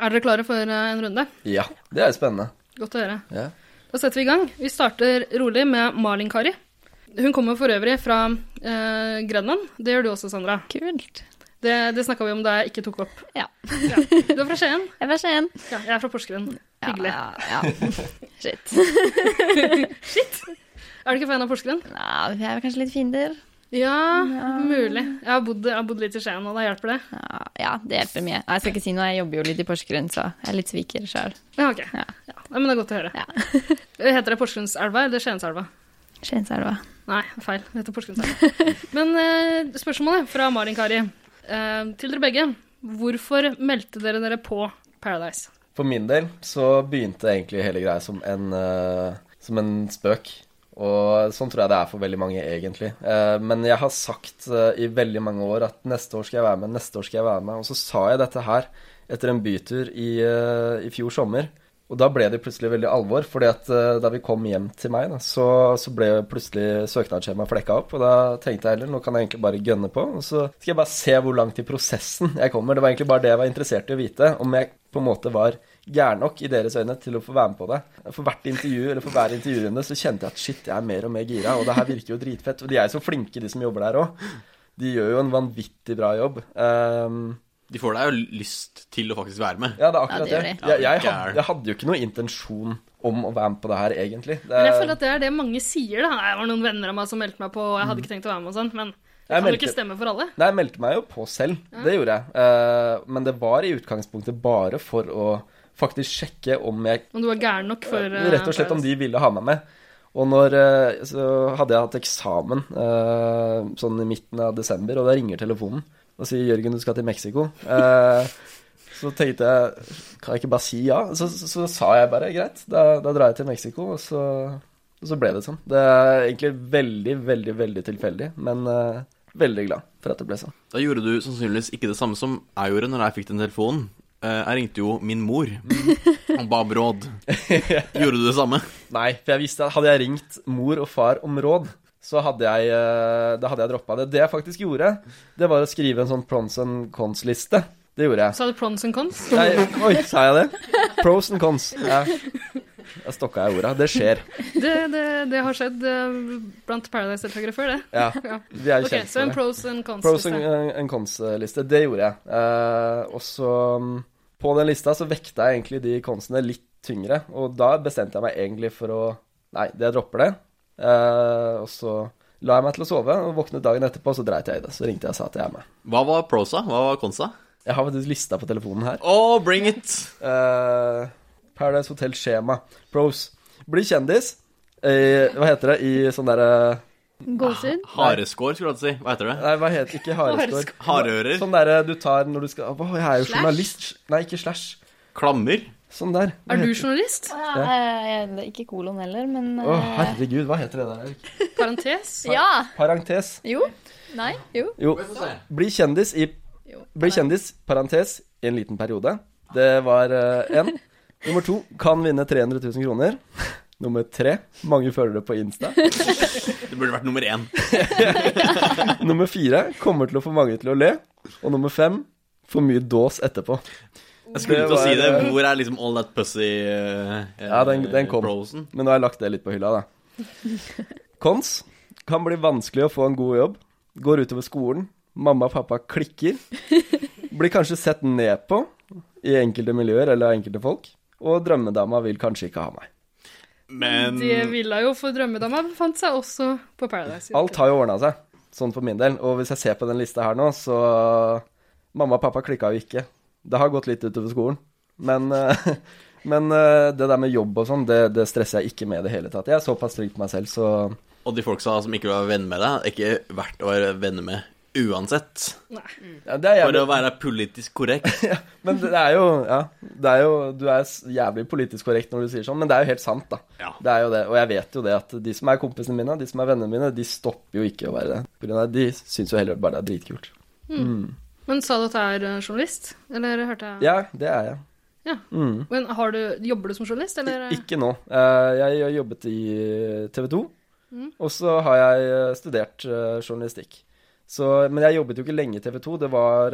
[SPEAKER 5] Er dere klare for eh, en runde?
[SPEAKER 11] Ja, det er jo spennende.
[SPEAKER 5] Godt å høre.
[SPEAKER 11] Ja.
[SPEAKER 5] Da setter vi i gang. Vi starter rolig med Malin Kari. Hun kommer for øvrig fra eh, Grenland. Det gjør du også, Sandra.
[SPEAKER 12] Kult.
[SPEAKER 5] Det, det snakka vi om da jeg ikke tok opp.
[SPEAKER 12] Ja.
[SPEAKER 5] Du er fra Skien?
[SPEAKER 12] Jeg er fra Skien.
[SPEAKER 5] Ja, jeg er fra Porsgrunn. Hyggelig.
[SPEAKER 12] Ja, [LAUGHS] Shit.
[SPEAKER 5] Shit! Er du ikke fan av Porsgrunn?
[SPEAKER 12] Nei, vi er vel kanskje litt fiender.
[SPEAKER 5] Ja, mulig. Jeg har, bodd, jeg har bodd litt i Skien, og da hjelper det.
[SPEAKER 12] Ja, ja, det hjelper mye. Nei, Jeg skal ikke si noe, jeg jobber jo litt i Porsgrunn, så jeg er litt sviker sjøl.
[SPEAKER 5] Ja, ok. Ja. Nei, men det er godt å høre. Heter [LAUGHS] det Porsgrunnselva eller Skienselva?
[SPEAKER 12] Skienselva.
[SPEAKER 5] Nei, feil. Det heter Porsgrunnselva. men eh, spørsmålet fra Malin Kari eh, til dere begge. Hvorfor meldte dere dere på Paradise?
[SPEAKER 11] For min del så begynte egentlig hele greia som en, eh, som en spøk. Og sånn tror jeg det er for veldig mange, egentlig. Eh, men jeg har sagt eh, i veldig mange år at neste år skal jeg være med, neste år skal jeg være med. Og så sa jeg dette her etter en bytur i, eh, i fjor sommer. Og da ble det plutselig veldig alvor, fordi at eh, da vi kom hjem til meg, da, så, så ble plutselig søknadsskjemaet flekka opp. Og da tenkte jeg heller nå kan jeg egentlig bare gønne på, og så skal jeg bare se hvor langt i prosessen jeg kommer. Det var egentlig bare det jeg var interessert i å vite, om jeg på en måte var gæren nok i deres øyne til å få være med på det. For hvert intervju, eller for hver intervjurunde, så kjente jeg at shit, jeg er mer og mer gira, og det her virker jo dritfett. Og de er jo så flinke, de som jobber der òg. De gjør jo en vanvittig bra jobb. Ehm,
[SPEAKER 2] De får deg jo lyst til å faktisk være med.
[SPEAKER 11] ja, det er akkurat det. Jeg, jeg,
[SPEAKER 2] Ja,
[SPEAKER 11] hadde, jeg hadde jo ikke noe intensjon om å være med på det her, egentlig. Det,
[SPEAKER 5] Men jeg føler at det er det mange sier, da. Det var noen venner av meg som meldte meg på, og jeg hadde ikke tenkt å være med og sånn, men det kan
[SPEAKER 11] Jeg
[SPEAKER 5] jo
[SPEAKER 11] meldte-
[SPEAKER 5] ikke stemme for alle.
[SPEAKER 11] Nei, jeg meldte meg jo på selv. Det gjorde jeg. Eh, men det var i utgangspunktet bare for å faktisk sjekke om jeg
[SPEAKER 5] Om du var gæren nok for eh,
[SPEAKER 11] Rett og slett om
[SPEAKER 5] Paradise.
[SPEAKER 11] de ville ha meg med. Og når, eh, så hadde jeg hatt eksamen eh, sånn i midten av desember, og da ringer telefonen og sier 'Jørgen, du skal til Mexico'. Eh, så tenkte jeg Kan jeg ikke bare si ja? Så, så, så sa jeg bare greit, da, da drar jeg til Mexico. Og så, og så ble det sånn. Det er egentlig veldig, veldig, veldig tilfeldig, men eh, veldig glad for at det ble sånn.
[SPEAKER 2] Da gjorde du sannsynligvis ikke det samme som jeg gjorde når jeg fikk den telefonen. Eh, Jeg ringte jo min
[SPEAKER 11] [LAUGHS]
[SPEAKER 2] mor og ba om råd. Gjorde du det samme?
[SPEAKER 11] Nei, for jeg visste at hadde jeg ringt mor og far om råd, så hadde jeg, eh, da hadde jeg droppa det. Det jeg faktisk gjorde, det var å skrive en sånn pros and cons-liste. Det gjorde jeg.
[SPEAKER 5] Sa du pros and cons?
[SPEAKER 11] Nei, oi, sa jeg det? Pros and cons. Ja. Da stokka jeg orda. Det skjer.
[SPEAKER 5] Det, det, det har skjedd eh, blant Paradise-deltakere før, det.
[SPEAKER 11] Ja, vi er jo
[SPEAKER 5] Ok,
[SPEAKER 11] kjent
[SPEAKER 5] Så
[SPEAKER 11] for
[SPEAKER 5] en
[SPEAKER 11] det.
[SPEAKER 5] pros and cons.
[SPEAKER 11] Pros
[SPEAKER 5] liste.
[SPEAKER 11] and, and cons-liste. Det gjorde jeg. Eh, og så mm, På den lista så vekta jeg egentlig de consene litt tyngre, og da bestemte jeg meg egentlig for å Nei, jeg dropper det. Eh, og så la jeg meg til å sove, og våknet dagen etterpå, og så dreit jeg i det. Så ringte jeg og sa at jeg er med.
[SPEAKER 2] Hva var prosa? Hva var konsa?
[SPEAKER 11] Jeg har faktisk lista på telefonen her. Eh,
[SPEAKER 2] Oh, bring it!
[SPEAKER 11] Paradise Hotel Skjema. Pros. Bli kjendis. Eh, hva heter det i sånn derre
[SPEAKER 12] Gåsehud?
[SPEAKER 2] Hareskår, skulle jeg til å si. Hva heter det?
[SPEAKER 11] Nei, hva heter ikke hareskår?
[SPEAKER 2] Hareører.
[SPEAKER 11] Sånn derre du tar når du skal Å, jeg er jo
[SPEAKER 2] Slash?
[SPEAKER 11] journalist. Nei, ikke slash.
[SPEAKER 2] Klammer.
[SPEAKER 11] Sånn der. Hva
[SPEAKER 5] Er du
[SPEAKER 11] heter-
[SPEAKER 5] journalist?
[SPEAKER 11] Ja.
[SPEAKER 12] Eh, ikke kolon heller, men
[SPEAKER 11] Å,
[SPEAKER 12] eh,
[SPEAKER 11] herregud, hva heter det der? Erik?
[SPEAKER 5] Parentes?
[SPEAKER 12] Ja.
[SPEAKER 11] Parentes.
[SPEAKER 12] Jo. Nei. Jo.
[SPEAKER 11] Jo. Bli kjendis i Bli kjendis, parentes, i en liten periode. Det var én. Nummer to kan vinne 300 000 kroner. Nummer tre mange følgere på Insta.
[SPEAKER 2] Det burde vært nummer én.
[SPEAKER 11] Nummer fire kommer til å få mange til å le. Og nummer fem for mye dås etterpå.
[SPEAKER 2] Jeg skulle
[SPEAKER 11] Det
[SPEAKER 2] til å si det.
[SPEAKER 11] var, eh,
[SPEAKER 2] Hvor er liksom all that pussy eh,
[SPEAKER 11] Ja, den,
[SPEAKER 2] eh,
[SPEAKER 11] den kom.
[SPEAKER 2] brosen?
[SPEAKER 11] Men nå har jeg lagt det litt på hylla, da. Kons kan bli vanskelig å få en god jobb. Går utover skolen. Mamma og pappa klikker. Blir kanskje sett ned på i enkelte miljøer eller av enkelte folk. Og drømmedama vil kanskje ikke ha meg.
[SPEAKER 2] Men
[SPEAKER 5] Det ville jo, for drømmedama befant seg også på Paradise.
[SPEAKER 11] Alt har jo ordna seg, sånn for min del. Og hvis jeg ser på den lista her nå, så Mamma og pappa klikka jo ikke. Det har gått litt utover skolen. Men, eh, [LAUGHS] men eh, det der med jobb og sånn, det, det stresser jeg ikke med i det hele tatt. Jeg er såpass trygg på meg selv, så
[SPEAKER 2] Og de folka som ikke var venner med deg, er ikke verdt å være venner med uansett.
[SPEAKER 11] ja, det er
[SPEAKER 2] For
[SPEAKER 11] jævlig.
[SPEAKER 2] å være politisk korrekt.
[SPEAKER 11] Men det det er jo Ja, det er jo Du er s- jævlig politisk korrekt når du sier sånn, men det er jo helt sant, da. Det er jo det. Og jeg vet jo det at de som er kompisene mine, de som er vennene mine, de stopper jo ikke å være det. På grunn av De syns jo heller bare det er dritkult. Mm.
[SPEAKER 5] Men sa du at du er eh, journalist? Eller hørte jeg
[SPEAKER 11] Ja, det er jeg.
[SPEAKER 5] Ja.
[SPEAKER 11] Mm.
[SPEAKER 5] Men har du, jobber du som journalist, eller?
[SPEAKER 11] Ikke nå. Eh, Jeg har jobbet i eh, TV 2,
[SPEAKER 5] Mm.
[SPEAKER 11] og så har jeg eh, studert eh, journalistikk. Så, men jeg jobbet jo ikke lenge i TV 2, det var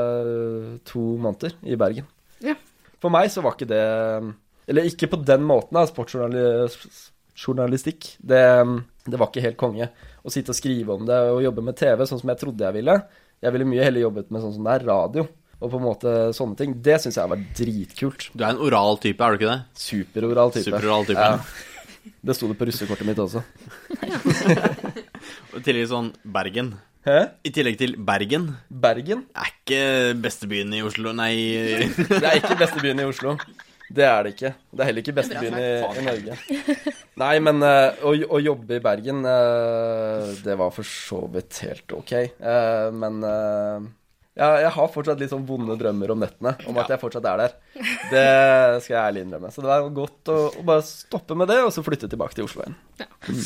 [SPEAKER 11] eh, to måneder i Bergen.
[SPEAKER 5] Ja.
[SPEAKER 11] For meg så var ikke det eh, Eller ikke på den måten, da, sportsjournalistikk. Det, eh, det var ikke helt konge å sitte og skrive om det og jobbe med TV sånn som jeg trodde jeg ville. Jeg ville mye heller jobbet med sånn som det er radio, og på en måte sånne ting. Det syns jeg var dritkult.
[SPEAKER 2] Du er en oral type, er du ikke det?
[SPEAKER 11] Superoral type.
[SPEAKER 2] Superoral type.
[SPEAKER 11] Ja. Det sto det på russekortet mitt også.
[SPEAKER 2] I tillegg sånn Bergen. I tillegg til Bergen.
[SPEAKER 11] Bergen?
[SPEAKER 2] Er ikke bestebyen i Oslo, nei
[SPEAKER 11] Det er ikke bestebyen i Oslo. Det er det ikke. Det er heller ikke
[SPEAKER 2] er bra
[SPEAKER 11] bestebyen i,
[SPEAKER 2] sagt.
[SPEAKER 11] i Norge. Nei, men eh, å, å jobbe i Bergen, eh, det var for så vidt helt ok. Eh, men eh, ja, jeg har fortsatt litt sånn vonde drømmer om nettene, om at jeg fortsatt er der. Det skal jeg ærlig innrømme. Så det var godt å, å bare stoppe med det, og så flytte tilbake til Oslo igjen.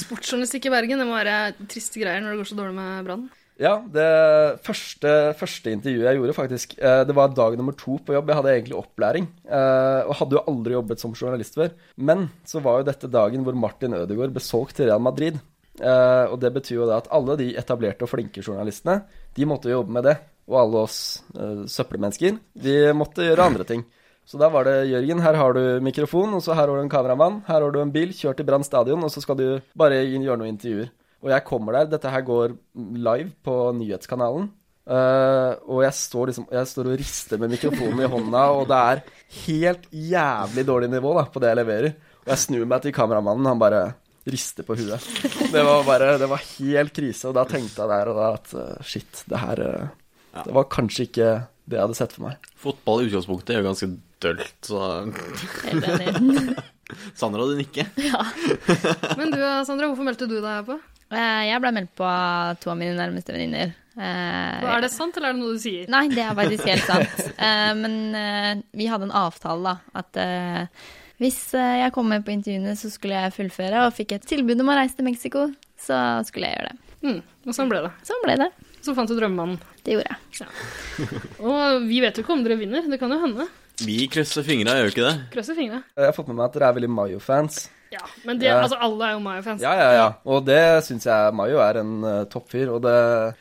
[SPEAKER 5] Sportsjournalistikk i Bergen, det må være triste greier når det går så dårlig med Brann.
[SPEAKER 11] Ja, det første, første intervjuet jeg gjorde, faktisk, eh, det var dag nummer to på jobb. Jeg hadde egentlig opplæring, eh, og hadde jo aldri jobbet som journalist før. Men så var jo dette dagen hvor Martin Ødegaard ble solgt til Real Madrid. Eh, Og det betyr jo da at alle de etablerte og flinke journalistene, de måtte jo jobbe med det. Og alle oss eh, søppelmennesker, de måtte gjøre andre ting. Så da var det Jørgen, her har du mikrofon, og så her har du en kameramann, her har du en bil, kjør til Brann stadion, og så skal du bare gjøre noen intervjuer. Og jeg kommer der, dette her går live på nyhetskanalen. eh, og jeg står liksom Jeg står og rister med mikrofonen i hånda, og det er helt jævlig dårlig nivå da på det jeg leverer. Og jeg snur meg til kameramannen, han bare rister på huet. Det var bare Det var helt krise, og da tenkte jeg der og da at eh, shit, det her eh, Det var kanskje ikke det jeg hadde sett for meg.
[SPEAKER 2] Fotball i utgangspunktet er jo ganske dølt, så
[SPEAKER 12] [LAUGHS] Helt enig.
[SPEAKER 2] Sandra, du nikker.
[SPEAKER 12] Ja.
[SPEAKER 5] Men du, eh, Sandra, hvorfor meldte du deg på?
[SPEAKER 12] Eh, Jeg ble meldt på av to av mine nærmeste venninner. Eh,
[SPEAKER 5] Er det sant, eller er det noe du sier?
[SPEAKER 12] Nei, det er faktisk helt sant. Eh, Men eh, vi hadde en avtale, da. At eh, hvis eh, jeg kom med på intervjuene, så skulle jeg fullføre. Og fikk et tilbud om å reise til Mexico, så skulle jeg gjøre det.
[SPEAKER 5] Mm, og sånn ble det.
[SPEAKER 12] Sånn ble det.
[SPEAKER 5] Så fant du drømmemannen.
[SPEAKER 12] Det gjorde jeg.
[SPEAKER 5] Og vi vet jo ikke om dere vinner, det kan jo hende.
[SPEAKER 2] Vi krysser fingra, gjør vi ikke det?
[SPEAKER 5] Krøsse fingra.
[SPEAKER 11] Jeg har fått med meg at dere er veldig Mayo-fans.
[SPEAKER 5] Ja, men det,
[SPEAKER 11] Ja.
[SPEAKER 5] altså, alle er jo Mayo-fans.
[SPEAKER 11] Ja, ja, ja. Og det syns jeg Mayo er en uh, toppfyr. Og det,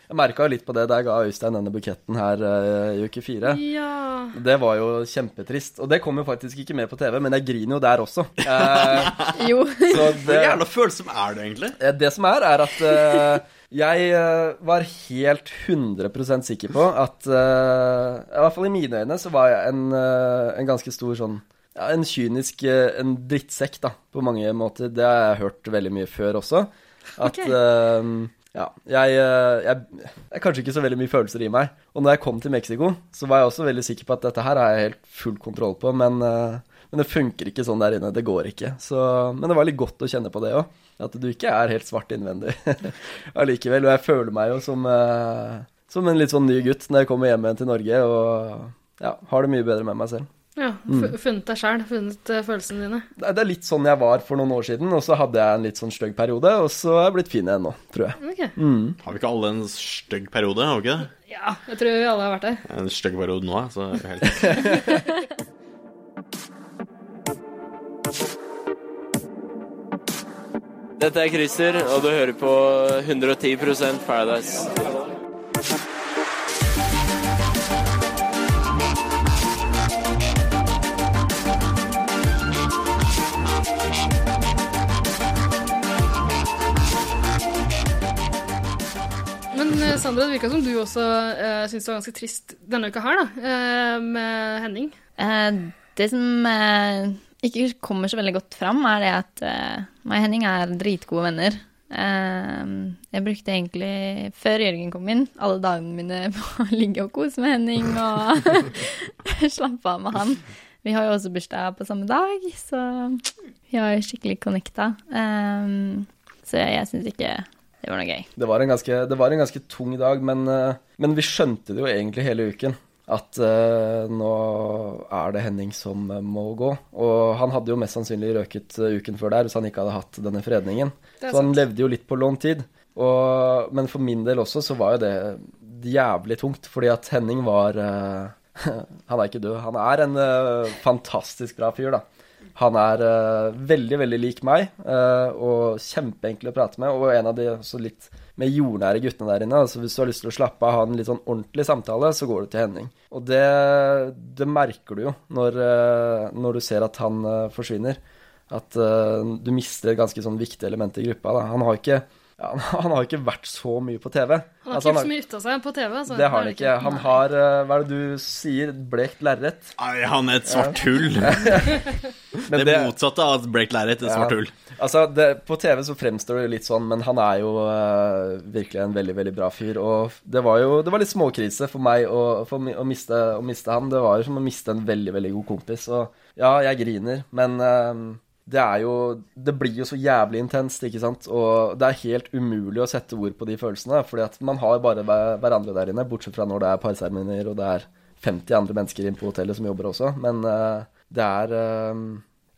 [SPEAKER 11] jeg merka jo litt på det da jeg ga Øystein denne buketten her eh, i uke fire.
[SPEAKER 5] Ja.
[SPEAKER 11] Det var jo kjempetrist. Og det kom jo faktisk ikke med på TV, men jeg griner jo der [LAUGHS] også. Eh,
[SPEAKER 12] Jo.
[SPEAKER 11] så det-
[SPEAKER 2] Hvor jævla følsom er du egentlig?
[SPEAKER 11] Eh, Det som er, er at eh, jeg eh, var helt 100 sikker på at eh, I hvert fall i mine øyne så var jeg en, eh, en ganske stor sånn ja, En kynisk eh, en drittsekk, da, på mange måter. Det har jeg hørt veldig mye før også. At
[SPEAKER 10] Ok.
[SPEAKER 11] eh, ja, jeg, eh, jeg, det er kanskje ikke så veldig mye følelser i meg. Og når jeg kom til Mexico, så var jeg også veldig sikker på at dette her har jeg helt full kontroll på, men, eh, men det funker ikke sånn der inne. Det går ikke. Så, men det var litt godt å kjenne på det òg. At du ikke er helt svart innvendig [LAUGHS] allikevel. Og jeg føler meg jo som, eh, som en litt sånn ny gutt når jeg kommer hjem igjen til Norge og ja, har det mye bedre med meg selv.
[SPEAKER 5] Ja,
[SPEAKER 11] Mm.
[SPEAKER 5] fu- funnet deg sjæl, funnet eh, følelsene dine.
[SPEAKER 11] Det det er litt sånn jeg var for noen år siden, og så hadde jeg en litt sånn stygg periode, og så er jeg blitt fin igjen nå, tror jeg.
[SPEAKER 5] Ok.
[SPEAKER 11] Mm.
[SPEAKER 2] Har vi ikke alle en stygg periode? har vi ikke det?
[SPEAKER 5] Ja, jeg tror vi alle har vært der.
[SPEAKER 2] Jeg har En stygg periode nå, jeg, så jeg er helt
[SPEAKER 10] Dette er Christer, og du hører på 110 Paradise.
[SPEAKER 5] Men eh, Sandra, det virka som du også uh, syntes det var ganske trist denne uka her, da. eh, med Henning.
[SPEAKER 12] Eh, det som eh, ikke kommer så veldig godt fram, er det at eh, meg og Henning er dritgode venner. Eh, jeg brukte egentlig, før Jørgen kom inn, alle dagene mine [LAUGHS] på å ligge og kose med Henning og [LAUGHS] slappe av med han. Vi har jo også bursdag på samme dag, så vi har jo skikkelig connecta. Eh, så jeg syns ikke det var noe gøy.
[SPEAKER 11] Det var en ganske, det var en ganske tung dag, men, eh, men vi skjønte det jo egentlig hele uken. At eh, nå er det Henning som eh, må gå. Og han hadde jo mest sannsynlig røket eh, uken før der hvis han ikke hadde hatt denne fredningen.
[SPEAKER 13] Det
[SPEAKER 11] Så
[SPEAKER 13] er
[SPEAKER 11] han
[SPEAKER 13] sant.
[SPEAKER 11] levde jo litt på lånt tid. Og, men for min del også så var jo det jævlig tungt, fordi at Henning var eh, [LAUGHS] Han er ikke død. Han er en eh, fantastisk bra fyr, da. Han er eh, veldig, veldig lik meg, eh, og kjempeenkel å prate med. Og en av de også litt med jordnære guttene der inne. Altså Hvis du har lyst til å slappe av og ha en litt sånn ordentlig samtale, så går du til Henning. Og det, det merker du jo når, eh, når du ser at han eh, forsvinner. At eh, du mister et ganske sånn viktig element i gruppa. Da. Han, har ikke, ja, [LAUGHS] han har ikke vært så mye på TV.
[SPEAKER 5] Han har
[SPEAKER 11] Altså,
[SPEAKER 5] ikke gjort så mye ut av seg på TV. Altså.
[SPEAKER 11] det har han ikke. Han
[SPEAKER 5] Nei.
[SPEAKER 11] har, eh, hva er det du sier, blekt lerret?
[SPEAKER 2] Nei, han er et svart
[SPEAKER 11] Ja.
[SPEAKER 2] [LAUGHS] hull.
[SPEAKER 11] Men
[SPEAKER 2] Det, motsatte av et break lerret, et svart
[SPEAKER 11] Ja.
[SPEAKER 2] hull.
[SPEAKER 11] Altså, det, på TV så fremstår det jo litt sånn, men han er jo eh, virkelig en veldig, veldig bra fyr. Og det var jo det var litt småkrise for meg å, for, mi- å, miste, å miste han. Det var jo som å miste en veldig, veldig god kompis. Og ja, jeg griner, men eh, det er jo Det blir jo så jævlig intenst, ikke sant? Og det er helt umulig å sette ord på de følelsene, fordi at man har bare hver, hverandre der inne, bortsett fra når det er parseremonier og det er 50 andre mennesker inne på hotellet som jobber også, men eh, det er eh,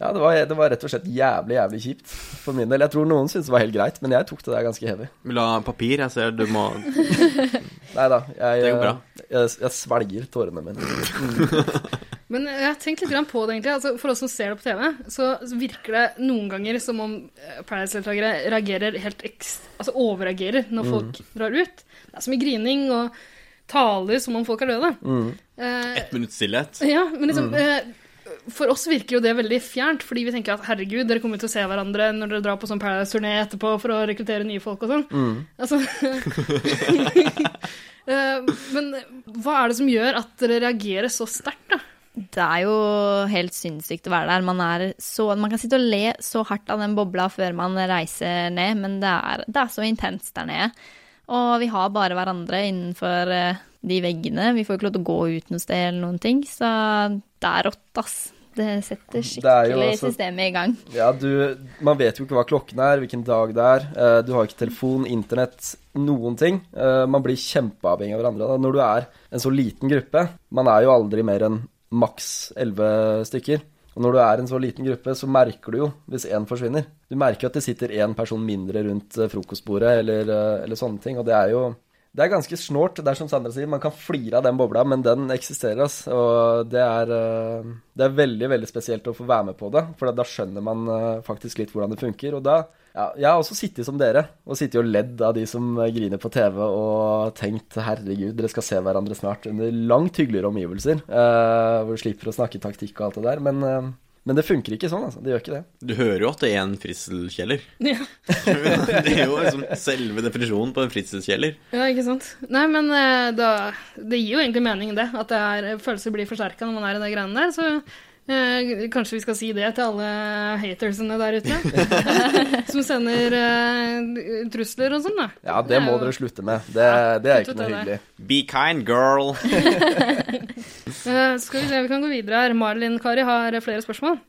[SPEAKER 11] ja, det var, det var rett og slett jævlig, jævlig kjipt for min del. Jeg tror noen syntes det var helt greit, men jeg tok det der ganske heavy.
[SPEAKER 2] Vil du ha papir? Jeg ser du må
[SPEAKER 11] Nei da, jeg, eh,
[SPEAKER 2] Det går bra.
[SPEAKER 11] jeg, jeg svelger tårene mine. Mm.
[SPEAKER 5] Men eh, jeg har tenkt litt grann på det, egentlig. Altså, for oss som ser det på TV, så virker det noen ganger som om eh, Paradise-deltakere reagerer helt ekst... Altså overreagerer
[SPEAKER 11] Mm.
[SPEAKER 5] når folk drar ut. Det er så mye grining og taler som om folk er døde.
[SPEAKER 2] mm.
[SPEAKER 5] Eh,
[SPEAKER 2] Ett minutts stillhet.
[SPEAKER 5] ja, men liksom
[SPEAKER 2] Mm.
[SPEAKER 5] eh, For oss virker jo det veldig fjernt, fordi vi tenker at herregud, dere kommer til å se hverandre når dere drar på sånn Paradise-turné etterpå for å rekruttere nye folk og sånn.
[SPEAKER 11] Mm.
[SPEAKER 5] Altså [LAUGHS] Eh, Men hva er det som gjør at dere reagerer så sterkt, da?
[SPEAKER 12] Det er jo helt sinnssykt å være der. Man, er så, man kan sitte og le så hardt av den bobla før man reiser ned, men det er, det er så intenst der nede. Og vi har bare hverandre innenfor eh, de veggene. Vi får ikke lov til å gå ut noe sted eller noen ting, så det er rått, ass. Det setter
[SPEAKER 11] Det er jo
[SPEAKER 12] skikkelig
[SPEAKER 11] altså-
[SPEAKER 12] systemet i gang.
[SPEAKER 11] Ja, du, man vet jo ikke hva klokken er, hvilken dag det er. Eh, Du har ikke telefon, internett, noen ting. Eh, Man blir kjempeavhengig av hverandre. Da. Når du er en så liten gruppe, man er jo aldri mer enn maks 11 stykker. Og når du er en så liten gruppe, så merker du jo hvis én forsvinner. Du merker jo at det sitter én person mindre rundt eh, frokostbordet eller, eh, eller sånne ting, og det er jo det er ganske snålt. Det er som Sandra sier, man kan flire av den bobla, men den eksisterer, ass. Og det er, eh, det er veldig, veldig spesielt å få være med på det, for da skjønner man eh, faktisk litt hvordan det funker. Og da ja, Jeg har også sittet som dere, og sittet og ledd av de som eh, griner på TV, og tenkt herregud, dere skal se hverandre snart, under langt hyggeligere omgivelser, eh, hvor du slipper å snakke taktikk og alt det der. Men, eh, men det funker ikke sånn, altså. Det gjør ikke det.
[SPEAKER 2] Du hører jo at det er en fritidskjeller.
[SPEAKER 5] Ja.
[SPEAKER 2] [LAUGHS] det er jo liksom selve definisjonen på en fritidskjeller.
[SPEAKER 5] Ja, ikke sant. Nei, men eh, da, det gir jo egentlig mening, det. At det er, følelser blir forsterka når man er i de greiene der. Så eh, kanskje vi skal si det til alle hatersene der ute. [LAUGHS] som sender eh, trusler og sånn, da.
[SPEAKER 11] Ja, det
[SPEAKER 5] er
[SPEAKER 11] må
[SPEAKER 5] jo-
[SPEAKER 11] dere slutte med. Det, det er
[SPEAKER 5] kutt ut
[SPEAKER 11] ikke noe
[SPEAKER 5] det der.
[SPEAKER 11] hyggelig.
[SPEAKER 2] Be kind, girl.
[SPEAKER 5] Eh, skal vi se, vi kan gå videre her. Malin Kari har flere spørsmål.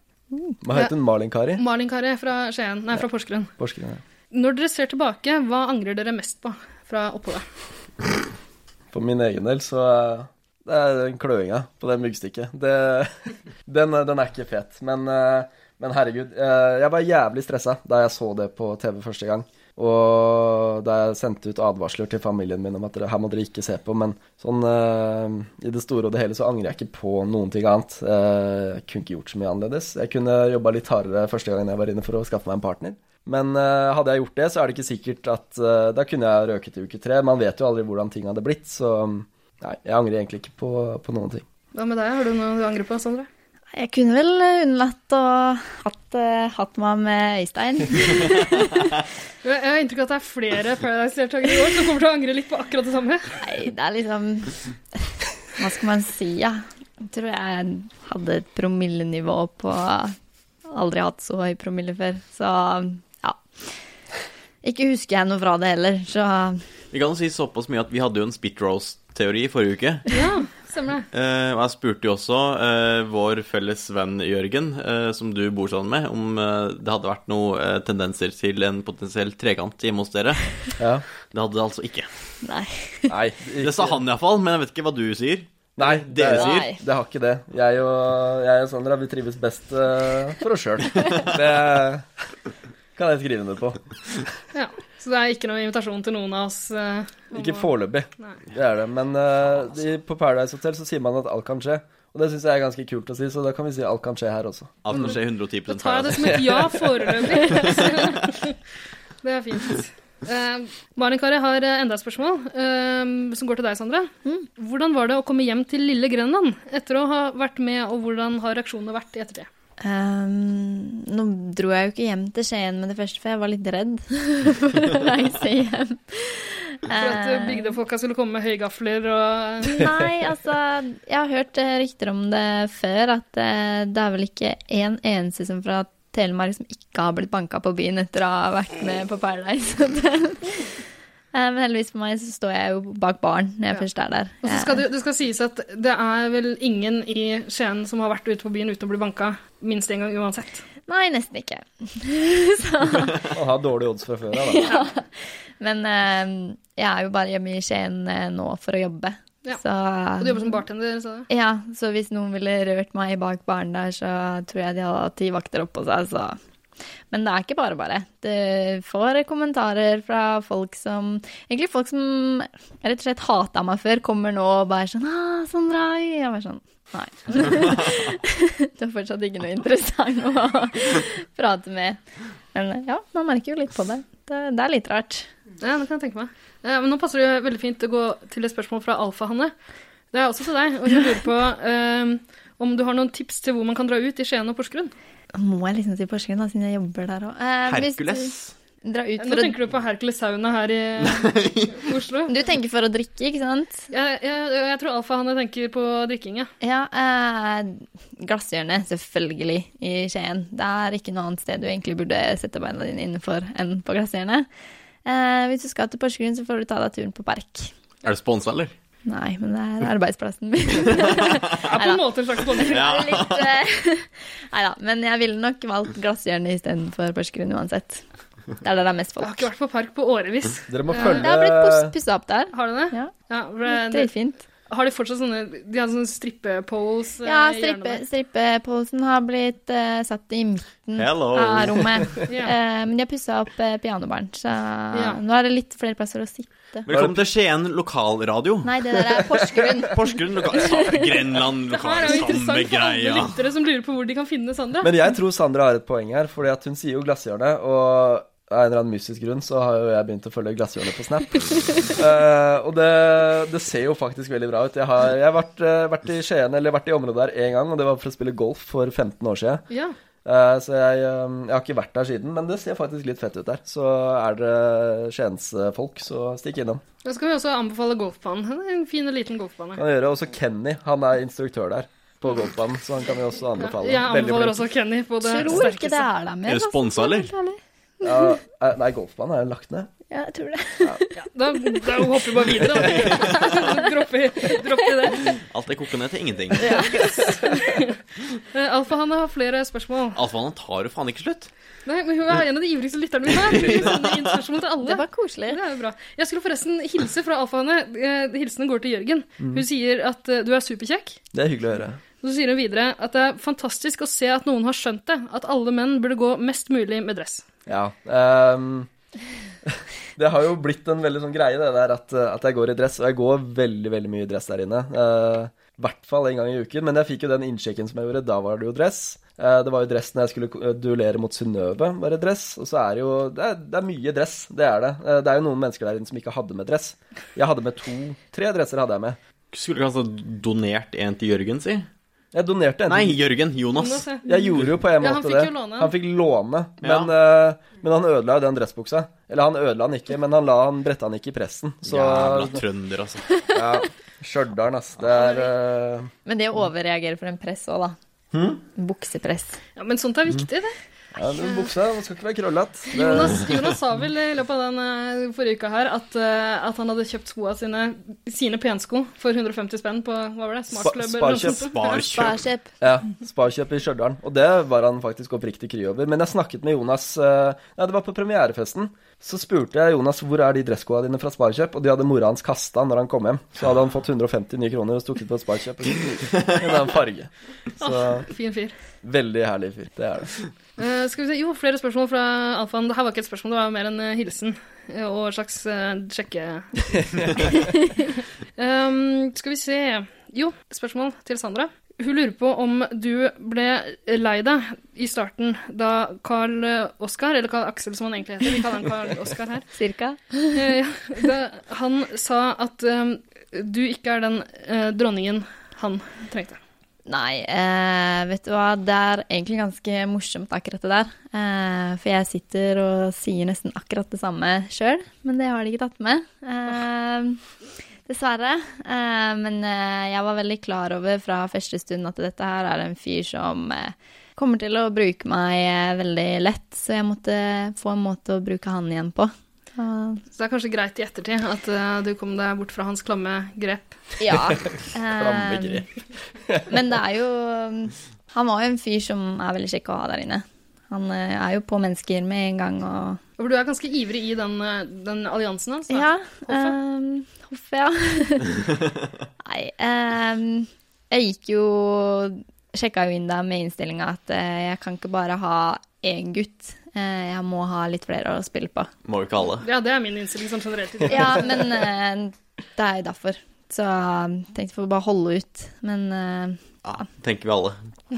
[SPEAKER 11] Hva heter hun? Malin Kari?
[SPEAKER 5] Malin Kari fra Skien. Nei, fra Porsgrunn.
[SPEAKER 11] Porsgrunn, ja.
[SPEAKER 5] Når dere ser tilbake, hva angrer dere mest på fra oppholdet?
[SPEAKER 11] For min egen del så eh, Det er den kløinga på det myggstikket. Det, [LAUGHS] den, eh, den er ikke fet. Men, eh, men herregud, eh, jeg var jævlig stressa da jeg så det på TV første gang. Og da jeg sendte ut advarsler til familien min om at dere, her må dere ikke se på. Men sånn eh, i det store og det hele så angrer jeg ikke på noen ting annet. Eh, jeg kunne ikke gjort så mye annerledes. Jeg kunne jobba litt hardere første gangen jeg var inne for å skaffe meg en partner. Men eh, hadde jeg gjort det, så er det ikke sikkert at eh, Da kunne jeg røket i uke tre. Man vet jo aldri hvordan ting hadde blitt, så mm, nei, jeg angrer egentlig ikke på, på noen ting.
[SPEAKER 5] Hva med deg, har du noe du angrer på, Sondre?
[SPEAKER 12] Jeg kunne vel unnlatt å hatt, eh, hatt meg med Øystein.
[SPEAKER 11] [LAUGHS]
[SPEAKER 5] Jeg jeg har inntrykk av at det er flere Paradise-deltakere i år som kommer til å angre litt på akkurat det samme.
[SPEAKER 12] Nei, det er liksom [LAUGHS] Hva skal man si, ja? Jeg tror jeg hadde et promillenivå på Aldri hatt så høy promille før. Så ja. Ikke husker jeg noe fra det heller, så
[SPEAKER 2] Vi kan jo si såpass mye at vi hadde jo en spit roast-teori i forrige uke.
[SPEAKER 5] Ja, stemmer det.
[SPEAKER 2] Eh, og jeg spurte jo også eh, vår felles venn Jørgen, eh, som du bor sammen med, om eh, det hadde vært noen eh, tendenser til en potensiell trekant hjemme hos dere. [LAUGHS] Det hadde det altså ikke.
[SPEAKER 12] Nei.
[SPEAKER 2] Det sa han iallfall, men jeg vet ikke hva du sier.
[SPEAKER 11] Nei,
[SPEAKER 2] dere
[SPEAKER 11] det,
[SPEAKER 2] sier.
[SPEAKER 11] Det har ikke det. Jeg og, jeg og Sandra vi trives best eh, for oss sjøl. Det kan jeg skrive under på.
[SPEAKER 5] Ja, så det er ikke noen invitasjon til noen av oss. eh, om
[SPEAKER 11] Ikke
[SPEAKER 5] å-
[SPEAKER 11] foreløpig.
[SPEAKER 5] Nei.
[SPEAKER 11] Det er det. Men eh, de, på Paradise Hotel så sier man at alt kan skje. Og det syns jeg er ganske kult å si, så da kan vi si alt kan skje her også.
[SPEAKER 2] Alt kan skje 110
[SPEAKER 5] Mm. Da tar jeg det som et ja foreløpig. [LAUGHS] det er fint. Uh, Malin Kari har eh, enda et spørsmål, eh, som går til deg, Sandra. Hvordan var det å komme hjem til lille Grenland etter å ha vært med, og hvordan har reaksjonene vært i ettertid?
[SPEAKER 12] Ehm, nå dro jeg jo ikke hjem til Skien med det første, for jeg var litt redd [LAUGHS] for å reise hjem.
[SPEAKER 5] For at eh,
[SPEAKER 12] Ehm,
[SPEAKER 5] bygdefolka skulle komme med høygafler og eh,
[SPEAKER 12] Nei, altså Jeg har hørt eh, rykter om det før, at eh, det er vel ikke en eneste som fra Telemark som ikke har blitt banka på byen etter å ha vært med på Paradise Hotel. Eh, Men heldigvis for meg så står jeg jo bak baren når jeg først er der. Eh,
[SPEAKER 5] Og så skal det, det skal sies at det er vel ingen i Skien som har vært ute på byen uten å bli banka minst én gang uansett.
[SPEAKER 12] Nei, nesten ikke.
[SPEAKER 11] Og har dårlige odds fra før av, da.
[SPEAKER 12] Ja. Men eh, jeg er jo bare hjemme i Skien eh, nå for å jobbe.
[SPEAKER 5] Ja.
[SPEAKER 12] Så,
[SPEAKER 5] Og du jobber
[SPEAKER 12] Um,
[SPEAKER 5] som bartender, sa du?
[SPEAKER 12] Ja, så hvis noen ville rørt meg bak baren der, så tror jeg de hadde hatt ti vakter oppå seg, så Men det er ikke bare bare. Du får kommentarer fra folk som Egentlig folk som rett og slett hata meg før, kommer nå og bare sånn ah, 'Sandra' Jeg bare sånn Nei. [LAUGHS] du er fortsatt ikke noe interessant å prate med. Men ja, man merker jo litt på det. Det, det er litt rart.
[SPEAKER 5] Ja, det kan jeg tenke meg. Eh, men nå passer det jo veldig fint å gå til et spørsmål fra Alfa-Hanne. Det er også til deg, og hun lurer på eh, om du har noen tips til hvor man kan dra ut i Skien og Porsgrunn?
[SPEAKER 12] Må jeg liksom si Porsgrunn, da, siden jeg jobber der Eh, òg?
[SPEAKER 2] Hercules.
[SPEAKER 12] Dra ut
[SPEAKER 5] Nå
[SPEAKER 12] for å
[SPEAKER 5] tenker du på Hercules Sauna her i
[SPEAKER 2] [LAUGHS]
[SPEAKER 5] Oslo.
[SPEAKER 12] Du tenker for å drikke, ikke sant?
[SPEAKER 5] Jeg, jeg, jeg tror Alfa-Hanne tenker på drikking, ja.
[SPEAKER 12] Ja, eh, glasshjørnet, selvfølgelig, i Skien. Det er ikke noe annet sted du egentlig burde sette beina dine innenfor enn på glasshjørnet. Eh, hvis du skal til Porsgrunn, så får du ta deg turen på Park.
[SPEAKER 2] Er det sponsa, eller?
[SPEAKER 12] Nei, men det er arbeidsplassen min.
[SPEAKER 5] [LAUGHS]
[SPEAKER 12] På
[SPEAKER 5] en måte en slags bonus.
[SPEAKER 2] Ja.
[SPEAKER 12] [LAUGHS] Nei da, eh, men jeg ville nok valgt glasshjørnet istedenfor Porsgrunn uansett. Det er der det er mest
[SPEAKER 5] Jeg har
[SPEAKER 12] folk.
[SPEAKER 5] ikke vært på park på årevis.
[SPEAKER 11] Dere må
[SPEAKER 5] Eh,
[SPEAKER 11] følge
[SPEAKER 12] Det har blitt pussa opp der.
[SPEAKER 5] Har du det? Ja. for det-
[SPEAKER 12] Dritfint.
[SPEAKER 5] Har de fortsatt sånne De hadde sånne strippepoles eh,
[SPEAKER 12] Ja,
[SPEAKER 5] i
[SPEAKER 12] strippe,
[SPEAKER 5] hjørnet der.
[SPEAKER 12] strippeposen har blitt eh, satt i midten
[SPEAKER 5] Hello.
[SPEAKER 12] av rommet.
[SPEAKER 5] [LAUGHS] Ja.
[SPEAKER 12] Eh, men de har pussa opp uh, pianobaren, så
[SPEAKER 5] Ja.
[SPEAKER 12] nå er det litt flere plasser å sitte.
[SPEAKER 2] Velkommen til Skien lokalradio.
[SPEAKER 12] Nei, det der er Porsgrunn.
[SPEAKER 2] Porsgrunn lokal... Sa- Grenland
[SPEAKER 5] Det her
[SPEAKER 2] lokal...
[SPEAKER 5] er jo
[SPEAKER 2] Samme
[SPEAKER 5] interessant for alle
[SPEAKER 2] greia.
[SPEAKER 5] lyttere som lurer på hvor de kan finne Sandra.
[SPEAKER 11] Men jeg tror Sandra har et poeng her, fordi at hun sier jo glasshjørnet, og av en eller annen mystisk grunn så har jo jeg begynt å følge glasshjørnet på Snap. Eh, og det, det ser jo faktisk veldig bra ut. Jeg har, jeg har vært, eh, vært i Skien, eller vært i området der én gang, og det var for å spille golf for 15 år siden.
[SPEAKER 5] Ja.
[SPEAKER 11] Eh, så jeg, eh, jeg har ikke vært der siden, men det ser faktisk litt fett ut der. Så er dere Skiensfolk, så stikk innom.
[SPEAKER 5] Da skal vi også anbefale golfbanen. En fin og liten golfbane.
[SPEAKER 11] Kan gjøre også Kenny, han er instruktør der på golfbanen, så han kan vi også anbefale.
[SPEAKER 5] Jeg anbefaler
[SPEAKER 11] Veldig flink.
[SPEAKER 5] også Kenny på [LAUGHS] det
[SPEAKER 12] Tror ikke det er der mer.
[SPEAKER 2] sånn?
[SPEAKER 12] altså.
[SPEAKER 11] Er det sponsa, eller? Ja, eh, nei, golfbanen er jo lagt ned.
[SPEAKER 12] Ja, jeg tror det.
[SPEAKER 5] Da, da hopper vi bare videre,
[SPEAKER 12] [LAUGHS]
[SPEAKER 5] da. Dropper dropp i det.
[SPEAKER 2] Alt det koker ned til ingenting.
[SPEAKER 5] Eh, Alf for han har flere spørsmål.
[SPEAKER 2] Alfmannen tar jo faen ikke slutt.
[SPEAKER 5] Nei, men Hun er en av de ivrigste lytterne mine. her. Hun sender inn spørsmål til alle.
[SPEAKER 12] Det var koselig.
[SPEAKER 5] Det er jo bra. Jeg skulle forresten hilse fra alfaene. Eh, Hilsenen går til Jørgen.
[SPEAKER 11] Mm.
[SPEAKER 5] Hun sier at eh, du er superkjekk.
[SPEAKER 11] Det er hyggelig å høre.
[SPEAKER 5] Og Så sier hun videre at det er fantastisk å se at noen har skjønt det, at alle menn burde gå mest mulig med dress.
[SPEAKER 11] Ja. ehm, [LAUGHS] det har jo blitt en veldig sånn greie, det der at, at jeg går i dress. Og jeg går veldig, veldig mye i dress der inne. Eh, I hvert fall en gang i uken. Men jeg fikk jo den innsjekken som jeg gjorde, da var det jo dress. Eh, det var jo dress når jeg skulle eh, duellere mot Synnøve, var det dress. Og så er det jo Det er, det er mye dress, det er det. Eh, det er jo noen mennesker der inne som ikke hadde med dress. Jeg hadde med to Tre dresser hadde jeg med.
[SPEAKER 2] Skulle du kanskje ha donert en til Jørgen, si?
[SPEAKER 11] Jeg donerte en
[SPEAKER 2] Nei,
[SPEAKER 11] til-
[SPEAKER 2] Jørgen. Jonas.
[SPEAKER 5] Jonas, ja.
[SPEAKER 11] Jeg gjorde jo på en
[SPEAKER 5] Ja,
[SPEAKER 11] måte
[SPEAKER 5] han fikk
[SPEAKER 11] det.
[SPEAKER 5] jo låne.
[SPEAKER 11] Han fikk låne, men, eh, men han ødela jo den dressbuksa. Eller han ødela den ikke, men han, la, han bretta den ikke i pressen. Så
[SPEAKER 2] Jævla [LAUGHS] trønder,
[SPEAKER 5] [LAUGHS]
[SPEAKER 2] altså.
[SPEAKER 11] ja, Stjørdal, ass. Det er eh,
[SPEAKER 12] Men det å overreagere for en press òg, da.
[SPEAKER 11] Hm?
[SPEAKER 12] Buksepress.
[SPEAKER 5] Ja, Men sånt er viktig, det.
[SPEAKER 11] ja, den Buksa den skal ikke være krøllete. Det-
[SPEAKER 5] Jonas, Jonas sa vel i løpet av den eh, forrige uka her at, eh, at han hadde kjøpt skoa sine, sine pensko for 150 spenn på hva var det?
[SPEAKER 11] Spa-
[SPEAKER 5] Smartklubb? eller noe
[SPEAKER 11] Sparkjøp.
[SPEAKER 5] sånt.
[SPEAKER 12] Sparkjøp.
[SPEAKER 11] Ja, sparkjøp i Stjørdal. Og det var han faktisk oppriktig kry over. Men jeg snakket med Jonas eh, Nei, det var på premierefesten. Så spurte jeg Jonas hvor er de dresskoa dine fra Sparkjøp, og de hadde mora hans kasta når han kom hjem. Så hadde han fått 150 nye kroner og stukket på et Sparkjøp. [LAUGHS] En annen farge. Så
[SPEAKER 5] Åh, [LAUGHS] fin fyr.
[SPEAKER 11] veldig herlig fyr. Det er det.
[SPEAKER 5] Eh, skal vi se, Jo, flere spørsmål fra Alfaen. Det her var ikke et spørsmål, det var mer en eh, hilsen eh, og en slags eh, sjekke...
[SPEAKER 11] [LAUGHS]
[SPEAKER 5] Ehm, skal vi se Jo, spørsmål til Sandra. Hun lurer på om du ble lei deg i starten da Carl Oskar, eller Carl Aksel som han egentlig heter, vi kaller han Carl Oskar her,
[SPEAKER 12] Cirka.
[SPEAKER 5] Eh, ja, da, han sa at eh, du ikke er den eh, dronningen han trengte.
[SPEAKER 12] Nei, eh, vet du hva, det er egentlig ganske morsomt akkurat det der. Eh, for jeg sitter og sier nesten akkurat det samme sjøl, men det har de ikke tatt med. Eh, dessverre. Eh, men eh, jeg var veldig klar over fra første stund at dette her er en fyr som eh, kommer til å bruke meg eh, veldig lett, så jeg måtte få en måte å bruke han igjen på. Så
[SPEAKER 5] Så det er kanskje greit i ettertid at eh, du kom deg bort fra hans klamme grep.
[SPEAKER 12] Ja.
[SPEAKER 5] Klamme grep.
[SPEAKER 12] men det er jo Han var jo en fyr som er veldig kjekk å ha der inne. Han eh, er jo på mennesker med en gang og
[SPEAKER 5] For du er ganske ivrig i den, eh, den alliansen hans. da.
[SPEAKER 12] Ja.
[SPEAKER 5] Hoffet.
[SPEAKER 12] ehm, Hoff, ja. Nei. ehm, jeg gikk jo Sjekka jo inn da med innstillinga at eh, jeg kan ikke bare ha én gutt. Eh, jeg må ha litt flere å spille på.
[SPEAKER 2] Må jo ikke alle.
[SPEAKER 5] Ja, det er min innstilling sånn generelt.
[SPEAKER 12] Ja, [LAUGHS] men eh, det er jo derfor. Så eh, tenkte jeg får bare holde ut. Men eh,
[SPEAKER 2] Ja, tenker vi alle.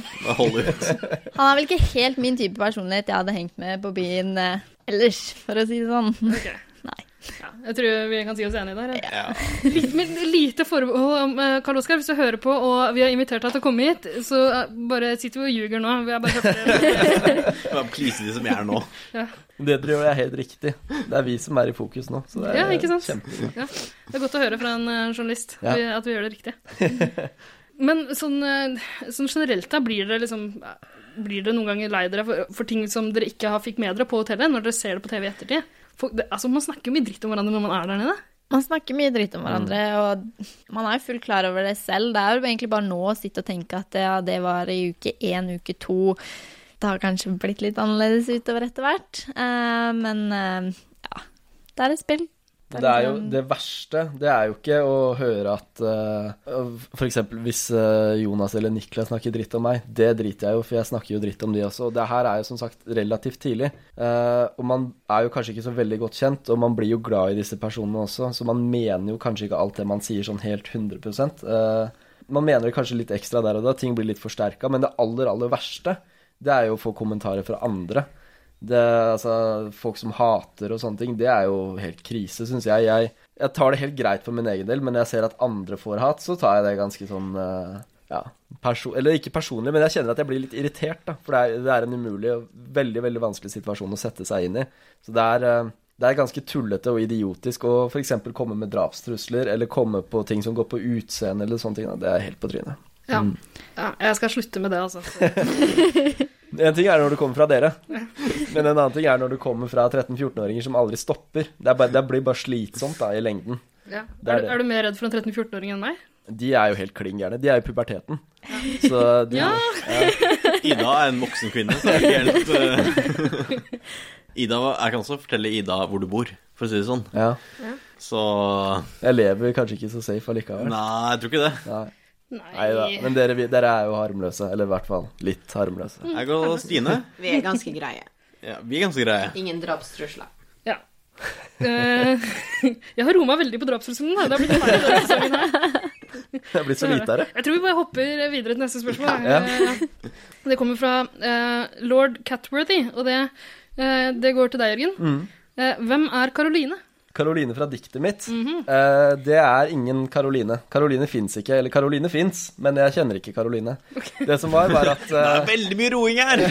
[SPEAKER 2] Bare Holde ut.
[SPEAKER 5] [LAUGHS]
[SPEAKER 12] Han er vel ikke helt min type personlighet jeg hadde hengt med på byen eh, ellers, for å si det sånn.
[SPEAKER 5] Ja, jeg tror vi kan si oss enige der.
[SPEAKER 2] Ja.
[SPEAKER 5] Litt, men lite forbehold om eh, Karl Oskar, hvis du hører på og vi har invitert deg til å komme hit, så eh, bare sitter vi og ljuger nå. Vi er bare
[SPEAKER 2] Bare please de som jeg er
[SPEAKER 5] [LAUGHS]
[SPEAKER 2] nå.
[SPEAKER 5] ja.
[SPEAKER 11] Det tror jeg er helt riktig. Det er vi som er i fokus nå. Så det er
[SPEAKER 5] ja, ikke sant?
[SPEAKER 11] kjempebra.
[SPEAKER 5] Ja. Det er godt å høre fra en eh, journalist
[SPEAKER 11] Ja.
[SPEAKER 5] at vi- at vi gjør det riktig. Men sånn, eh, sånn generelt da, blir dere liksom blir dere noen ganger lei dere for, for ting som dere ikke har fikk med dere på hotellet, når dere ser det på TV i ettertid? For, det, altså, man snakker jo mye dritt om hverandre når man er der nede.
[SPEAKER 12] Man snakker mye dritt om hverandre, og man er jo fullt klar over det selv. Det er jo egentlig bare nå å sitte og tenke at ja, det var i uke én, uke to. Det har kanskje blitt litt annerledes utover etter hvert, eh, men eh, ja. Det er et spill.
[SPEAKER 11] Det, er jo, det verste det er jo ikke å høre at eh, For f.eks. hvis eh, Jonas eller Niklas snakker dritt om meg. Det driter jeg jo, for jeg snakker jo dritt om de også. Og det her er jo som sagt relativt tidlig. Eh, og man er jo kanskje ikke så veldig godt kjent, og man blir jo glad i disse personene også, så man mener jo kanskje ikke alt det man sier sånn helt 100 Eh, Man mener det kanskje litt ekstra der og da, ting blir litt forsterka, men det aller, aller verste, det er jo å få kommentarer fra andre. Det, altså, folk som hater og sånne ting, det er jo helt krise, syns jeg. jeg. Jeg tar det helt greit for min egen del, men når jeg ser at andre får hat, så tar jeg det ganske sånn eh, ja, perso Eller ikke personlig, men jeg kjenner at jeg blir litt irritert, da. For det er, det er en umulig og veldig, veldig vanskelig situasjon å sette seg inn i. Så det er, eh, det er ganske tullete og idiotisk å f.eks. komme med drapstrusler, eller komme på ting som går på utseende eller sånne ting. Da. Det er helt på trynet.
[SPEAKER 5] Ja.
[SPEAKER 11] Mm.
[SPEAKER 5] ja, jeg skal slutte med det, altså. [LAUGHS]
[SPEAKER 11] En ting er når det kommer fra dere, men en annen ting er når det kommer fra 13-14-åringer som aldri stopper. Det, er bare, det blir bare slitsomt da, i lengden.
[SPEAKER 5] Ja.
[SPEAKER 11] Det
[SPEAKER 5] Er,
[SPEAKER 11] er
[SPEAKER 5] du-
[SPEAKER 11] det.
[SPEAKER 5] er du mer redd for en 13-14-åring enn meg?
[SPEAKER 11] De er jo helt klin gærne. De er i puberteten. Så de,
[SPEAKER 5] Ja.
[SPEAKER 2] Ida er en voksen kvinne, så det er
[SPEAKER 5] [LAUGHS]
[SPEAKER 2] ikke helt eh, [LAUGHS] Ida, Jeg kan også fortelle Ida hvor du bor, for å si det sånn.
[SPEAKER 11] Ja.
[SPEAKER 2] Så
[SPEAKER 11] Jeg lever kanskje ikke så safe allikevel.
[SPEAKER 2] Nei, jeg tror ikke det.
[SPEAKER 11] Nei. Neida. Men dere, vi- dere er jo harmløse. Eller i hvert fall litt harmløse. [LAUGHS]
[SPEAKER 2] Mm, Jeg og Stine.
[SPEAKER 13] Vi er ganske greie.
[SPEAKER 2] Ja, vi er ganske greie.
[SPEAKER 13] Ingen drapstrusler.
[SPEAKER 5] Ja. Eh, [LAUGHS] jeg har roma veldig på drapstrusselen. da. Det har blitt feil denne sesongen her.
[SPEAKER 11] Jeg er blitt så lite av det.
[SPEAKER 5] Jeg tror vi bare hopper videre til neste spørsmål. da.
[SPEAKER 11] Ja.
[SPEAKER 5] Eh, Det kommer fra eh, lord Catworthy, og det, eh, det går til deg, Jørgen.
[SPEAKER 11] Mm.
[SPEAKER 5] Eh, hvem er Karoline?
[SPEAKER 11] Karoline fra diktet mitt.
[SPEAKER 2] Mhm.
[SPEAKER 11] eh, det er ingen Karoline. Karoline fins ikke. Eller Karoline fins, men jeg kjenner ikke Karoline. Det som var,
[SPEAKER 2] [LAUGHS]
[SPEAKER 11] var at eh,
[SPEAKER 2] Det er veldig mye roing her!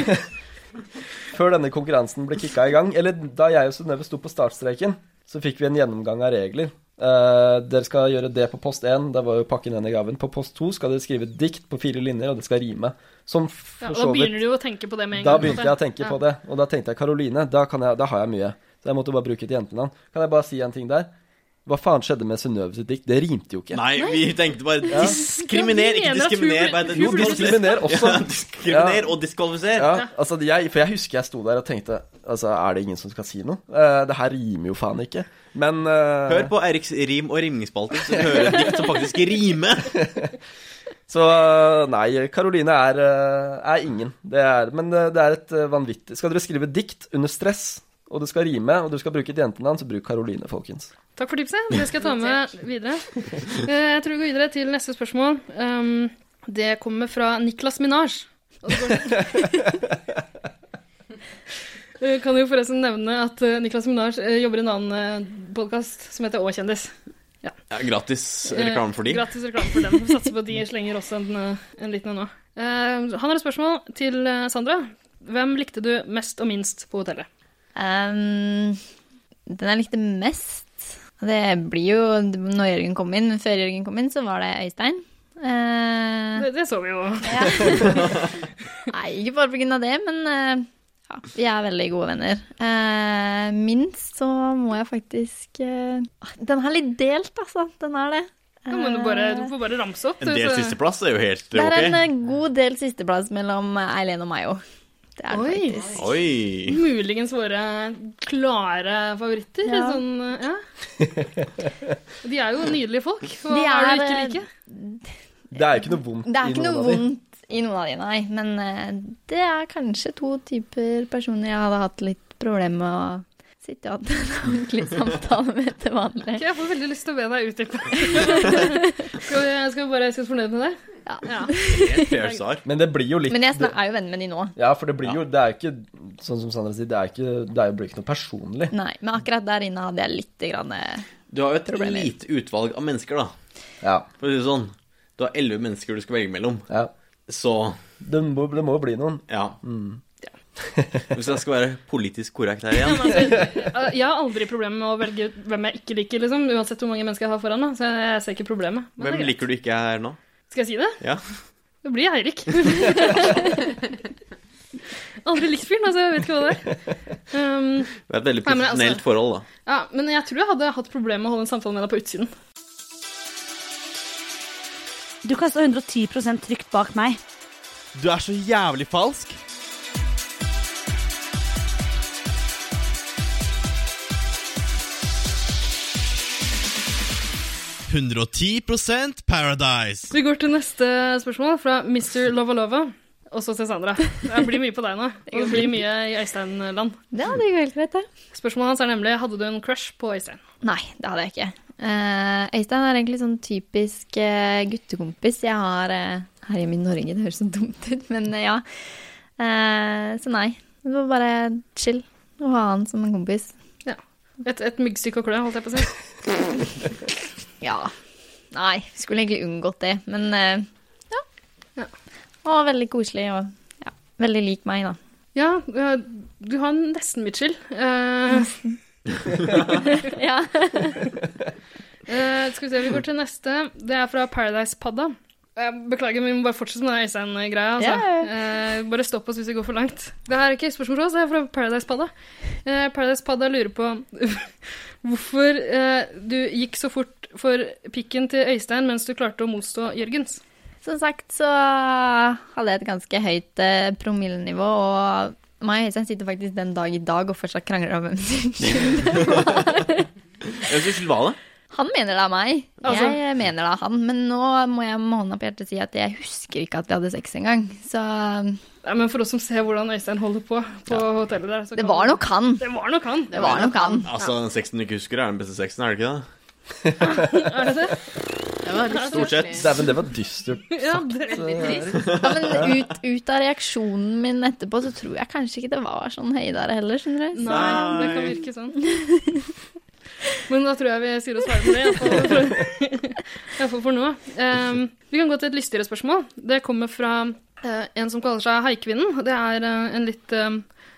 [SPEAKER 11] Før denne konkurransen ble kicka i gang, eller da jeg og Synnøve sto på startstreken, så fikk vi en gjennomgang av regler. Eh, dere skal gjøre det på post 1, der var jo pakken igjen i gaven. På post 2 skal dere skrive et dikt på fire linjer, og det skal rime. Som
[SPEAKER 5] Ja,
[SPEAKER 11] for
[SPEAKER 5] og da
[SPEAKER 11] så
[SPEAKER 5] begynner
[SPEAKER 11] vidt
[SPEAKER 5] du jo å tenke på det med en
[SPEAKER 11] Da
[SPEAKER 5] gang. på en
[SPEAKER 11] begynte
[SPEAKER 5] måte.
[SPEAKER 11] jeg å tenke
[SPEAKER 5] Ja.
[SPEAKER 11] på det, og da tenkte jeg Karoline, da, kan jeg, da har jeg mye. Så jeg måtte bare bruke et jentenavn. Kan jeg bare si en ting der? Hva faen skjedde med Synnøve sitt dikt? Det rimte jo ikke.
[SPEAKER 2] Nei, vi tenkte bare
[SPEAKER 11] Ja.
[SPEAKER 2] diskriminer,
[SPEAKER 11] Ja,
[SPEAKER 2] ikke
[SPEAKER 11] de mener
[SPEAKER 2] diskriminer.
[SPEAKER 11] at hun-
[SPEAKER 2] bare det-
[SPEAKER 11] hun burde- Jo, diskriminer også.
[SPEAKER 2] Ja, diskriminer og diskvalifiser.
[SPEAKER 12] [LAUGHS]
[SPEAKER 11] Ja, altså jeg, For jeg husker jeg sto der og tenkte Altså, er det ingen som skal si noe? Eh, det her rimer jo faen ikke. Men eh,
[SPEAKER 2] Hør på Eriks rim- og rimningsspalte, så du hører et dikt som faktisk rimer.
[SPEAKER 11] Så eh, nei, Karoline er, eh, er ingen. Det er, men eh, det er et eh, vanvittig Skal dere skrive dikt under stress, og det skal rime, og du skal bruke et jentenavn, så bruk Karoline, folkens.
[SPEAKER 5] Takk for tipset. Det skal jeg ta med videre. Eh, Jeg tror vi går videre til neste spørsmål. Um, Det kommer fra Niklas Minaj. Og det
[SPEAKER 11] [LAUGHS]
[SPEAKER 5] går- Eh, Kan jo forresten nevne at eh, Niklas Minaj eh, jobber i en annen podkast som heter Å kjendis.
[SPEAKER 2] Ja, gratis reklame for de.
[SPEAKER 5] Eh, Gratis reklame for den. Vi Satser på at de slenger også en, eh, en liten en nå. Eh, Han har et spørsmål til eh, Sandra. Hvem likte du mest og minst på hotellet?
[SPEAKER 12] Ehm, den jeg likte mest og Det blir jo når Jørgen kom inn. Før Jørgen kom inn, så var det Øystein. Eh,
[SPEAKER 5] Det, det så vi jo.
[SPEAKER 12] Nei, ikke bare pga. det, men eh, ja, vi er veldig gode venner. Eh, minst så må jeg faktisk eh, Den er litt delt, altså. Den er det. Eh,
[SPEAKER 5] Ja, men du, bare, du får bare ramse opp.
[SPEAKER 2] En
[SPEAKER 5] du,
[SPEAKER 2] del
[SPEAKER 5] så-
[SPEAKER 2] sisteplass er jo helt
[SPEAKER 12] Det er en
[SPEAKER 2] ok.
[SPEAKER 12] eh, god del sisteplass mellom eh, Eileen og meg òg. Det er det faktisk.
[SPEAKER 2] Oi.
[SPEAKER 5] Muligens våre klare favoritter.
[SPEAKER 12] Ja.
[SPEAKER 5] Sånn, ja.
[SPEAKER 2] [LAUGHS]
[SPEAKER 5] De er jo nydelige folk. Hva
[SPEAKER 12] De
[SPEAKER 5] er det du
[SPEAKER 12] er,
[SPEAKER 5] ikke liker?
[SPEAKER 11] Det er jo ikke noe vondt
[SPEAKER 12] Det er ikke
[SPEAKER 11] i noen
[SPEAKER 12] noe
[SPEAKER 11] av de.
[SPEAKER 12] vondt i noen av de, nei. Men eh, det er kanskje to typer personer jeg hadde hatt litt problemer med å sitte og ha [LAUGHS] en ordentlig samtale med til vanlig.
[SPEAKER 5] Ok, jeg får veldig lyst til å be deg utdype.
[SPEAKER 12] [LAUGHS]
[SPEAKER 5] skal, vi, skal vi bare si oss fornøyd med det?
[SPEAKER 12] Ja.
[SPEAKER 11] Men det blir jo litt
[SPEAKER 12] Men jeg snak- er jo venn med de nå.
[SPEAKER 11] Ja, for det blir jo Det er jo ikke sånn som Sandra sier, det er, ikke, det er jo blir ikke noe personlig.
[SPEAKER 12] Nei, men akkurat der inne hadde jeg litt grann, eh,
[SPEAKER 2] Du har jo et lite utvalg av mennesker, da. For å si det sånn. Du har elleve mennesker du skal velge mellom. Så
[SPEAKER 11] Det må det må jo bli noen.
[SPEAKER 2] ja.
[SPEAKER 11] Mm.
[SPEAKER 2] Hvis jeg skal være politisk korrekt her
[SPEAKER 5] Men
[SPEAKER 2] igjen.
[SPEAKER 5] Altså, eh, jeg har aldri problemer med å velge ut hvem jeg ikke liker, liksom, uansett hvor mange mennesker jeg har foran meg. Så jeg ser ikke problemet. Men det
[SPEAKER 2] Hvem
[SPEAKER 5] er greit.
[SPEAKER 2] liker du ikke her nå?
[SPEAKER 5] Skal jeg si det?
[SPEAKER 2] Ja.
[SPEAKER 5] Det blir Eirik. [LAUGHS] aldri likt fyren, altså. Jeg vet ikke hva det er. Um,
[SPEAKER 2] Det er et veldig
[SPEAKER 5] Nei, men altså-
[SPEAKER 2] profesjonelt forhold, da.
[SPEAKER 5] Ja, men jeg tror jeg hadde hatt problemer med å holde en samtale med deg på utsiden.
[SPEAKER 4] Du kan stå 110 trygt bak meg.
[SPEAKER 2] Du er så jævlig falsk. Paradise.
[SPEAKER 5] Vi går til neste spørsmål fra Mr. Lovalova. Også til Sandra. Det blir mye på deg nå. Og det blir mye i Øystein-land.
[SPEAKER 12] Ja, det går helt greit, det.
[SPEAKER 5] Spørsmålet hans er nemlig hadde du en crush på Øystein.
[SPEAKER 12] Nei, det hadde jeg ikke. Eh, Øystein er egentlig sånn typisk eh, guttekompis jeg har eh, her hjemme i Norge. Det høres så dumt ut, men eh, ja. Eh, så nei. Det var bare chill å ha han som en kompis.
[SPEAKER 5] Ja. Et, et myggstykke å klø, holdt jeg på å si.
[SPEAKER 12] Ja. Nei, skulle egentlig unngått det, men eh, ja. Han var veldig koselig og ja, veldig lik meg, da.
[SPEAKER 5] Ja, eh, du har nesten Eh, Mitchell.
[SPEAKER 12] [LAUGHS]
[SPEAKER 5] Nesten.
[SPEAKER 12] [LAUGHS] ja.
[SPEAKER 5] Eh, skal vi se, vi går til neste. Det er fra Paradise-padda. Eh, Beklager, men vi må bare fortsette med den Øystein-greia. Altså. Eh, bare stopp oss hvis vi går for langt. Det her er ikke et spørsmål fra oss, det er fra Paradise-padda. Eh, Paradise-padda lurer på [LAUGHS] hvorfor eh, du gikk så fort for pikken til Øystein mens du klarte å motstå Jørgens.
[SPEAKER 12] Som sagt så hadde jeg et ganske høyt eh, promillenivå, og Mai og Øystein sitter faktisk den dag i dag og fortsatt krangler om hvem sin [LAUGHS] skyld det var.
[SPEAKER 2] Hvem sin skyld var det?
[SPEAKER 12] Han mener det er meg,
[SPEAKER 2] Altså-
[SPEAKER 12] jeg mener det er han. Men nå må jeg med hånda på hjertet si at jeg husker ikke at vi hadde sex engang. Så um,
[SPEAKER 5] Nei, men for oss som ser hvordan Øystein holder på på hotellet der så
[SPEAKER 12] Det
[SPEAKER 5] kan-
[SPEAKER 12] var nok han.
[SPEAKER 5] Det var nok han.
[SPEAKER 12] Det var nok [LAUGHS] han.
[SPEAKER 2] Altså, den sexen du ikke husker, er den beste sexen, er det ikke det?
[SPEAKER 5] Er det det?
[SPEAKER 2] Stort sett.
[SPEAKER 11] Dæven, det var dystert.
[SPEAKER 5] Ja, det er litt trist.
[SPEAKER 12] ja, men ut, ut av reaksjonen min etterpå, så tror jeg kanskje ikke det var sånn høydere heller, skjønner du. Så-
[SPEAKER 5] Nei, det kan virke sånn. [LAUGHS] Men da tror jeg vi sier oss ferdig med det, iallfall for, i hvert fall for nå. Ehm, vi kan gå til et lystigere spørsmål. Det kommer fra eh, en som kaller seg Haikvinnen. Det er eh, en litt eh,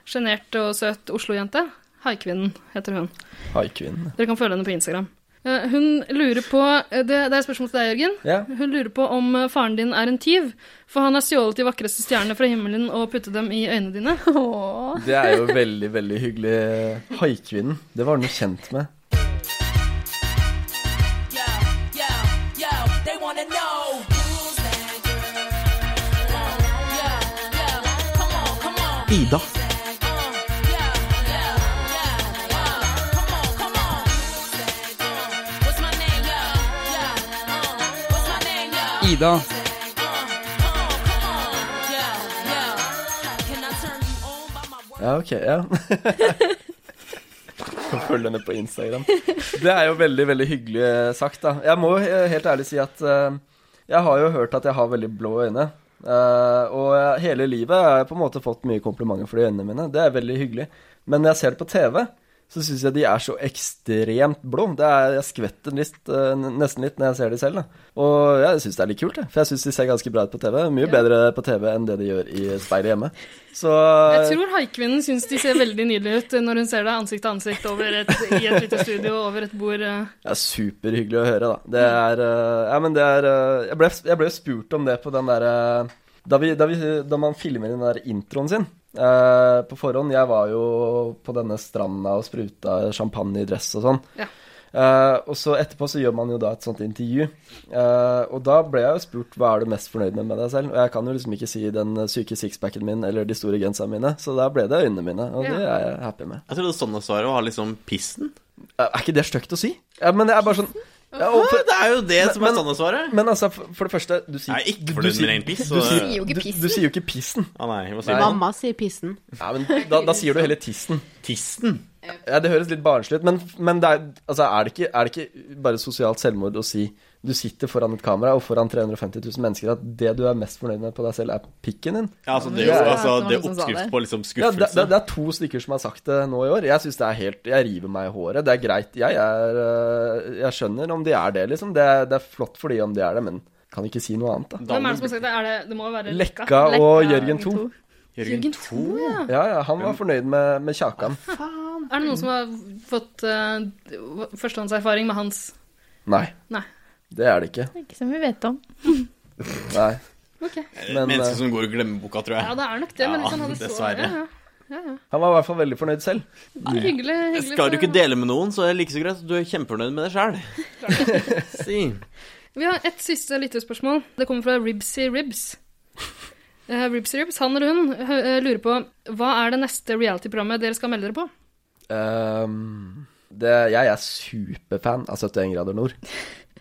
[SPEAKER 5] sjenert og søt Oslo-jente. Haikvinnen heter hun.
[SPEAKER 11] Haikvinnen.
[SPEAKER 5] Dere kan følge henne på Instagram. Eh, Hun lurer på eh, Det, det er et spørsmål til deg, Jørgen.
[SPEAKER 11] Ja.
[SPEAKER 5] Hun lurer på om eh, faren din er en tyv, for han har stjålet de vakreste stjernene fra himmelen og puttet dem i øynene dine.
[SPEAKER 11] Det er jo veldig, veldig hyggelig. Haikvinnen. Det var noe kjent med.
[SPEAKER 2] Ida.
[SPEAKER 14] Ida.
[SPEAKER 11] Ja, ok, ja. [LAUGHS] Kan følge henne på Instagram. Det er jo veldig, veldig hyggelig eh, sagt, da. Jeg må jo he- helt ærlig si at eh, jeg har jo hørt at jeg har veldig blå øyne. Eh, og jeg- hele livet har jeg på en måte fått mye komplimenter for de øynene mine. Det er veldig hyggelig. Men når jeg ser det på TV, så syns jeg de er så ekstremt blå. Det er, jeg skvetter litt, eh, n- nesten litt når jeg ser de selv. Da. Og jeg syns det er litt kult, jeg. for jeg syns de ser ganske bra ut på TV. Mye bedre på TV enn det de gjør i speilet hjemme. Så Eh,
[SPEAKER 5] Jeg tror haikvinnen syns de ser veldig nydelige ut eh, når hun ser deg ansikt til ansikt over et, i et lite studio over et bord. eh.
[SPEAKER 11] Det er superhyggelig å høre, da. Det er eh, Ja, men det er eh, Jeg ble, jeg ble spurt om det på den derre da, vi- da, vi- da man filmer den der introen sin eh, på forhånd Jeg var jo på denne stranda og spruta champagne i dress og sånn.
[SPEAKER 5] Ja.
[SPEAKER 11] Eh, og så etterpå så gjør man jo da et sånt intervju. Eh, og da ble jeg jo spurt hva er du mest fornøyd med med deg selv. Og jeg kan jo liksom ikke si den syke sixpacken min eller de store genserne mine, så da ble det øynene mine, og det
[SPEAKER 2] Ja.
[SPEAKER 11] er jeg happy med. Eh,
[SPEAKER 2] Jeg trodde standardsvaret var liksom pissen.
[SPEAKER 11] Er ikke det stygt å si? Ja, men det er bare sånn ja, og for-
[SPEAKER 2] Hæ? Det er jo det som er
[SPEAKER 11] Men-
[SPEAKER 2] standardsvaret.
[SPEAKER 11] Men altså, for, for det første du sier,
[SPEAKER 2] Nei, ikke
[SPEAKER 11] du-
[SPEAKER 2] for
[SPEAKER 11] du
[SPEAKER 2] den
[SPEAKER 11] sier-
[SPEAKER 2] min egen piss,
[SPEAKER 11] Du,
[SPEAKER 2] så-
[SPEAKER 11] sier,
[SPEAKER 2] Du sier jo ikke
[SPEAKER 11] du,
[SPEAKER 2] pissen.
[SPEAKER 11] du sier jo ikke pissen.
[SPEAKER 2] Ah, nei, hva sier
[SPEAKER 3] Mamma sier pissen.
[SPEAKER 11] Ja, men da, da sier du heller tissen. Tissen? Ja, Det høres litt barnslig ut, men, men det er, altså, er, det ikke, er det ikke bare sosialt selvmord å si du sitter foran et kamera og foran 350 000 mennesker at det du er mest fornøyd med på deg selv, er pikken din?
[SPEAKER 2] Ja, altså, det er jo- altså, det er oppskrift på liksom skuffelse.
[SPEAKER 11] Ja, det, det, det er to stykker som har sagt det nå i år. Jeg syns det er helt Jeg river meg i håret. Det er greit. Jeg, er, øh, jeg skjønner om de er det, liksom. Det, er- det er flott for de om de er det, men kan ikke si noe annet, da.
[SPEAKER 5] Hvem er det som har sagt det? Er det, det må jo være Lekka.
[SPEAKER 11] Lekka og Jørgen 2.
[SPEAKER 5] Jørgen 2, ja.
[SPEAKER 11] Ja, ja, han var fornøyd med, med Kjakan.
[SPEAKER 5] Er det noen som har fått eh, førstehåndserfaring med hans
[SPEAKER 11] Nei,
[SPEAKER 5] Nei.
[SPEAKER 11] det er det ikke.
[SPEAKER 12] Ikke som vi vet om.
[SPEAKER 11] Nei.
[SPEAKER 5] Ok.
[SPEAKER 11] Men,
[SPEAKER 2] Mennesker
[SPEAKER 11] eh,
[SPEAKER 2] som går i glemmeboka, tror jeg.
[SPEAKER 5] Ja, det er nok det, men
[SPEAKER 2] Ja,
[SPEAKER 5] hvis han hadde så
[SPEAKER 2] dessverre.
[SPEAKER 5] Ja, ja. ja, ja.
[SPEAKER 11] Han var i hvert fall veldig fornøyd selv.
[SPEAKER 5] Hyggelig. hyggelig
[SPEAKER 2] Skal du
[SPEAKER 5] for-
[SPEAKER 2] ikke dele med noen, så er det like så greit at du er kjempefornøyd med deg [LAUGHS] sjæl. si.
[SPEAKER 5] Vi har et siste lyttespørsmål. Det kommer fra Ribsy Ribs. Eh, Ribsy Ribs, han eller hun, hø- eh, lurer på hva er det neste reality-programmet dere skal melde dere på?
[SPEAKER 11] Ehm, det, jeg er superfan av 71 grader nord.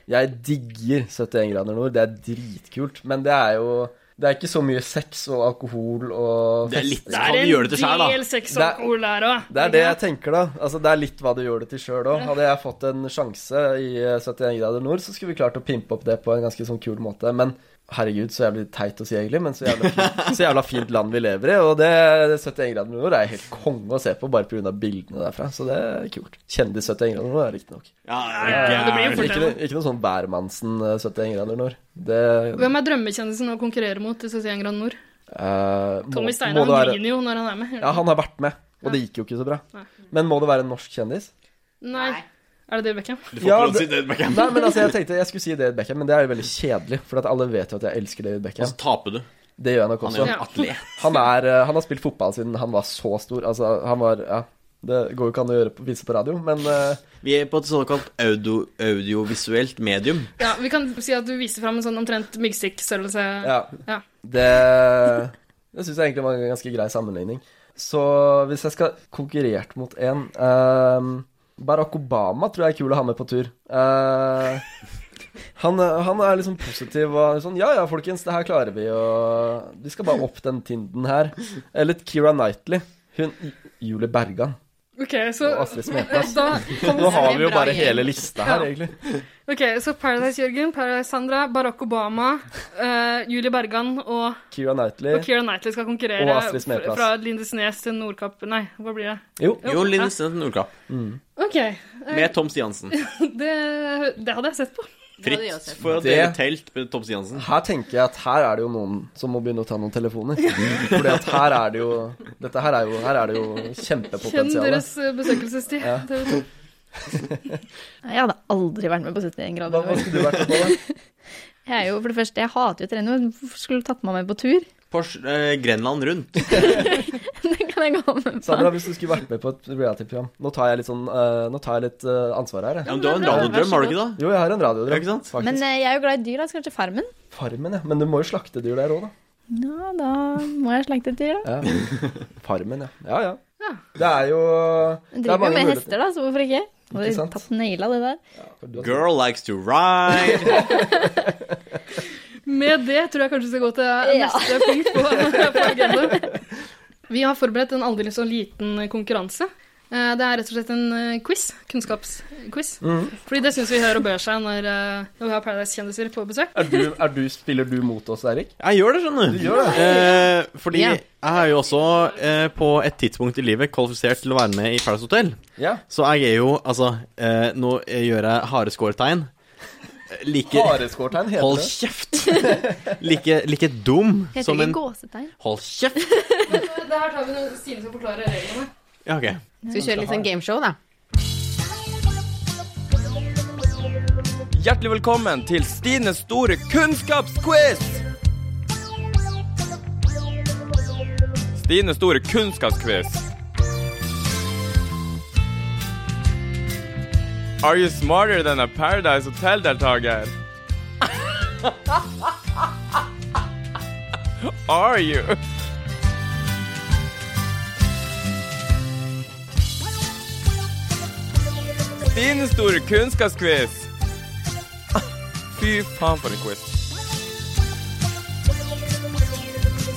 [SPEAKER 11] Jeg digger 71 grader nord. Det er dritkult. Men det er jo Det er ikke så mye sex og alkohol og
[SPEAKER 2] Det er litt-
[SPEAKER 11] fest.
[SPEAKER 2] Det er Kan du en gjøre det til selv, da?
[SPEAKER 5] Del sex og
[SPEAKER 11] Det er-
[SPEAKER 5] alkohol der òg.
[SPEAKER 11] Det er det jeg tenker, da. Altså, det er litt hva du gjør det til sjøl òg. Hadde jeg fått en sjanse i eh, 71 grader nord, så skulle vi klart å pimpe opp det på en ganske sånn kul måte. Men herregud, så jævlig teit å si egentlig, men så jævla fint,
[SPEAKER 5] [LAUGHS]
[SPEAKER 11] så jævla fint land vi lever i. Og det 71 grader nord er helt konge å se på, bare pga. bildene derfra. Så det er kult. Kjendis 71 grader nord, riktignok.
[SPEAKER 2] Ja,
[SPEAKER 11] ikke, noe- ikke noe sånn Bærmannsen eh, 71 grader nord. Det
[SPEAKER 5] Hvem er drømmekjendisen å konkurrere mot i 71 grader nord?
[SPEAKER 11] eh, må-
[SPEAKER 5] Tommy
[SPEAKER 11] må
[SPEAKER 5] Steine
[SPEAKER 11] det
[SPEAKER 5] han
[SPEAKER 11] være-
[SPEAKER 5] griner jo når han er med.
[SPEAKER 11] Ja, han har vært med, og det gikk jo ikke så bra. Men må det være en norsk kjendis?
[SPEAKER 5] Nei. Er det David Beckham?
[SPEAKER 11] Ja, det- Nei, men altså, jeg tenkte jeg skulle si David Beckham, men det er jo veldig kjedelig. For at alle vet jo at jeg elsker David Beckham.
[SPEAKER 2] Og så taper du.
[SPEAKER 11] Det gjør jeg nok
[SPEAKER 2] Han
[SPEAKER 11] også.
[SPEAKER 2] er jo en atlet.
[SPEAKER 11] Han, er, eh, han har spilt fotball siden han var så stor. Altså, han var Ja. Det går jo ikke an å gjøre på, vise på radio, men eh,
[SPEAKER 2] Vi er på et såkalt audio, audiovisuelt medium.
[SPEAKER 5] Ja, vi kan si at du viser fram en sånn omtrent myggstikkstørrelse.
[SPEAKER 11] ja.
[SPEAKER 5] Ja.
[SPEAKER 11] Det, det syns jeg egentlig var en ganske grei sammenligning. Så hvis jeg skal konkurrert mot en ehm, Barack Obama tror jeg er kul å ha med på tur. Eh, han, han er liksom positiv og sånn Ja ja, folkens, det her klarer vi, og vi skal bare opp den tinden her. Eller Keira Knightley. Hun Julie Bergan.
[SPEAKER 5] Ok, så
[SPEAKER 11] Og Astrid Smeplass.
[SPEAKER 5] Da kom-
[SPEAKER 11] Nå har vi jo bare hele lista her,
[SPEAKER 5] Ja.
[SPEAKER 11] egentlig.
[SPEAKER 5] Ok, så Paradise Jørgen, Paradise Sandra, Barack Obama, eh, Julie Bergan og,
[SPEAKER 11] Keira Knightley.
[SPEAKER 5] og Keira Knightley skal konkurrere
[SPEAKER 11] Og Astrid altså. Smeplass.
[SPEAKER 5] fra Lindesnes til Nordkapp Nei, hva blir det?
[SPEAKER 11] Jo.
[SPEAKER 2] Jo, Linn Stent Nordkapp.
[SPEAKER 5] Ok. eh,
[SPEAKER 2] Med Tom Stiansen.
[SPEAKER 5] det, det hadde jeg sett på.
[SPEAKER 2] Fritt for å
[SPEAKER 11] Det-
[SPEAKER 2] dele telt med Tom Stiansen.
[SPEAKER 11] Her tenker jeg at her er det jo noen som må begynne å ta noen telefoner. Fordi at her er det jo Dette her er jo, her er det jo
[SPEAKER 5] Kjenn
[SPEAKER 11] kjempepotensial.
[SPEAKER 5] deres eh, besøkelsestid.
[SPEAKER 11] Ja.
[SPEAKER 5] Det vet du.
[SPEAKER 12] Jeg hadde aldri vært med på 71 grader.
[SPEAKER 11] Hva skulle du vært med på,
[SPEAKER 12] da? Jeg er jo, for det første, jeg hater jo terreng. Hvorfor skulle du tatt meg med på tur? [LAUGHS]
[SPEAKER 2] Pors, eh, Grenland rundt.
[SPEAKER 12] Det kan jeg gå med på.
[SPEAKER 11] Sandra, hvis du skulle vært med på et reality-program Nå tar jeg litt, sånn, eh, nå tar jeg litt eh, ansvar her. Jeg.
[SPEAKER 2] Ja, men du har en radiodrøm, har du ikke det?
[SPEAKER 11] Jo, jeg har en radiodrøm. Ikke sant? Faktisk.
[SPEAKER 12] Men eh, jeg er jo glad i dyr, da. Skal jeg til Farmen?
[SPEAKER 11] Farmen, ja. Men du må jo slakte dyr der òg, da.
[SPEAKER 12] Ja, da må jeg slakte et dyr, da.
[SPEAKER 11] [LAUGHS] Ja. Farmen, ja. Ja, ja.
[SPEAKER 12] Ja.
[SPEAKER 11] Det er jo
[SPEAKER 12] Jeg
[SPEAKER 11] det er
[SPEAKER 12] driver jo med
[SPEAKER 11] muligheter.
[SPEAKER 12] hester, da, så hvorfor ikke? Hadde
[SPEAKER 11] Ikke sant?
[SPEAKER 12] tatt naila det der.
[SPEAKER 2] Girl likes to [LAUGHS] ride.
[SPEAKER 5] Med det tror jeg kanskje vi skal gå til
[SPEAKER 12] Ja.
[SPEAKER 5] neste punkt på, på agendaen. Vi har forberedt en aldri så liten konkurranse. Eh, Det er rett og slett en eh, quiz. Kunnskapsquiz.
[SPEAKER 11] Mhm.
[SPEAKER 5] Fordi det syns vi hører og bør seg når, eh, når vi har Paradise-kjendiser på besøk.
[SPEAKER 11] Er du, er du, spiller du mot oss, Eirik?
[SPEAKER 2] Jeg gjør det, skjønner
[SPEAKER 11] Du gjør det.
[SPEAKER 2] Eh, fordi
[SPEAKER 11] Ja.
[SPEAKER 2] jeg har jo også eh, på et tidspunkt i livet kvalifisert til å være med i Paradise Hotel.
[SPEAKER 11] Ja.
[SPEAKER 2] Så jeg er jo altså eh, Nå gjør jeg hareskårtegn. Eh, Like,
[SPEAKER 11] Hareskårtegn heter
[SPEAKER 2] Hold
[SPEAKER 11] det. [LAUGHS]
[SPEAKER 2] kjeft! like, like dum
[SPEAKER 5] Heter
[SPEAKER 2] som
[SPEAKER 5] ikke
[SPEAKER 2] en
[SPEAKER 5] gåsetegn.
[SPEAKER 2] Hold kjeft!
[SPEAKER 5] Det her tar vi når Stine skal forklare reglene.
[SPEAKER 2] Ja, ok.
[SPEAKER 3] Skal vi kjøre litt sånn gameshow, da?
[SPEAKER 14] Hjertelig velkommen til Stines store kunnskapsquiz! Stines store kunnskapsquiz. Are you smarter than a Paradise Hotel-deltaker? [LAUGHS] Are you? Stines store kunnskapsquiz. Fy faen for en quiz.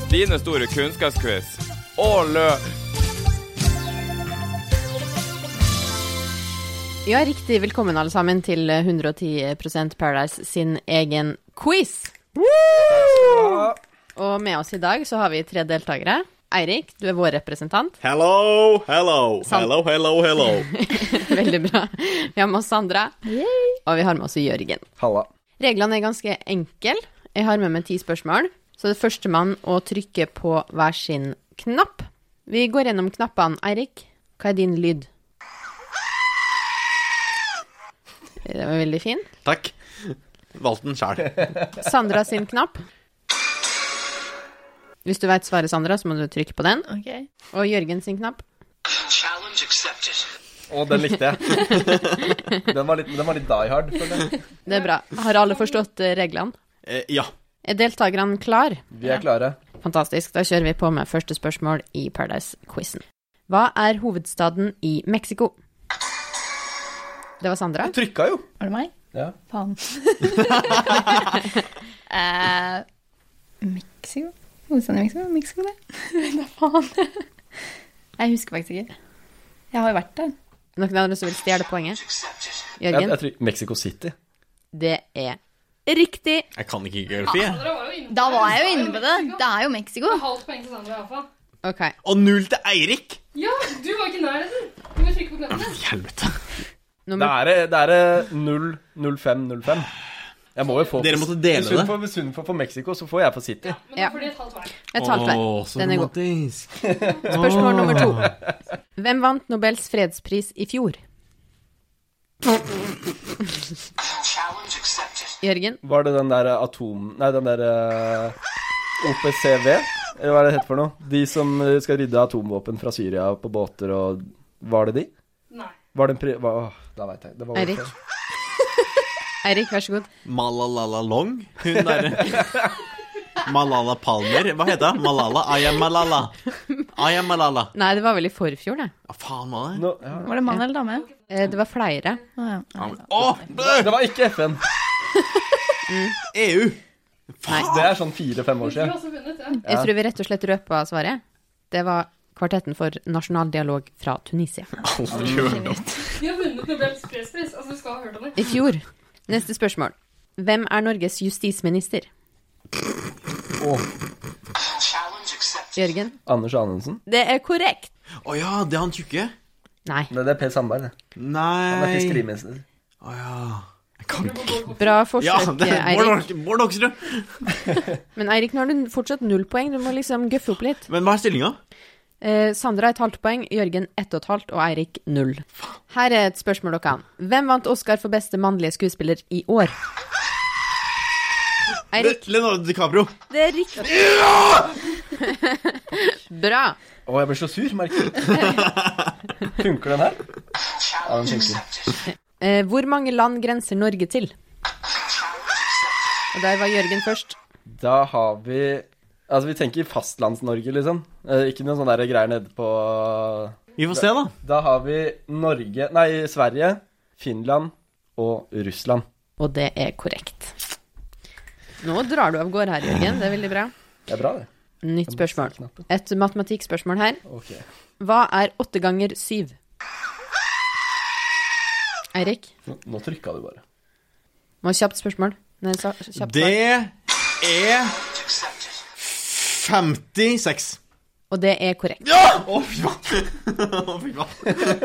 [SPEAKER 14] Stines store kunnskapsquiz. Å, lø...
[SPEAKER 3] Ja, riktig. Velkommen alle sammen til eh, 110 Paradise sin egen quiz. Og med oss i dag så har vi tre deltakere. Eirik, du er vår representant. [LAUGHS]
[SPEAKER 2] Hello, hello, hello, hello, hello.
[SPEAKER 3] Veldig bra. Vi har med oss Sandra, og vi har med oss Jørgen.
[SPEAKER 11] Halla.
[SPEAKER 3] Reglene er ganske enkle. Jeg har med meg ti spørsmål. Så det er førstemann å trykke på hver sin knapp. Vi går gjennom knappene. Eirik, hva er din lyd? Det var veldig fin.
[SPEAKER 2] [LAUGHS] Takk. Valgte den sjæl.
[SPEAKER 3] Sandra sin knapp. Hvis du veit svaret, Sandra, så må du trykke på den. Og Jørgen sin knapp.
[SPEAKER 15] Challenge accepted.
[SPEAKER 11] Å, den likte jeg. Den var litt, den var litt die hard, føler jeg.
[SPEAKER 3] Det er bra. Har alle forstått eh, reglene?
[SPEAKER 2] ja.
[SPEAKER 3] Er deltakerne klar?
[SPEAKER 11] Vi er klare.
[SPEAKER 3] Fantastisk. Da kjører vi på med første spørsmål i Paradise-quizen. Hva er hovedstaden i Mexico? Det var Sandra.
[SPEAKER 11] Du trykka jo.
[SPEAKER 12] Var det meg?
[SPEAKER 11] Ja. [LAUGHS]
[SPEAKER 12] Faen. eh, Mexico? Hovedstaden i Mexico? Mexico, [LAUGHS] det? Da faen. Jeg husker faktisk ikke. Jeg har jo vært der.
[SPEAKER 3] Noen andre som vil stjele poenget?
[SPEAKER 11] Jeg,
[SPEAKER 3] Jørgen?
[SPEAKER 11] jeg tror Mexico City.
[SPEAKER 3] Det er riktig.
[SPEAKER 2] Jeg kan ikke geografi, jeg.
[SPEAKER 12] Da var jeg jo inne på det. Det er jo Mexico.
[SPEAKER 5] Halvt poeng til Sandra, iallfall.
[SPEAKER 3] Ok.
[SPEAKER 2] Og null til Eirik!
[SPEAKER 5] Ja, du var ikke i nærheten! Du må trykke på knappen.
[SPEAKER 2] Helvete.
[SPEAKER 11] Det er, eh, det er 0-0-5-0-5. Jeg må jo få
[SPEAKER 2] Dere måtte dele
[SPEAKER 11] Hvis hun
[SPEAKER 2] det.
[SPEAKER 11] får- Hvis hun får for Mexico, så får jeg for City.
[SPEAKER 5] Men da får de et halvt hver.
[SPEAKER 3] Et halvt hver.
[SPEAKER 2] Åh, så
[SPEAKER 3] Den er god.
[SPEAKER 2] romantisk.
[SPEAKER 3] Spørsmål nummer to. [LAUGHS] Hvem vant Nobels fredspris i fjor? Jørgen?
[SPEAKER 11] Var det den der eh, atom... Nei, den der eh, OPCW? Eller hva er det det heter for noe? De som eh, skal rydde atomvåpen fra Syria på båter og Var det de?
[SPEAKER 5] Nei.
[SPEAKER 11] Var det en pri... Hva, åh, da veit jeg. Det var
[SPEAKER 3] [LAUGHS] Eirik. Eirik, vær så god.
[SPEAKER 2] Malalala Long? [LAUGHS] Hun derre Malala Palmer? Hva heter hun? Malala? Ayam Malala. Ayam Malala.
[SPEAKER 3] Nei, det var vel i forfjor, det.
[SPEAKER 2] Hva faen var det?
[SPEAKER 12] Var det mann eller dame?
[SPEAKER 3] Eh, Det var flere.
[SPEAKER 2] Ja, men- Åh, bøh!
[SPEAKER 11] Det var ikke FN.
[SPEAKER 2] EU.
[SPEAKER 11] Faen. Det er sånn fire-fem år siden.
[SPEAKER 3] Jeg tror vi rett og slett røpa svaret. Det var Kvartetten for nasjonal dialog fra Tunisia.
[SPEAKER 2] Aldri hørt om.
[SPEAKER 5] Vi har vunnet Nobels fredspris. Altså, du skal ha hørt om det.
[SPEAKER 3] I fjor. Neste spørsmål. Hvem er Norges justisminister? Jørgen?
[SPEAKER 11] Anders Anundsen?
[SPEAKER 3] Det er korrekt.
[SPEAKER 2] Å ja, det er han tjukke?
[SPEAKER 3] Nei.
[SPEAKER 11] Nei, det er Per Sandberg, det. Han er
[SPEAKER 2] Nei
[SPEAKER 11] fiskeriminister.
[SPEAKER 2] Å ja.
[SPEAKER 3] Bra
[SPEAKER 2] Ja,
[SPEAKER 3] forsøk,
[SPEAKER 2] det er Bård
[SPEAKER 3] Eirik.
[SPEAKER 2] Hoks- Bård Hoksrud.
[SPEAKER 3] Men Eirik, nå har du fortsatt null poeng. Du må liksom gøffe opp litt.
[SPEAKER 2] Men hva er stillinga?
[SPEAKER 3] Eh, Sandra et halvt poeng, Jørgen ett og et halvt og Eirik null. Her er et spørsmål dere kan. Hvem vant Oscar for beste mannlige skuespiller i år? Eirik,
[SPEAKER 2] Leonardo DiCaprio.
[SPEAKER 3] det er riktig. [LAUGHS] Bra.
[SPEAKER 11] Å, jeg ble så sur, merker du. Funker den her? Ja, den funker.
[SPEAKER 3] Eh, hvor mange land grenser Norge til? Og der var Jørgen først.
[SPEAKER 11] Da har vi Altså, vi tenker fastlands-Norge, liksom. Eh, ikke noe sånn der greier nede på
[SPEAKER 2] Vi får se, da.
[SPEAKER 11] Da har vi Norge Nei, Sverige, Finland og Russland.
[SPEAKER 3] Og det er korrekt. Nå drar du av gårde her, Jørgen. Det er veldig bra.
[SPEAKER 11] Det er bra, det.
[SPEAKER 3] Nytt spørsmål. Et matematikkspørsmål her.
[SPEAKER 11] Ok.
[SPEAKER 3] Hva er åtte ganger syv? Eirik,
[SPEAKER 11] Nå, nå trykka du bare.
[SPEAKER 3] må ha kjapt spørsmål. Nei, sa- kjapt svar.
[SPEAKER 2] Det er 56.
[SPEAKER 3] Og det er korrekt.
[SPEAKER 2] Ja! Å, fy faen. [LAUGHS] Å, fy faen.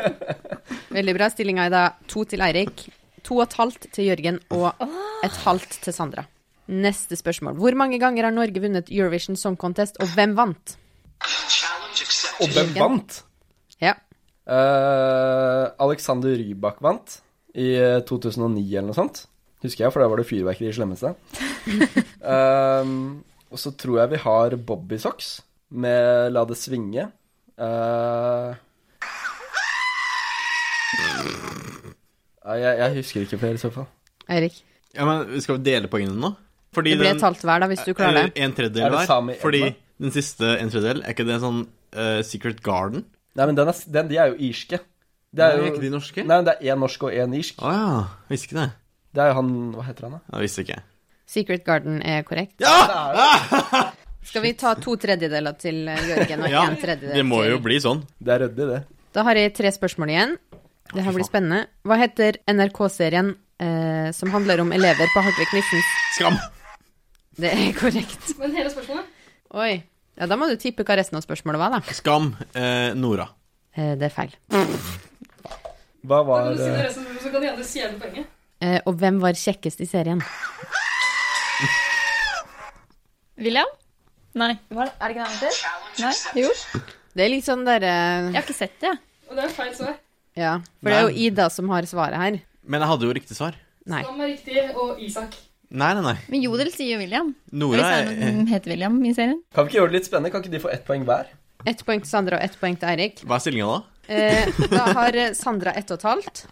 [SPEAKER 3] Veldig bra. Stillinga er da to til Eirik, to og et halvt til Jørgen og et halvt til Sandra. Neste spørsmål. Hvor mange ganger har Norge vunnet Eurovision Song Contest, og hvem vant?
[SPEAKER 11] Og hvem vant?
[SPEAKER 3] Ja.
[SPEAKER 11] Eh, Alexander Rybak vant i eh, 2009 eller noe sånt. Husker jeg, for da var det fyrverkeri
[SPEAKER 5] [LAUGHS]
[SPEAKER 11] i Slemmestad. Ehm, og så tror jeg vi har Bobby Socks med La det svinge. Eh, ja, jeg, jeg husker ikke flere i så fall.
[SPEAKER 3] Eirik.
[SPEAKER 2] Ja, men Skal vi dele poengene nå? Fordi
[SPEAKER 3] Det blir
[SPEAKER 2] den-
[SPEAKER 3] et halvt hver, da, hvis du klarer det.
[SPEAKER 2] Eller en
[SPEAKER 11] Er
[SPEAKER 2] tredjedel
[SPEAKER 11] det same i
[SPEAKER 2] hver. Fordi
[SPEAKER 11] elva?
[SPEAKER 2] den siste en tredjedel, er ikke det sånn eh, Secret Garden?
[SPEAKER 11] Nei, men den er, s- den, de er jo irske. Det
[SPEAKER 2] Nei, er ikke de norske? Ah.
[SPEAKER 11] Nei, det er én norsk og én irsk.
[SPEAKER 2] Å ja. Visste ikke det.
[SPEAKER 11] Det er jo han Hva heter han, da?
[SPEAKER 2] Jeg visste ikke.
[SPEAKER 3] Secret Garden er korrekt. Skal vi ta to tredjedeler til eh, Jørgen og én
[SPEAKER 2] Ja,
[SPEAKER 3] tredjedel
[SPEAKER 2] det må
[SPEAKER 3] til
[SPEAKER 2] jo bli sånn.
[SPEAKER 11] Det er ryddig, det.
[SPEAKER 3] Da har jeg tre spørsmål igjen. Det her blir spennende. Hva heter NRK-serien eh, som handler om elever på Hartvig Nissens
[SPEAKER 2] Skam!
[SPEAKER 3] Det er korrekt.
[SPEAKER 5] Men hele spørsmålet
[SPEAKER 3] Oi. Ja, da må du tippe hva resten av spørsmålet var, da.
[SPEAKER 2] Skam. Eh, Nora.
[SPEAKER 3] Eh, det er feil.
[SPEAKER 5] Da
[SPEAKER 11] Hva
[SPEAKER 5] kan
[SPEAKER 11] var
[SPEAKER 5] du si det
[SPEAKER 11] eh,
[SPEAKER 5] resten, så kan de andre si hele poenget.
[SPEAKER 3] Eh, og hvem var kjekkest i serien?
[SPEAKER 12] William? Nei. Hva er det ikke det han heter? Nei? Jo.
[SPEAKER 3] Det er litt sånn derre
[SPEAKER 12] Jeg har ikke sett det, jeg.
[SPEAKER 5] Og det er feil svar.
[SPEAKER 3] Ja. For det er jo Ida som har svaret her.
[SPEAKER 2] Men jeg hadde jo riktig svar.
[SPEAKER 3] Nei.
[SPEAKER 5] Sam er riktig, og Isak.
[SPEAKER 2] Nei, nei, nei.
[SPEAKER 12] Men Jodel sier jo William.
[SPEAKER 2] Nora
[SPEAKER 12] Hvis det er noen
[SPEAKER 2] er
[SPEAKER 12] som heter William i serien.
[SPEAKER 11] Kan vi ikke gjøre det litt spennende? Kan ikke de få ett poeng hver?
[SPEAKER 3] Ett poeng til Sandra og ett poeng til Eirik.
[SPEAKER 2] Hva er stillinga da?
[SPEAKER 3] Eh, da har eh, Sandra ett og et halvt.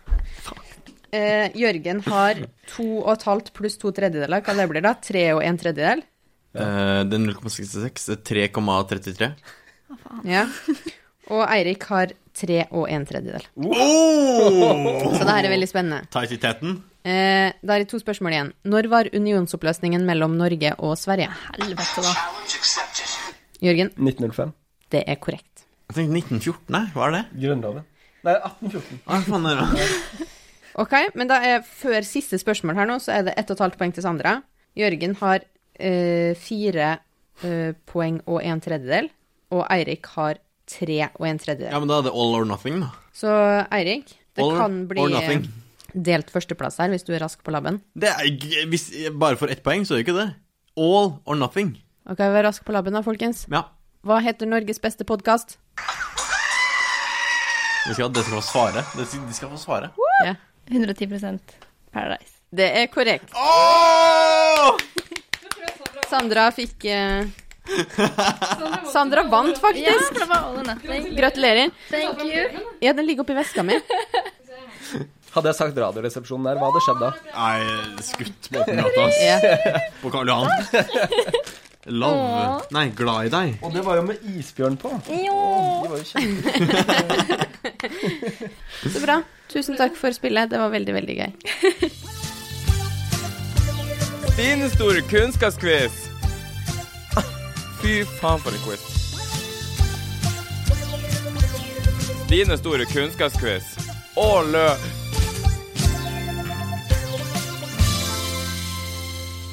[SPEAKER 3] Eh, Jørgen har to og et halvt pluss to tredjedeler. Hva det blir da? Tre og en tredjedel?
[SPEAKER 2] Eh, det er 0,66. Det er 3,33.
[SPEAKER 3] Ja. Og Eirik har tre og en tredjedel.
[SPEAKER 2] Oh!
[SPEAKER 3] Så det her er veldig spennende.
[SPEAKER 2] Tight i teten.
[SPEAKER 3] Eh, da er det to spørsmål igjen. Når var unionsoppløsningen mellom Norge og Sverige?
[SPEAKER 12] Helvete, da.
[SPEAKER 3] Jørgen,
[SPEAKER 11] 1905.
[SPEAKER 3] det er korrekt.
[SPEAKER 2] Jeg tenkte 1914, nei. Hva er det?
[SPEAKER 11] Grunnloven. Nei, 1814.
[SPEAKER 2] Hva faen er det?
[SPEAKER 3] Ok, men da er før siste spørsmål her nå, så er det ett og et halvt poeng til Sandra. Jørgen har eh, fire eh, poeng og en tredjedel, og Eirik har tre og en tredjedel.
[SPEAKER 2] Ja, men da er det all or nothing, da.
[SPEAKER 3] Så Eirik, det
[SPEAKER 2] All
[SPEAKER 3] kan bli eh,
[SPEAKER 2] or nothing.
[SPEAKER 3] delt førsteplass her, hvis du er rask på labben.
[SPEAKER 2] Det er, ikke- hvis, bare for ett poeng, så er det jo ikke det. All or nothing.
[SPEAKER 3] Ok, vær rask på labben da, folkens.
[SPEAKER 2] Ja.
[SPEAKER 3] Hva heter Norges beste podkast?
[SPEAKER 2] De skal, de skal få svare. De skal, de skal få svare.
[SPEAKER 3] Ja,
[SPEAKER 12] 110 Paradise.
[SPEAKER 3] det er korrekt.
[SPEAKER 2] Åh!
[SPEAKER 3] Sandra fikk eh, Sandra vant,
[SPEAKER 12] Ja,
[SPEAKER 3] faktisk.
[SPEAKER 12] det var all or nothing.
[SPEAKER 3] Gratulerer.
[SPEAKER 12] Thank you.
[SPEAKER 3] Ja, den ligger oppi veska mi.
[SPEAKER 11] Hadde jeg sagt Radioresepsjonen der, hva hadde skjedd da?
[SPEAKER 2] Nei, skutt på åpen gate, ass. På Karl Johan. Love. Nei, glad i deg.
[SPEAKER 11] Og det var jo med isbjørn på.
[SPEAKER 3] Så bra. Tusen takk for spillet. Det var veldig, veldig gøy.
[SPEAKER 14] Din store kunnskapsquiz. Fy faen for en quiz. Din store kunnskapsquiz. Å, lø...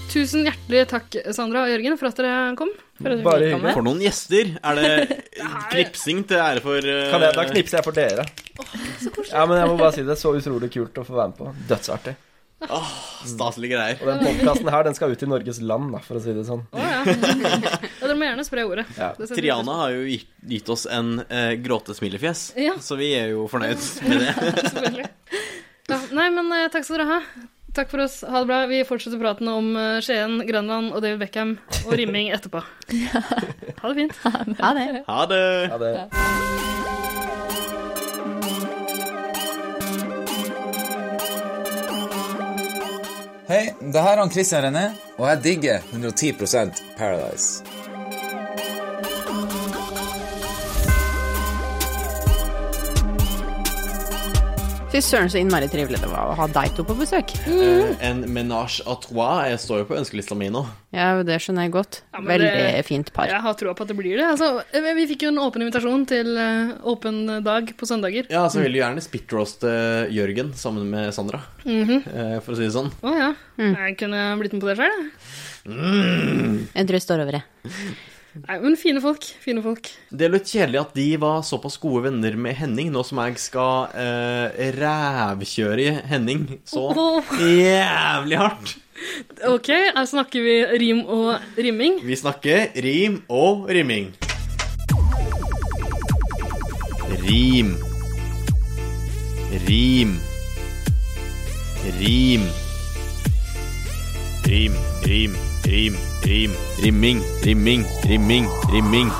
[SPEAKER 5] Tusen hjertelig takk, Sandra og Jørgen, for at dere kom. For at dere ville komme.
[SPEAKER 2] For noen gjester. Er det knipsing til ære for eh,
[SPEAKER 11] [LAUGHS] Kan jeg, da knipser jeg for dere. Ja, men jeg må bare si det. Så utrolig kult å få være med på. Dødsartig.
[SPEAKER 2] Åh, Staselige greier.
[SPEAKER 11] Og den podkasten her, den skal ut i Norges land, da, for å si det sånn.
[SPEAKER 5] Å, ja. ja, dere må gjerne spre ordet. Det setter vi
[SPEAKER 2] Triana
[SPEAKER 5] [LAUGHS]
[SPEAKER 2] har jo gitt, gitt oss en eh, gråtesmilefjes,
[SPEAKER 5] Ja.
[SPEAKER 2] så vi er jo fornøyd med
[SPEAKER 5] [LAUGHS]
[SPEAKER 2] det.
[SPEAKER 5] pris på. Ja, nei, men eh, takk skal dere ha. Takk for oss. Ha det bra. Vi fortsetter praten om eh, Skien, Grønland og David Beckham og rimming etterpå. Ha det fint.
[SPEAKER 3] Ha det.
[SPEAKER 2] Ha det.
[SPEAKER 11] Ha det.
[SPEAKER 16] Hei, det her er han Christian René, og jeg digger 110 Paradise.
[SPEAKER 3] Fy søren, så innmari trivelig det var å ha deg to på besøk.
[SPEAKER 2] Eh, en menage à trois jeg står jo på ønskelista mi nå.
[SPEAKER 3] Ja, det skjønner jeg godt.
[SPEAKER 5] Ja, men
[SPEAKER 3] Veldig
[SPEAKER 5] det-
[SPEAKER 3] fint par.
[SPEAKER 5] Jeg har troa på at det blir det. Altså, eh, vi fikk jo en åpen invitasjon til eh, åpen dag på søndager.
[SPEAKER 2] Ja, så vil du gjerne spitroaste Jørgen sammen med Sandra,
[SPEAKER 5] Mhm.
[SPEAKER 2] eh, for å si det sånn.
[SPEAKER 5] Å ja. Jeg kunne blitt med på det sjøl, jeg.
[SPEAKER 3] Jeg tror jeg står over det.
[SPEAKER 5] Nei, Men fine folk. Fine folk.
[SPEAKER 2] Det er litt kjedelig at de var såpass gode venner med Henning, nå som jeg skal eh, rævkjøre Henning så
[SPEAKER 5] Åh.
[SPEAKER 2] jævlig hardt.
[SPEAKER 5] Ok, her snakker vi rim og rimming.
[SPEAKER 2] Vi snakker rim og rimming. Rim. Rim. Rim. Rim, rim, rim, rim. Rimming, rimming, rimming, rimming.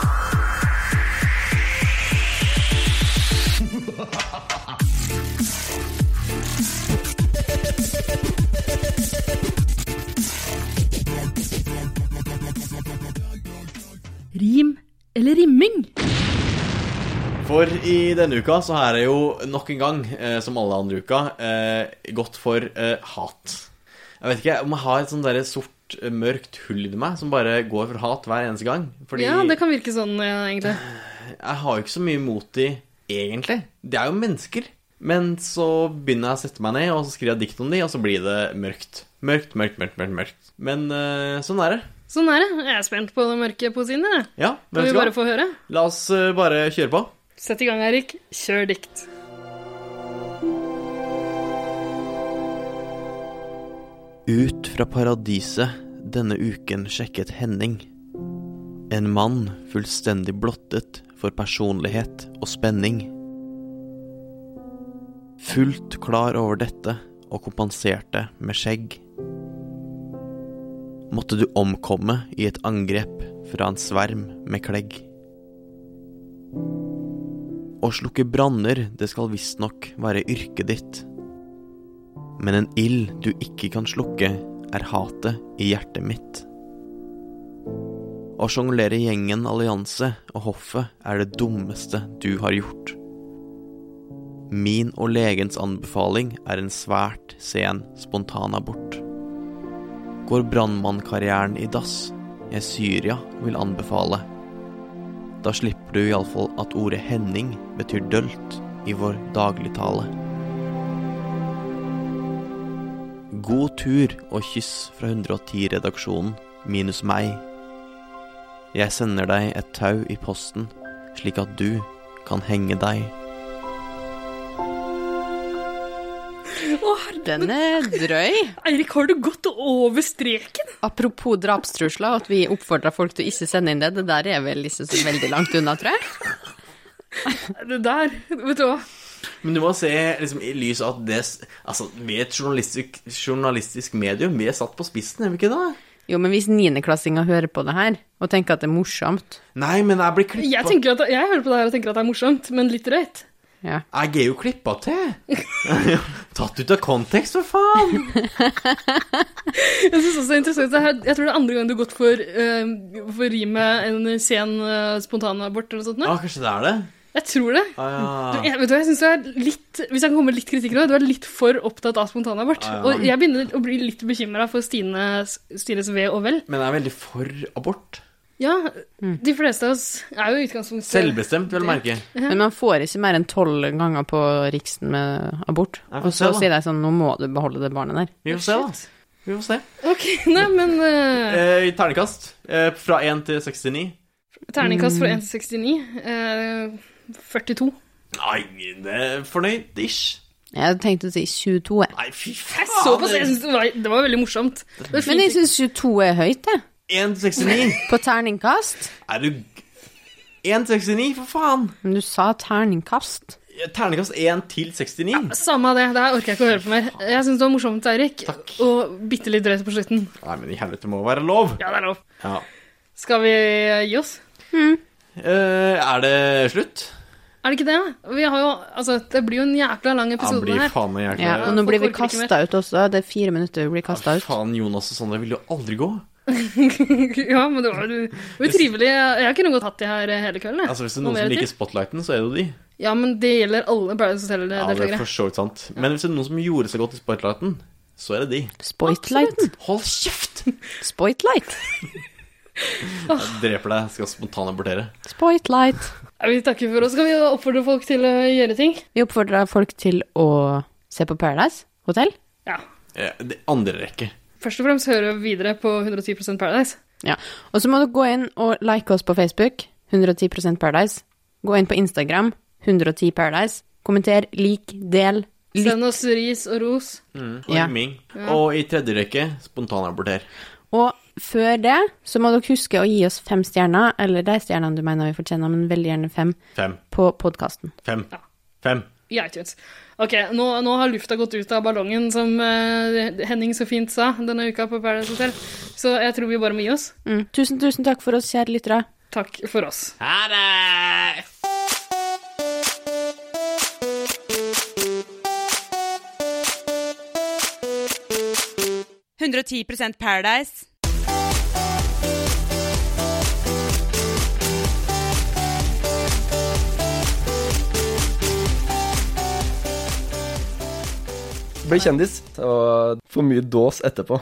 [SPEAKER 5] Rim eller rimming?
[SPEAKER 2] For i denne uka så er det jo nok en gang, eh, som alle andre uka, eh, gått for eh, hat. Jeg vet ikke om jeg har et sånt derre sort, eh, mørkt hull i meg som bare går for hat hver eneste gang. Fordi
[SPEAKER 5] Ja, det kan virke sånn, ja, egentlig.
[SPEAKER 2] jeg har jo ikke så mye mot de, egentlig. De er jo mennesker. Men så begynner jeg å sette meg ned, og så skriver jeg dikt om de, og så blir det mørkt. Mørkt, mørkt, mørkt, mørkt. mørkt. Men eh, sånn er det.
[SPEAKER 5] Sånn er det. Jeg er spent på den mørke poesien din. jeg.
[SPEAKER 2] Ja, vet
[SPEAKER 5] Kan vi
[SPEAKER 2] du hva?
[SPEAKER 5] bare få høre?
[SPEAKER 2] La oss eh, bare kjøre på.
[SPEAKER 5] Sett i gang, Eirik. Kjør dikt.
[SPEAKER 2] Ut fra paradiset denne uken sjekket Henning. En mann fullstendig blottet for personlighet og spenning. Fullt klar over dette og kompenserte med skjegg. Måtte du omkomme i et angrep fra en sverm med klegg. Å slukke branner, det skal visstnok være yrket ditt. Men en ild du ikke kan slukke, er hatet i hjertet mitt. Å sjonglere gjengen allianse og hoffet er det dummeste du har gjort. Min og legens anbefaling er en svært sen spontanabort. Går brannmannkarrieren i dass, jeg Syria vil anbefale. Da slipper du iallfall at ordet Henning betyr dølt i vår dagligtale. God tur og kyss fra 110-redaksjonen, minus meg. Jeg sender deg et tau i posten, slik at du kan henge deg.
[SPEAKER 3] Den er drøy.
[SPEAKER 5] Eirik, har du gått over streken?
[SPEAKER 3] Apropos drapstrusler, at vi oppfordrer folk til å ikke sende inn det. Det der er vel ikke så veldig langt unna, tror jeg.
[SPEAKER 5] Det der, vet du hva.
[SPEAKER 2] Men du må se liksom, i lys av at det Altså, vi er et journalistisk, journalistisk medium. Vi er satt på spissen, er vi ikke det?
[SPEAKER 3] Jo, men hvis niendeklassinga hører på det her, og tenker at det er morsomt
[SPEAKER 2] Nei, men jeg blir
[SPEAKER 5] Jeg, tenker at, jeg hører på det her og tenker at det er morsomt, men litt drøyt.
[SPEAKER 2] Jeg er jo klippa til. [LAUGHS] Tatt ut av kontekst, for faen!
[SPEAKER 5] Jeg synes også det er interessant det her, Jeg tror det er andre gang du har gått for, uh, for rimet en sen eh, spontanabort eller noe sånt. nå.
[SPEAKER 2] Ja, kanskje det er det?
[SPEAKER 5] Jeg tror det.
[SPEAKER 2] Ah,
[SPEAKER 5] Du,
[SPEAKER 2] ja.
[SPEAKER 5] jeg, vet du, hva, jeg synes du er litt, Hvis jeg kan komme med litt kritikk nå, du er litt for opptatt av spontanabort.
[SPEAKER 2] Ja, ja.
[SPEAKER 5] Og jeg begynner å bli litt bekymra for Stines, Stines ve og vel.
[SPEAKER 2] Men jeg er veldig for abort.
[SPEAKER 5] Ja,
[SPEAKER 3] Mm.
[SPEAKER 5] de fleste av oss er jo i utgangspunktet
[SPEAKER 2] Selvbestemt, vel å merke.
[SPEAKER 3] Men man får ikke mer enn tolv ganger på Riksen med abort.
[SPEAKER 2] Nei,
[SPEAKER 3] Og
[SPEAKER 2] få se,
[SPEAKER 3] så
[SPEAKER 2] da.
[SPEAKER 3] sier de sånn, nå må du beholde det barnet der.
[SPEAKER 2] Vi får se, da. Vi får se.
[SPEAKER 5] Ok, [LAUGHS] nei, men eh,
[SPEAKER 2] Eh, ternekast eh, fra 1 til 69.
[SPEAKER 5] Terningkast fra 1 til 69. eh, 42.
[SPEAKER 2] Nei, det er fornøyd ish.
[SPEAKER 3] Jeg tenkte å si 22, jeg.
[SPEAKER 2] Nei, fy eh,
[SPEAKER 5] Jeg så på det, jeg synes det var, det var veldig morsomt. Det var
[SPEAKER 3] Men jeg
[SPEAKER 5] fint.
[SPEAKER 3] syns 22 er høyt, jeg.
[SPEAKER 2] 1 til 69.
[SPEAKER 3] På terningkast.
[SPEAKER 2] Er du 1 til 69, for faen! Eh,
[SPEAKER 3] Men du sa terningkast.
[SPEAKER 2] Ternekast 1 til 69.
[SPEAKER 5] Samme av det, det her orker jeg ikke å høre på mer. Jeg syns det var morsomt, Eirik, og bitte litt drøyt på slutten.
[SPEAKER 2] Nei, men i helvete må være lov.
[SPEAKER 5] Ja, det er lov.
[SPEAKER 2] Ja.
[SPEAKER 5] Skal vi gi oss?
[SPEAKER 2] Eh, er det slutt?
[SPEAKER 5] Er det ikke det? Vi har jo, altså, det blir jo en jækla lang episode
[SPEAKER 2] blir
[SPEAKER 5] her.
[SPEAKER 2] faen meg jækla-
[SPEAKER 3] Ja, og nå blir vi
[SPEAKER 5] Folk orker ikke
[SPEAKER 3] kasta ut også. Det er fire minutter vi blir kasta ut.
[SPEAKER 2] Faen, Jonas og Sondre vil jo aldri gå.
[SPEAKER 5] [LAUGHS] ja, men det var jo det var jo trivelig. Jeg kunne godt hatt de her hele kvelden. jeg.
[SPEAKER 2] Altså, Hvis det er
[SPEAKER 5] Og
[SPEAKER 2] noen
[SPEAKER 5] mer
[SPEAKER 2] som liker
[SPEAKER 5] til.
[SPEAKER 2] spotlighten, så er det jo de.
[SPEAKER 5] Ja, men det gjelder alle Paradise
[SPEAKER 2] Ja, det er
[SPEAKER 5] Hotel-deltakere.
[SPEAKER 2] for så vidt sant. Men hvis det er noen som gjorde seg godt i spotlighten, så er det de.
[SPEAKER 3] Spoitlighten.
[SPEAKER 2] Hold kjeft!
[SPEAKER 3] Spoitlight.
[SPEAKER 2] Jeg dreper deg, skal spontanabortere.
[SPEAKER 3] Spoitlight.
[SPEAKER 5] Ja, vi takker for oss. Skal vi oppfordre folk til å gjøre ting?
[SPEAKER 3] Vi oppfordrer folk til å se på Paradise Hotel.
[SPEAKER 5] Ja.
[SPEAKER 2] Eh, det andre rekke.
[SPEAKER 5] Først og fremst høre videre på 110 Paradise.
[SPEAKER 3] Ja. Og så må du gå inn og like oss på Facebook, 110 Paradise. Gå inn på Instagram, 110 Paradise. Kommenter, lik, del, lytt.
[SPEAKER 5] Send oss ris og ros.
[SPEAKER 2] Mm, og
[SPEAKER 3] Ja.
[SPEAKER 2] rimming.
[SPEAKER 5] Ja.
[SPEAKER 2] Og i tredje rekke, spontanaborter.
[SPEAKER 3] Og før det så må dere huske å gi oss fem stjerner, eller de stjernene du mener vi fortjener, men veldig gjerne fem,
[SPEAKER 2] Fem.
[SPEAKER 3] på podkasten.
[SPEAKER 2] Fem. Fem.
[SPEAKER 5] I iTunes. Ok, nå, nå har lufta gått ut av ballongen, som eh, Henning så fint sa denne uka på Paradise Hotel. Så jeg tror vi bare må gi oss.
[SPEAKER 3] Mm. Tusen, tusen takk for oss, kjære lyttere.
[SPEAKER 5] Takk for oss.
[SPEAKER 2] Ha det!
[SPEAKER 9] Paradise. 110 Paradise.
[SPEAKER 11] Bli kjendis og få mye dås etterpå.